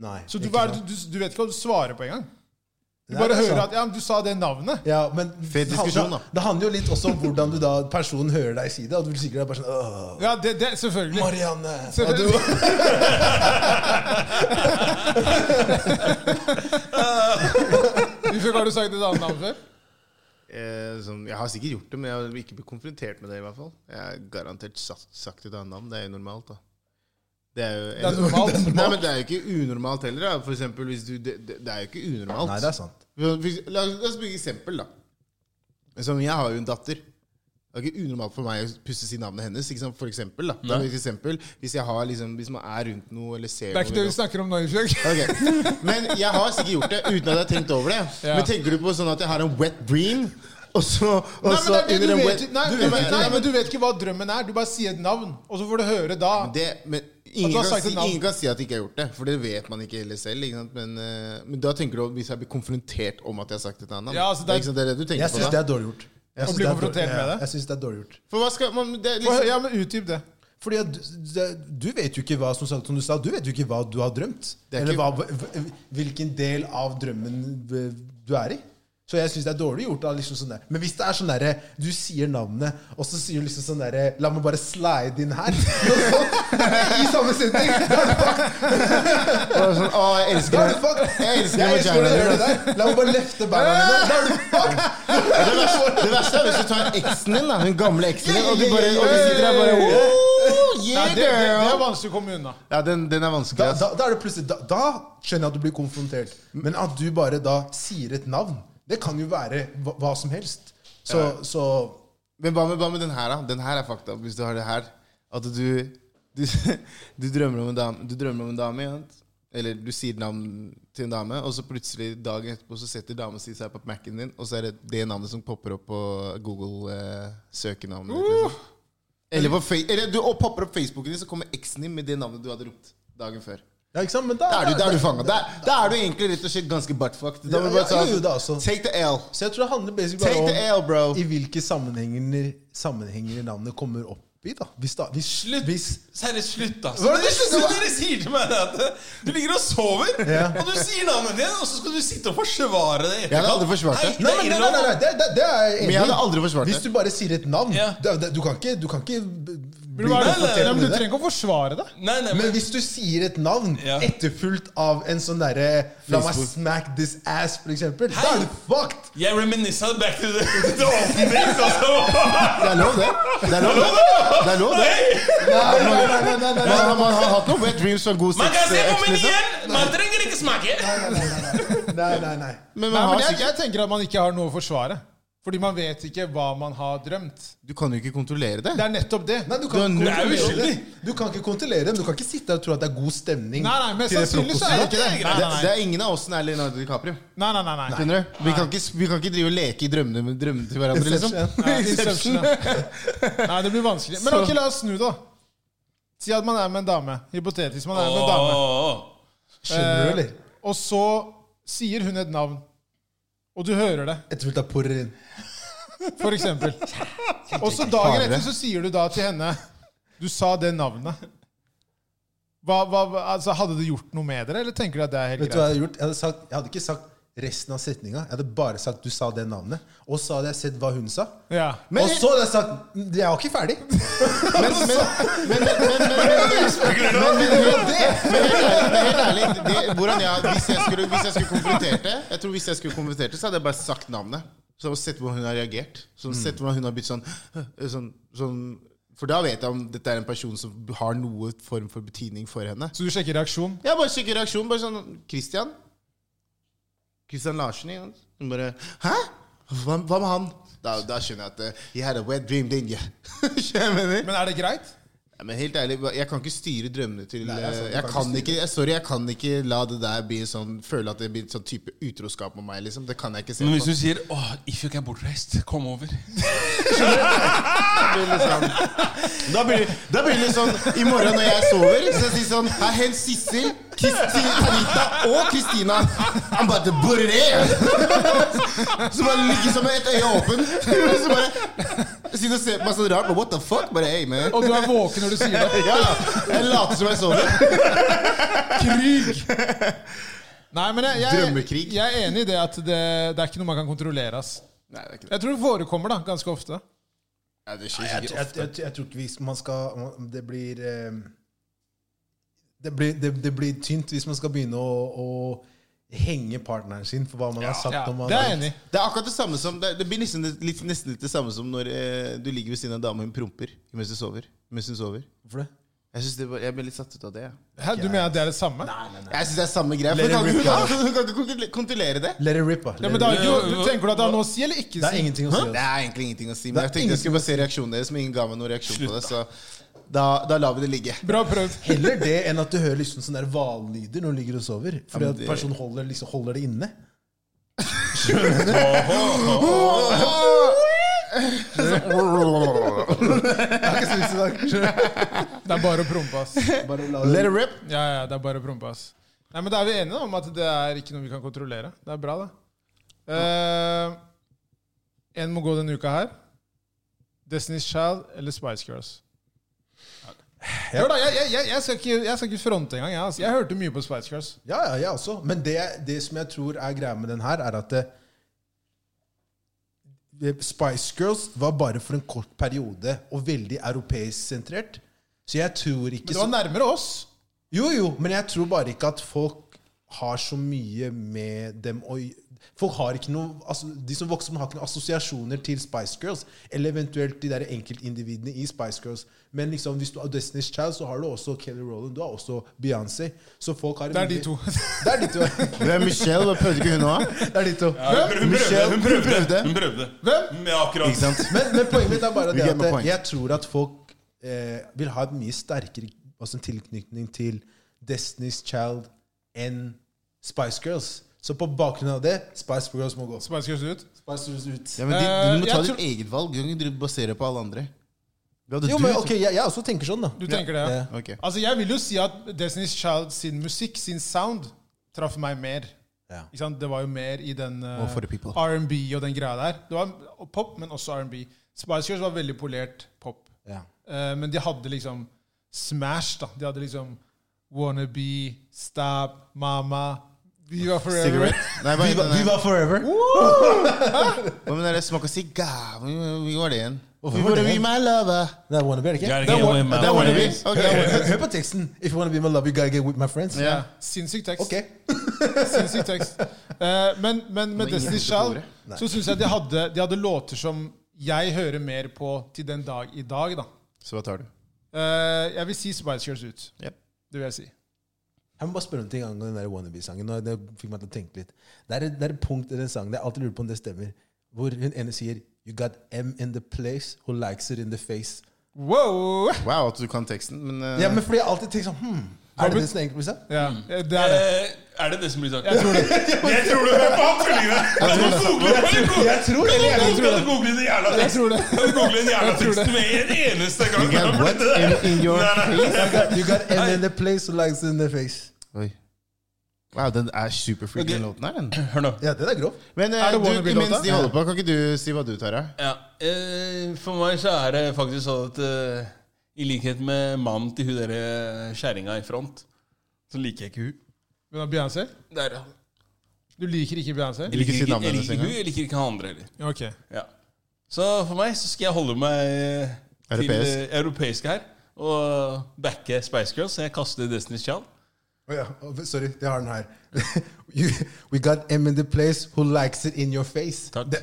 D: Nei,
C: Så du,
D: ikke
C: hva er
D: sant.
C: det du, du vet ikke hva du svarer på engang. Du
D: Nei,
C: bare
D: det er
C: hører
D: sant.
C: at ja, men 'du sa det navnet'.
D: ja, men
A: Fet diskusjon, da.
D: det, det handler jo litt også om hvordan du da personen hører deg si det. Og du vil sikkert være bare sånn Åh,
C: Ja, det, det, selvfølgelig.
D: Marianne! Og du,
C: Selvfølgelig. Hvorfor har du sagt et annet navn før?
A: Eh, sånn, jeg har sikkert gjort det, men jeg har ikke blitt konfrontert med det. i hvert fall Jeg har garantert sagt, sagt et annet navn. Det er jo normalt, da. Det er jo
C: Det er normalt.
A: Nei, men det er jo ikke unormalt heller. Da. For eksempel, hvis du, det, det det er jo ikke unormalt.
D: Nei, det er sant.
A: La, la oss bruke eksempel, da. Som jeg har jo en datter. Det er ikke unormalt for meg å pusse si navnet hennes. Ikke sant? For eksempel, da. Da, for eksempel, hvis, jeg har, liksom, hvis man er rundt noe eller ser
C: Det er ikke det vi snakker om nå. Ingeborg.
A: Ok, Men jeg har sikkert gjort det uten at jeg har tenkt over det.
C: Ja.
A: Men tenker du på sånn at jeg har en wet dream, og så, og
C: Nei, men
A: så
C: det er det
A: under
C: du
A: en
C: vet,
A: wet-
C: nei,
A: Du
C: nei,
A: vet
C: nei,
A: ikke-
C: nei, men du vet ikke hva drømmen er. Du bare sier et navn, og så får du høre da.
A: det, men
C: At du
A: ingen
C: har
A: kan,
C: sagt
A: si,
C: et navn.
A: ingen kan si at de ikke har gjort det, for det vet man ikke heller selv. Ikke sant? Men, eh, men da tenker du at hvis jeg blir konfrontert om at jeg har sagt et annet
C: Ja, altså, det er-
A: ikke sant? det er det du tenker
D: Jeg
A: på
D: syns
A: da.
D: det er dårlig gjort. Jeg
C: Å
D: synes
C: bli
D: det er
C: konfrontert
D: dårlig-
C: med
D: ja,
C: det?
D: Jeg synes det er dårlig gjort.
A: For hva skal man det er
C: Få hø-
A: liksom,
C: Ja, men utdyp det.
D: Fordi at du- det- du vet jo ikke hva som, sagt, som du sa, du vet jo ikke hva du har drømt.
A: Det er
D: Eller
A: ikke-
D: hva, hv- hvilken del av drømmen v- du er i. Så jeg syns det er dårlig gjort. Da, liksom sånn der. Men hvis det er sånn derre Du sier navnet, og så sier du liksom sånn derre La meg bare slide inn her. I samme setning. Da er du fucked.
A: og sånn, Å, jeg
D: Da er
A: elsker
D: du
A: det.
D: fucked.
A: Jeg elsker
D: Jeg elsker når du gjør
A: vaginaen din.
D: det der. La meg bare løfte beina mine. Da er du fucked.
A: Det verste, det verste er hvis du tar eksen din, da, den gamle eksen din, og du, bare, og du sitter der bare oh,
C: Nei, det,
A: yeah,
C: det, det er
A: girl.
C: vanskelig å komme unna.
A: Ja, den, den er vanskelig.
D: Da,
A: ass.
D: da, da, er det plutselig, da, da skjønner jeg at du blir konfrontert. Men at du bare da sier et navn, det kan jo være hva, hva som helst. Så, så
A: Men hva med, hva med den her, da? Den her er fucked up, hvis du har det her. At du Du, du drømmer om en dame, du drømmer om en dame ikke sant? eller du sier navn til en dame, og så plutselig dagen etterpå så setter dama si seg på Mac-en din, og så er det det navnet som popper opp på eh, Google-søkenavnet.
D: Uh!
A: Eller, på fa- eller du og popper opp Facebooken din, så kommer eksen din med det navnet du hadde ropt dagen før.
D: Ja, ikke sant? Men da,
A: Da er du, da er du fanget. Da, da er du egentlig rett og slett ganske buttfucked. Da må du
D: Ja,
A: bare
D: ja,
A: ta-
D: jo, jo, da, altså.
A: Take the L.
D: Så jeg tror det handler basically
A: Take the
D: bare
A: L, bro.
D: om i hvilke sammenhenger, sammenhenger navnet kommer opp i, da. Hvis da hvis,
B: Slutt!
D: Hvis,
B: Seriøst, slutt, da.
D: Hva er det
B: det
D: du
B: siste dere sier til meg, er at eh, du ligger og sover,
D: Ja.
B: og du sier navnet ditt, og så skal du sitte og forsvare det i
A: Jeg hadde
B: etterkant.
A: aldri forsvart det.
D: nei, nei, nei, nei, nei, nei, det, det, det er jeg
A: Men jeg hadde aldri forsvart
D: Hvis
A: det.
D: du bare sier et navn
B: Ja.
D: det, det, Du kan ikke, du kan ikke b- bli
C: Men hva er det-
B: Nei, nei,
D: konfrontert med
C: Nei, men Du
D: det.
C: trenger ikke å forsvare det.
B: Nei, nei,
D: Men
B: men,
D: hvis du sier et navn
B: Ja.
D: etterfulgt av en sånn derre La meg
A: Facebook.
D: smack this ass, for eksempel. Da
B: Hei!
D: er du fucked!
B: jeg reminisset back to the, the olden days, altså.
A: Det er lov, det. Det er lov, det. Det er lov, det.
D: Nei, nei, nei, nei, nei, nei,
A: Man, man har hatt noen wet dreams fra god
B: Man kan
A: sex.
B: se på
A: eh, eks, liksom.
B: menyen, man trenger ikke smake.
D: nei, nei, nei.
A: Men
C: Nei,
A: man
C: men
A: har
C: jeg,
A: sikkert
C: jeg tenker at man ikke har noe å forsvare. Fordi man vet ikke hva man har drømt.
A: Du kan jo ikke kontrollere det.
C: Det er nettopp det.
D: Nei, du kan,
A: Du
D: ikke
A: er
D: kontrollere
B: uskyldig.
D: det. du kan ikke kontrollere det, men du kan ikke sitte her og tro at det er god stemning.
C: Nei, nei, men
D: til det
C: sannsynlig så er det ikke det.
A: Det,
C: Nei, nei,
A: det
C: nei.
A: er ingen av oss som er Leonardo DiCaprio.
C: Nei, nei, nei, nei.
A: Skjønner du? Vi kan ikke, vi kan ikke drive og leke i drømmene, med drømmene til hverandre, liksom.
D: Inception.
C: Nei, Inception, ja. nei, det blir vanskelig. Men ok, la oss snu, da. Si at man er med en dame. Hypotetisk man er med en dame.
D: Skjønner du, eller?
C: Og så sier hun et navn. Og du hører det,
D: Etterfulgt av porrin.
C: for eksempel. Og så dagen etter så sier du da til henne Du sa det navnet. Hva, hva, hva- altså, hadde det gjort noe med dere, eller tenker du at det er helt
D: Vet du hva
C: greit?
D: jeg hadde gjort? Jeg hadde, sagt, jeg hadde ikke sagt resten av setninga. Jeg hadde bare sagt 'du sa det navnet'. Og så hadde jeg sett hva hun sa.
C: Ja.
A: Men-
D: og så hadde jeg sagt "Mm, 'jeg var ikke ferdig'.
A: Men, men, men, men, men, men, men, men, men, det- men helt ærlig, men helt ærlig det, hvordan jeg, hvis, jeg skulle, hvis jeg skulle konfrontert det, Jeg tror hvis jeg skulle konfrontert det, så hadde jeg bare sagt navnet. Så sett hvordan hun har reagert. Så sett hvordan hun har blitt sånn, sånn, sånn For da vet jeg om dette er en person som har noe form for betydning for henne.
C: Så du sjekker reaksjon?
A: Jeg bare sjekker reaksjonen. Bare sånn Christian? Christian Larsen? Ikke sant? Hun bare Hæ? Hva, hva med han? Da, da skjønner jeg at eh, You had a wet dream, didn't you? Skjønner jeg mener?
C: Men er det greit?
A: Ja, men helt ærlig, jeg kan ikke styre drømmene til eh,
D: Nei, det er sant, du
A: jeg,
D: kan
A: kan
D: ikke
A: ikke, jeg, Sorry, jeg kan ikke la det der bli sånn føle at det blir sånn type utroskap med meg. liksom Det kan jeg ikke se
B: Men hvis
A: på.
B: du sier 'Åh, Ifjok er bortreist, kom over',
A: Det blir litt sånn, da, blir, da blir det litt sånn I morgen når jeg sover, så jeg sier sånn Her hent Sissel, Kristin, Anita og Kristina. I'm about to put it in! Så bare ligger som med et øye åpen. Så bare sitter og ser på meg sånn rart. What the fuck? Bare hey, man.
C: Og du er våken når du sier det?
A: Ja, jeg later som jeg sover.
C: Krig! Nei, men jeg, jeg,
A: Drømmekrig.
C: jeg er enig i det at det, det er ikke noe man kan kontrollere. ass.
A: Nei, det er ikke det.
C: Jeg tror det forekommer da, ganske ofte.
A: Nei, det
D: Nei,
A: skjer
D: jeg,
A: sikkert
D: jeg, jeg, jeg tror ikke vi, man skal Det blir eh, det blir, det, det blir tynt hvis man skal begynne å, å henge partneren sin for hva man har sagt
C: Ja,
D: om han
C: det er jeg enig i.
A: Det er akkurat det samme som Det, det blir nesten litt, nesten litt det samme som når eh, du ligger ved siden av en dame og hun promper mens du sover. Mens hun sover.
D: Hvorfor det?
A: Jeg synes det var, jeg ble litt satt ut av det. jeg.
C: Hæ, Du mener at det er det samme? Nei,
A: Jeg syns det er samme greia. For
D: Let
A: hun
D: it rip,
A: kan, ikke- hun, kan, hun kan ikke kontrolle- kontrollere det.
D: Let it rip, da. Let
C: men
D: it
C: det
D: rip.
C: er jo, du Tenker du at det har noe å si, eller ikke
D: Det er
C: si?
D: ingenting å si.
A: Det
D: altså.
A: er egentlig ingenting å si,
D: Det
A: men
D: er
A: jeg tenkte jeg skulle bare se reaksjonen deres. Men ingen ga meg noen reaksjon på det, så da, da lar vi det ligge.
C: Bra prøvd.
D: Heller det enn at du hører liksom sånne der hvallyder når du ligger og sover. Fordi
A: men
D: at
A: det-
D: personen holder, liksom, holder det inne.
C: Det er bare å prompe, ass.
D: Bare la
A: Let
D: det
A: it rip.
C: Ja, ja, det er bare å prompe, ass. Nei, men Da er vi enige om at det er ikke noe vi kan kontrollere. Det er bra, det. Eh, en må gå denne uka her. Destiny's Child eller Spice Girls? Hør da, jeg, jeg, jeg, jeg, skal ikke, jeg skal ikke fronte engang. Jeg, ass. jeg hørte mye på Spice Girls.
D: Ja, ja, jeg også. Men det, det som jeg tror er greia med den her, er at eh, det, det, Spice Girls var bare for en kort periode og veldig europeisk sentrert. Så jeg tror ikke
C: Men det var
D: så-
C: nærmere oss.
D: Jo, jo, men jeg tror bare ikke at folk har så mye med dem å gj- Folk har ikke noe, altså, De som vokser opp, har ikke noen assosiasjoner til Spice Girls, eller eventuelt de der enkeltindividene i Spice Girls. Men liksom, hvis du har Destiny's Child, så har du også Kelly Rowland, du har også Beyoncé. Så folk har
C: Det er de to.
D: Det er de to.
A: Hvem er Michelle? Hva prøvde ikke hun òg?
D: Det er de to.
B: Ja, hun, hun, prøvde, hun prøvde! Hun prøvde!
A: prøvde.
B: Hun prøvde.
C: Hvem?
B: Ja, akkurat.
A: Ikke sant?
D: Men, men poenget mitt er bare
A: Vi
D: det
A: gir
D: at
A: meg
D: eh,
A: poeng.
D: jeg tror at folk eh, vil ha et mye sterkere altså, en tilknytning til Destiny's Child enn Spice Girls. Så på bakgrunn av det, Spice Girls må gå.
C: Spice Girls ut.
D: Spice Girls ut.
A: Ja, men de, du
C: Eh,
A: må ta
C: jeg
A: ditt eget valg. Du kan ikke drive og basere på alle andre. Vi hadde
D: Jo,
A: du
D: men
A: som-
D: ok, jeg, jeg også tenker sånn, da.
C: Du tenker det? ja?
D: Ja.
A: Ok.
C: Altså, jeg vil jo si at Destiny's Child sin musikk, sin sound, traff meg mer.
D: Ja.
C: Ikke sant? Det var jo mer i den eh,
A: for the people.
C: R&B og den greia der. Det var pop, men også R&B. Spice Girls var veldig polert pop.
D: Ja.
C: Eh, men de hadde liksom Smash, da. De hadde liksom Wannabe, Stab, Mama, Viva Forever.
A: Cigarette? Nei, hva heter den?
D: forever.
A: Hva med den der smaker sigar? Hvor var det igjen?
D: var
A: Hvorfor var det
D: det?
A: vi med lava?
D: Det er wannabe, er det ikke?
B: Gotta get away,
A: Det er
B: man.
A: wannabe.
D: Hør,
A: Ok.
D: hør- hør på teksten. If you wanna be my love, you gotta get with my friends.
A: Ja.
C: Sinnssyk tekst.
D: Ok.
C: Sinnssyk tekst. Eh, men, men med
A: ingen
C: Destiny's
A: som tror
C: Child
A: det.
C: så syns jeg de hadde, de hadde låter som jeg hører mer på til den dag i dag, da.
A: Så hva tar du?
C: Eh, jeg vil si Spice Girls ut.
A: Ja.
C: Det vil jeg si.
D: Jeg må bare spørre om ting angående den der Wannabe-sangen. og Det fikk meg til å tenke litt. Det er, et- det er et punkt i den sangen, jeg alltid lurer på om det stemmer, hvor hun ene sier You got M in the place who likes it in the face.
C: Wow!
A: Wow, at du kan teksten, men eh,
D: Ja, men fordi jeg alltid tenker sånn hmm, Er det
C: men-
D: det som egentlig blir sagt?
C: Ja, eh, det er det.
B: Eh, Er det det som blir sagt?
C: Jeg tror det.
B: Jeg tror du hører på han tullingen! Kan du google- kan du google-
D: Jeg tror det, jeg
B: kan du
D: tror det.
B: google den jævla
C: Jeg
B: teksten?
C: tror det.
B: Kan du google den jævla
C: Jeg tror
B: teksten
C: det.
B: med en eneste gang?
A: You got what in, in your
B: Nei, nei.
A: face?
D: You got, you got M in the place who likes it in the face.
A: Oi. Wow, den er superfreaky, den låten her. den.
B: Hør nå.
D: Ja, den er grov.
A: Men eh,
C: Er det
A: du,
C: wannabe-låta?
A: mens de holder på, kan ikke du si hva du tar, da?
B: Ja, eh, For meg så er det faktisk sånn at eh, i likhet med mannen til hun derre kjerringa i front, så liker jeg ikke hun.
C: Men da Beyoncé?
B: Der, ja.
C: Du liker ikke Beyoncé?
B: Jeg
A: liker
B: liker
A: ikke
B: ikke,
A: navnet
B: jeg
A: hennes
B: liker
A: engang.
B: hun, jeg liker ikke han andre heller.
C: Ok.
B: Ja. Så for meg så skal jeg holde meg eh, til
A: Europeisk.
B: eh, europeisk her. Og backe Spice Girls. Så jeg kaster Destiny's Child.
D: Å ja, å, sorry, jeg har den her. you, we got M in the place who likes it in your face.
B: Takk.
D: Det,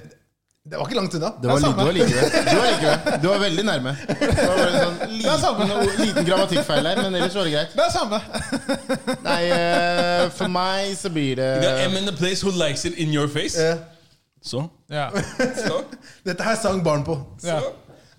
D: det var ikke langt unna.
A: Det var, li- du var like ved. Du var, like ved. du var veldig nærme. Det var bare en sånn liten, liten grammatikkfeil her, men ellers var det greit.
C: Det er samme.
A: Nei, eh, for meg så blir det
B: Det er M in the place who likes it in your face.
D: Eh,
B: Så.
C: Ja.
B: så.
D: dette her sang barn på.
C: ja.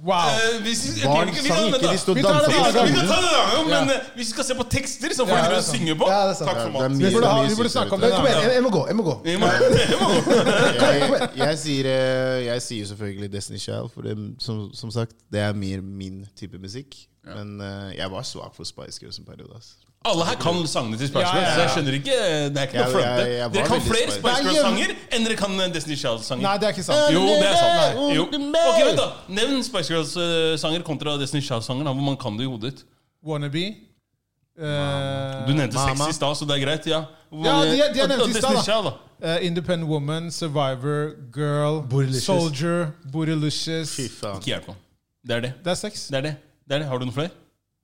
C: Wow.
B: Eh, hvis vi, jeg
A: Barn
B: trenger ikke vi
A: sang
B: kan-
A: ikke,
B: vent
A: de stod
B: da.
A: og
C: Vi tar
A: dansa
C: det
B: Vi
C: da,
A: på stranden.
B: kan ta det en gang, men
C: Ja.
B: eh, hvis vi skal se på tekster, så får
C: Ja,
B: vi
C: det
B: dere
C: er
B: å
C: sant.
B: synge på.
D: Ja, det er sant.
B: Takk for
A: Det er
B: meg.
A: mye-
C: Vi burde, ha,
A: mye
C: vi burde snakke om
A: sykere,
C: det.
D: Men Kom igjen, jeg, jeg må gå. jeg må gå.
B: Vi må- vi må gå.
A: Jeg, jeg, sier, eh, jeg sier selvfølgelig Destiny Child, for det, som, som sagt, det er mer min type musikk. Men eh, jeg var svak for Spice Girls en periode. ass.
B: Alle her kan sangene til Spice
C: Ja,
B: Girls,
C: ja, ja.
B: så jeg skjønner ikke eh, Det er ikke noe
A: Jeg-
B: fronte.
A: jeg- jeg var
B: Dere kan
A: veldig
B: flere
A: Spice-
B: Spice
C: Nei,
B: Girls-sanger enn dere kan eh, Destiny's Child-sanger.
C: Nei, det er ikke sant.
B: Jo, det er sant.
A: Nei.
B: Jo.
A: Nei.
B: Ok, vent da Nevn Spice Girls-sanger kontra Destiny's Child-sanger, da, hvor man kan det i hodet.
C: Wannabe. Eh,
B: Du nevnte
A: Mama.
B: sex i stad, så det er greit. ja Hvor
C: Ja,
B: mange-
C: de er- de er
B: og-
C: nevnt
B: og
C: i stad,
B: Destiny's
C: da.
B: Child, da.
C: eh, Independent Woman, Survivor, Girl,
D: Bootylicious.
C: Soldier, Bootylicious.
A: Fy faen.
B: Ikke hjelp meg. Det er det.
C: Det er seks.
B: Det er det. det er det. Har du noen flere?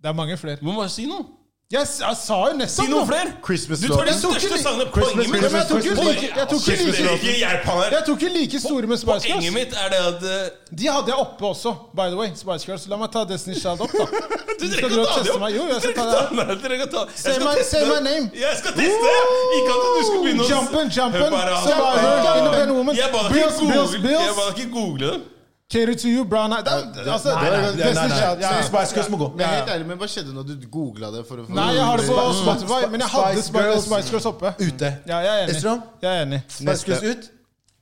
C: Det er mange flere.
B: Du må bare si noe.
C: Jeg, s- jeg sa jo
B: Si
C: nettopp
B: noen
C: nå.
B: flere! Du tar de
A: Christmas-låten.
B: største sangene. Poenget mitt
C: Ja, men jeg tok jo
B: Poenget-
C: like- jeg tok jo
B: Kjeft,
C: like-
B: dere, ikke hjelp han her.
C: Jeg tok jo like store med Spice
B: Poenget
C: Girls.
B: mitt er det at eh,
C: De hadde jeg oppe også, by the way. Spice Girls. La meg ta Destiny's Child opp,
B: Du
C: da.
B: trenger
C: Skal
B: ikke
C: du
B: å ta det
C: teste
B: opp!
C: meg? Jo,
B: Du
C: jeg skal
B: trenger ikke
C: ta det
B: ta
C: opp.
B: den her, dere kan ta- Jeg
C: Say
B: skal
C: my-
B: teste
C: say my
B: den.
C: name.
B: Jeg skal teste! Ikke at du skal begynne å
C: Jumpen, jumpen,
B: Hør bare, altså.
C: survivor, independent woman.
B: Jeg ba deg
C: Bills,
B: ikke
C: bills,
B: google-
C: bills.
B: jeg ba deg ikke google det.
C: Cater to you, brown eye Det- altså,
A: Nei, nei,
D: Nei, nei,
C: Destiny's
D: nei.
C: Child. ja.
D: Spice Girls må gå.
A: Men helt ærlig, men hva skjedde når du googla det? For å få
C: Nei, jeg har det på
D: Spice-
C: Spotify, men jeg hadde
D: Spice
C: Spice,
D: Girls.
C: Spice Girls oppe.
D: Ute.
C: Ja, jeg er enig.
D: Estrom?
C: Jeg er enig.
D: Spice Girls ut,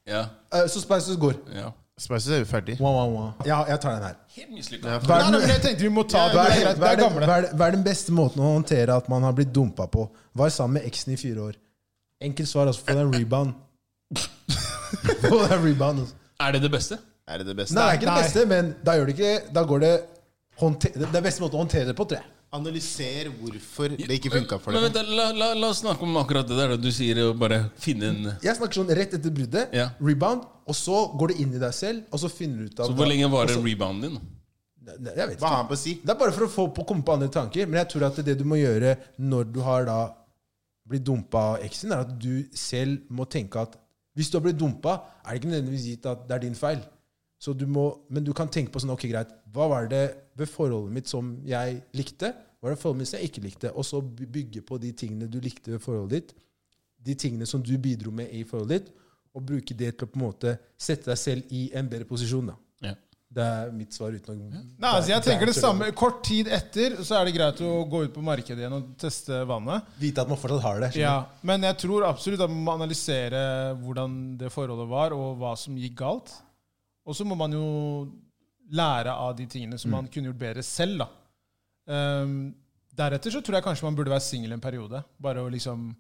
B: Ja,
D: eh, så Spice Girls går.
B: ja.
A: Spices er jo ferdig.
D: Wow, wow, wow. Ja, jeg tar den her.
B: Helt mislykka.
C: Nei, nei, men jeg tenkte vi må ta det.
D: Hva er,
C: Det er
D: den-
C: greit,
D: hva,
C: det
D: er
C: er
D: den, hva,
C: gamle.
D: er, den- hva er den beste måten å håndtere at man har blitt dumpa på? Var sammen med eksen i fire år. Enkelt svar, altså. Få deg en rebound. Få deg en rebound. Altså.
B: Er det det beste?
A: Er det det beste?
D: Nei, det er ikke det
C: Nei.
D: beste, men da gjør det ikke Da går det håndte- Det er beste måten å håndtere det på, tror jeg.
A: Analyser hvorfor det ikke funka for
B: Men
A: deg.
B: vent, da, la, la, la oss snakke om akkurat det der da. du sier. å Bare finne en
D: Jeg snakker sånn rett etter bruddet.
B: Ja.
D: Rebound. Og så går det inn i deg selv, og så finner du ut av
B: Så Hvor lenge varer
C: Altså-
B: rebounden din?
D: Nei, Jeg vet
A: Hva
D: ikke.
A: har han på å si?
D: Det er bare for å få på, komme på andre tanker. Men jeg tror at det du må gjøre når du har da blitt dumpa av eksen, er at du selv må tenke at hvis du har blitt dumpa, er det ikke nødvendigvis gitt at det er din feil. Så du må, men du kan tenke på sånn Ok, greit. Hva var det ved forholdet mitt som jeg likte? Hva var det forholdet mitt som jeg ikke likte? Og så by- bygge på de tingene du likte ved forholdet ditt, de tingene som du bidro med i forholdet ditt, og bruke det til å på en måte sette deg selv i en bedre posisjon. da.
B: Ja.
D: Det er mitt svar uten å
C: Nei, altså jeg tenker det
D: er-
C: samme. Kort tid etter så er det greit å gå ut på markedet igjen og teste vannet.
D: Vite at man fortsatt har det.
C: Ja, Men jeg tror absolutt at man må analysere hvordan det forholdet var, og hva som gikk galt. Og så må man jo lære av de tingene
D: Mm.
C: som man kunne gjort bedre selv. da. Ehm, deretter så tror jeg kanskje man burde være singel en periode. Bare å liksom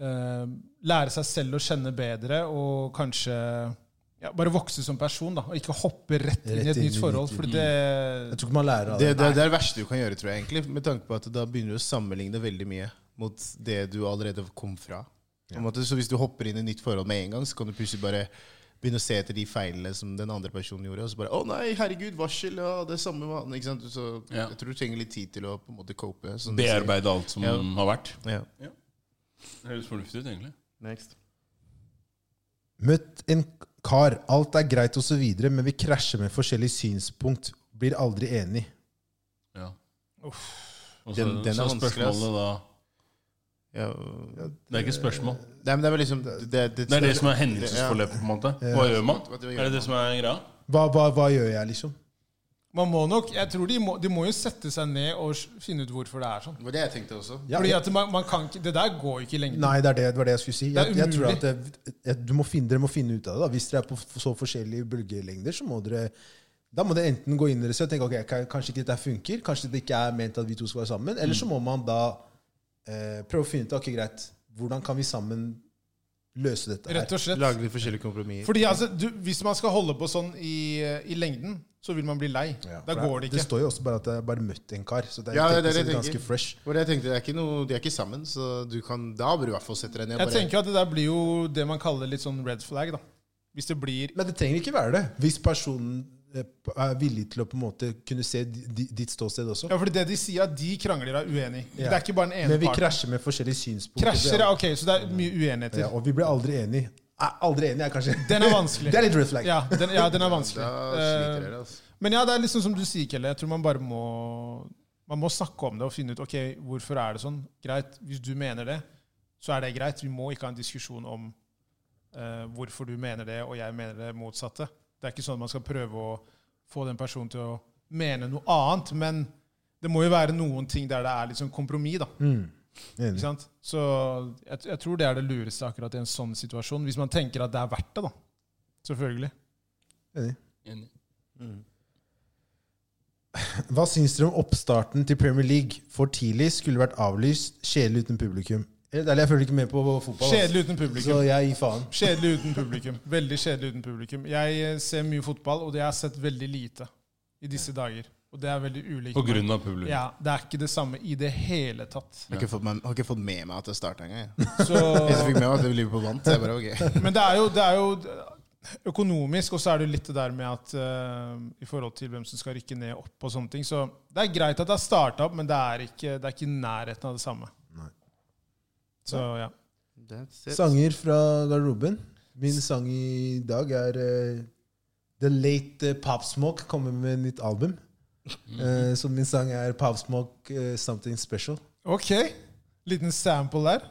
C: ehm, lære seg selv å kjenne bedre og kanskje ja, bare vokse som person. da, Og ikke hoppe rett inn i
D: Rett
C: et
D: inn i
C: nytt forhold.
D: nytt-
C: For det
D: Jeg tror ikke man lærer av det.
A: Det, det, det er det verste du kan gjøre, tror jeg, egentlig. Med tanke på at da begynner du å sammenligne veldig mye mot det du allerede kom fra. På en måte, så hvis du hopper inn i nytt forhold med en gang, så kan du plutselig bare begynne å se etter de feilene som den andre personen gjorde, og så bare 'Å nei, herregud, varsel', ja, det samme var han», Ikke sant? Så
B: Ja.
A: jeg tror du trenger litt tid til å på en måte cope. sånn som du sier.
B: Bearbeide alt som
A: Ja.
B: har vært.
A: Ja.
B: Høres fornuftig ut, egentlig.
A: Next.
D: Møtt en kar. Alt er greit og så videre, men vi krasjer med forskjellige synspunkt. Blir aldri enig.
B: Ja. Og så,
A: Den- den er
B: så
A: vanskelig, ass.
B: spørsmålet da
A: Ja.
B: Det er ikke et spørsmål.
A: Nei, men det er vel liksom Det,
B: Det er det som er hendelsesforløpet, på en måte. Hva gjør man?
A: Hva gjør
B: Er det det som er greia?
D: Hva, hva, hva gjør jeg, liksom?
C: Man må nok, jeg tror de må, de må jo sette seg ned og s- finne ut hvorfor det er sånn.
A: Det var det jeg tenkte også.
D: Ja,
C: Fordi
D: jeg-
C: at man, man kan ikke, Det der går jo ikke i lengden.
D: Nei, det er det, det var det jeg skulle si.
C: Det er
D: Jeg, jeg tror
C: umulig.
D: at det, jeg, du må finne, Dere må finne ut av det. da. Hvis dere er på f- så forskjellige bølgelengder, så må dere da må dere enten gå inn i dere selv og tenke ok, k- kanskje ikke dette funker, kanskje det ikke er ment at vi to skal være sammen. Eller så må man da eh, prøve å finne ut ok, greit, hvordan kan vi sammen løse dette her.
C: Rett og slett.
A: Lage litt forskjellige kompromisser.
C: Fordi altså, du, Hvis man skal holde på sånn i, i lengden, så vil man bli lei.
D: Ja,
C: da
D: for
C: går det ikke.
D: Det står jo også bare at jeg bare møtte en kar. Så det er
A: Ja, det
D: teknisk
A: er det jeg
D: sett
A: tenker.
D: ganske fresh.
A: For jeg tenkte, det er ikke noe, De er ikke sammen, så du kan, da bør du i hvert fall sette deg ned. og
C: Jeg
A: bare-
C: tenker at Det der blir jo det man kaller litt sånn red flag. da. Hvis det blir
D: Men det trenger ikke være det. Hvis personen eh, p- er villig til å på en måte kunne se di- di- ditt ståsted også.
C: Ja, fordi det de sier, at de krangler er uenig.
D: Ja.
C: Det er ikke bare den ene
D: Men vi
C: parten.
D: krasjer med forskjellige synspunkter.
C: Krasjer, ja, ok, Så det er mye uenigheter.
D: ja, og vi blir aldri enige. Er aldri enige er kanskje
C: Den er vanskelig.
D: Det er litt red flag.
C: Ja, den, ja, den er vanskelig.
A: Da
C: Eh,
A: sliter dere, altså.
C: Men ja, det er liksom som du sier, Kelle. Jeg tror man bare må Man må snakke om det og finne ut ok, hvorfor er det sånn. Greit, Hvis du mener det, så er det greit. Vi må ikke ha en diskusjon om eh, hvorfor du mener det, og jeg mener det motsatte. Det er ikke sånn at man skal prøve å få den personen til å mene noe annet. Men det må jo være noen ting der det er liksom kompromiss. da,
D: Mm.
C: ikke
D: Enig.
C: sant? Så jeg, jeg tror det er det lureste akkurat i en sånn situasjon. Hvis man tenker at det er verdt det, da. Selvfølgelig.
D: Enig.
B: Enig.
D: Hva syns dere om oppstarten til Premier League? For tidlig, skulle vært avlyst, kjedelig uten publikum. Helt ærlig, jeg følger ikke med på fotball. ass.
C: Kjedelig uten publikum.
D: Så jeg gir faen.
C: Kjedelig uten publikum. Veldig kjedelig uten publikum. Jeg eh, ser mye fotball, og det jeg har sett veldig lite i disse dager. Og det er veldig ulikt.
B: På grunn av publikum.
C: Ja, Det er ikke det samme i det hele tatt.
A: Jeg har ikke fått med, har ikke fått med meg at det starta engang. jeg.
C: Så,
A: Jeg som fikk med meg at Liverpool vant. Det er bare ok.
C: men det er, jo, det er jo økonomisk, og så er det jo litt det der med at eh, i forhold til hvem som skal rykke ned opp og sånne ting. Så det er greit at det har starta opp, men det er ikke det er ikke i nærheten av det samme.
D: Nei.
C: Så ja.
D: Sanger fra garderoben. Min sang i dag er eh, The Late eh, Pop Smoke kommer med nytt album.
C: Mm.
D: Eh, så min sang er Pop Smoke eh, Something Special.
C: Ok. Liten sample der.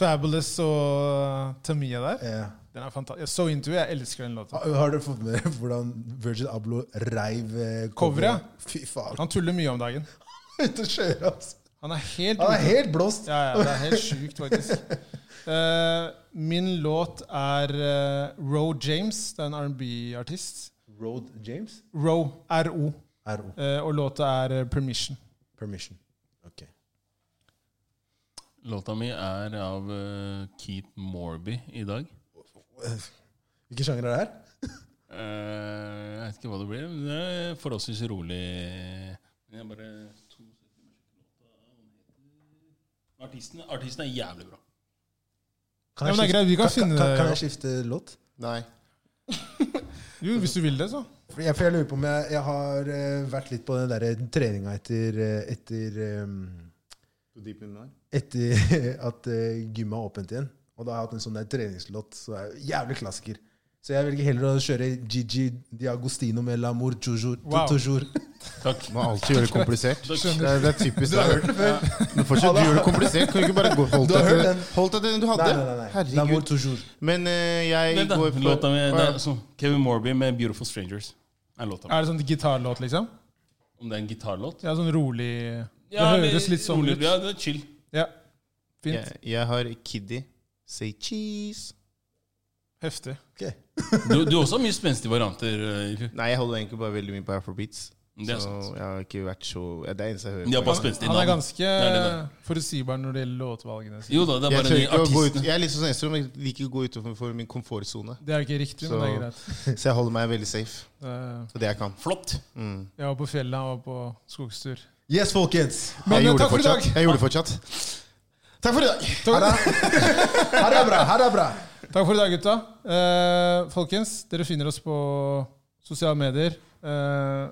C: Fabulous og Tamia der.
D: Eh,
C: Den er fantastisk. Jeg så into it. Jeg elsker den låta.
D: har, har dere fått med dere hvordan Virgin Abloh reiv eh,
C: Coveret?
D: Fy faen.
C: Han tuller mye om dagen.
D: Ute å kjøre, altså.
C: Han er helt
D: Han er helt blåst.
C: ja, ja, Det er helt sjukt, faktisk. Eh, min låt er eh, Ro James. Det er en R&B-artist.
D: Road James?
C: Ro, R-O.
D: RO.
C: Eh, og låta er eh, Permission.
D: Permission. Ok.
B: Låta mi er av eh, Keith Morby i dag.
D: Hvilken sjanger er det her?
B: Eh, jeg vet ikke hva det blir. Men det er forholdsvis rolig. Men jeg bare to Artisten, artisten er jævlig bra.
D: Kan
C: Ja,
D: jeg
C: men det er
D: skifte-
C: greit, vi kan
D: kan,
C: finne-
D: kan, kan jeg skifte låt?
A: Nei.
C: Jo, hvis du vil det, så.
D: For jeg, for jeg lurer på om jeg, jeg har eh, vært litt på den der treninga etter, eh, etter, eh, etter at eh, gymmet er åpent igjen. Og da har jeg hatt en sånn der treningslåt som er jævlig klassiker. Så jeg velger heller å kjøre Gigi Diagostino med L'amour toujours.
C: Wow.
D: toujours.
B: Takk.
A: Må alltid gjøre det komplisert. Det
B: Skjønner.
A: er, det er typisk. Du har hørt det før. Men fortsatt, du gjør det komplisert. Kan du ikke bare gå, holdt
D: Du har
A: deg
D: hørt
A: til
D: den.
A: holdt deg til den du hadde?
D: Nei, nei, nei. nei. L'amour
A: Herregud.
D: toujours.
A: Men eh, jeg
B: Vent, da.
A: går for
B: Låta mi det
A: Å,
B: er, sånn, Kevin Morby med 'Beautiful Strangers' er låta mi.
C: Er det sånn gitarlåt, liksom?
B: Om det er en gitarlåt?
C: Ja, sånn rolig Det høres litt sånn
B: rolig,
C: ut.
B: Ja, det er chill.
C: Ja.
A: ja.
C: Fint.
A: jeg, jeg har Kiddy Say Cheese.
C: Heftig.
D: Ok.
B: Du, du også har mye spenstige varianter. eh, i fjor.
A: Nei, jeg holder egentlig bare veldig mye på Afrobeats.
B: Det er
A: så
B: sant.
A: jeg har ikke vært så ja, Det er eneste jeg hører.
B: De har
A: på.
B: bare spenstige
C: Han er
B: navn.
C: ganske
B: Det er det
C: forutsigbar når det gjelder låtvalgene sine.
B: Jo da, det er
A: Jeg,
B: bare
A: tør
B: de
A: ikke å gå ut,
B: artistene.
A: jeg er litt sånn Enstrøm, jeg liker å gå utenfor min komfortsone.
C: Det er jo ikke riktig, men det er greit.
A: Så jeg holder meg veldig safe.
C: Eh,
A: Så det jeg kan.
B: Flott.
A: Mm.
C: Jeg var på fjellet, han var på skogstur.
D: Yes, folkens!
C: Men
A: jeg gjorde
C: takk
A: det
C: for i dag!
A: fortsatt. Jeg gjorde det fortsatt. Takk for i
D: Her
A: dag!
D: er, her er bra! Her er bra!
C: Takk for i dag, gutta. Eh, folkens, dere finner oss på sosiale medier. Eh,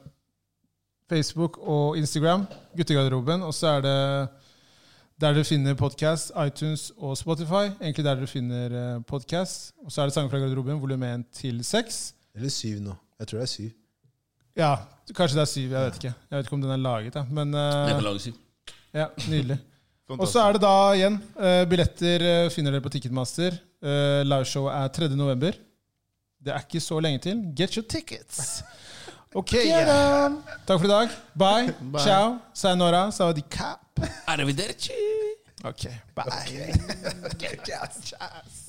C: Facebook og Instagram. Guttegarderoben. Og så er det der dere finner podkast, iTunes og Spotify. Egentlig der dere finner podkast. Og så er det Sanger fra garderoben, volum 1 til 6.
D: Eller syv nå. Jeg tror det er syv.
C: Ja, kanskje det er syv. Jeg vet ikke Jeg vet ikke om den er laget, da. Men
B: Jeg
C: eh,
B: kan lage syv.
C: ja, nydelig. Og så er det da igjen eh, Billetter eh, finner dere på Ticketmaster. Uh, Liveshowet er 3. november. Det er ikke så lenge til. Get your tickets! Ok. Takk for i dag. Bye. Ciao. Sayonara. Sawadikap.
B: Arrivederci.
C: Ok, bye.
D: Yes, yes.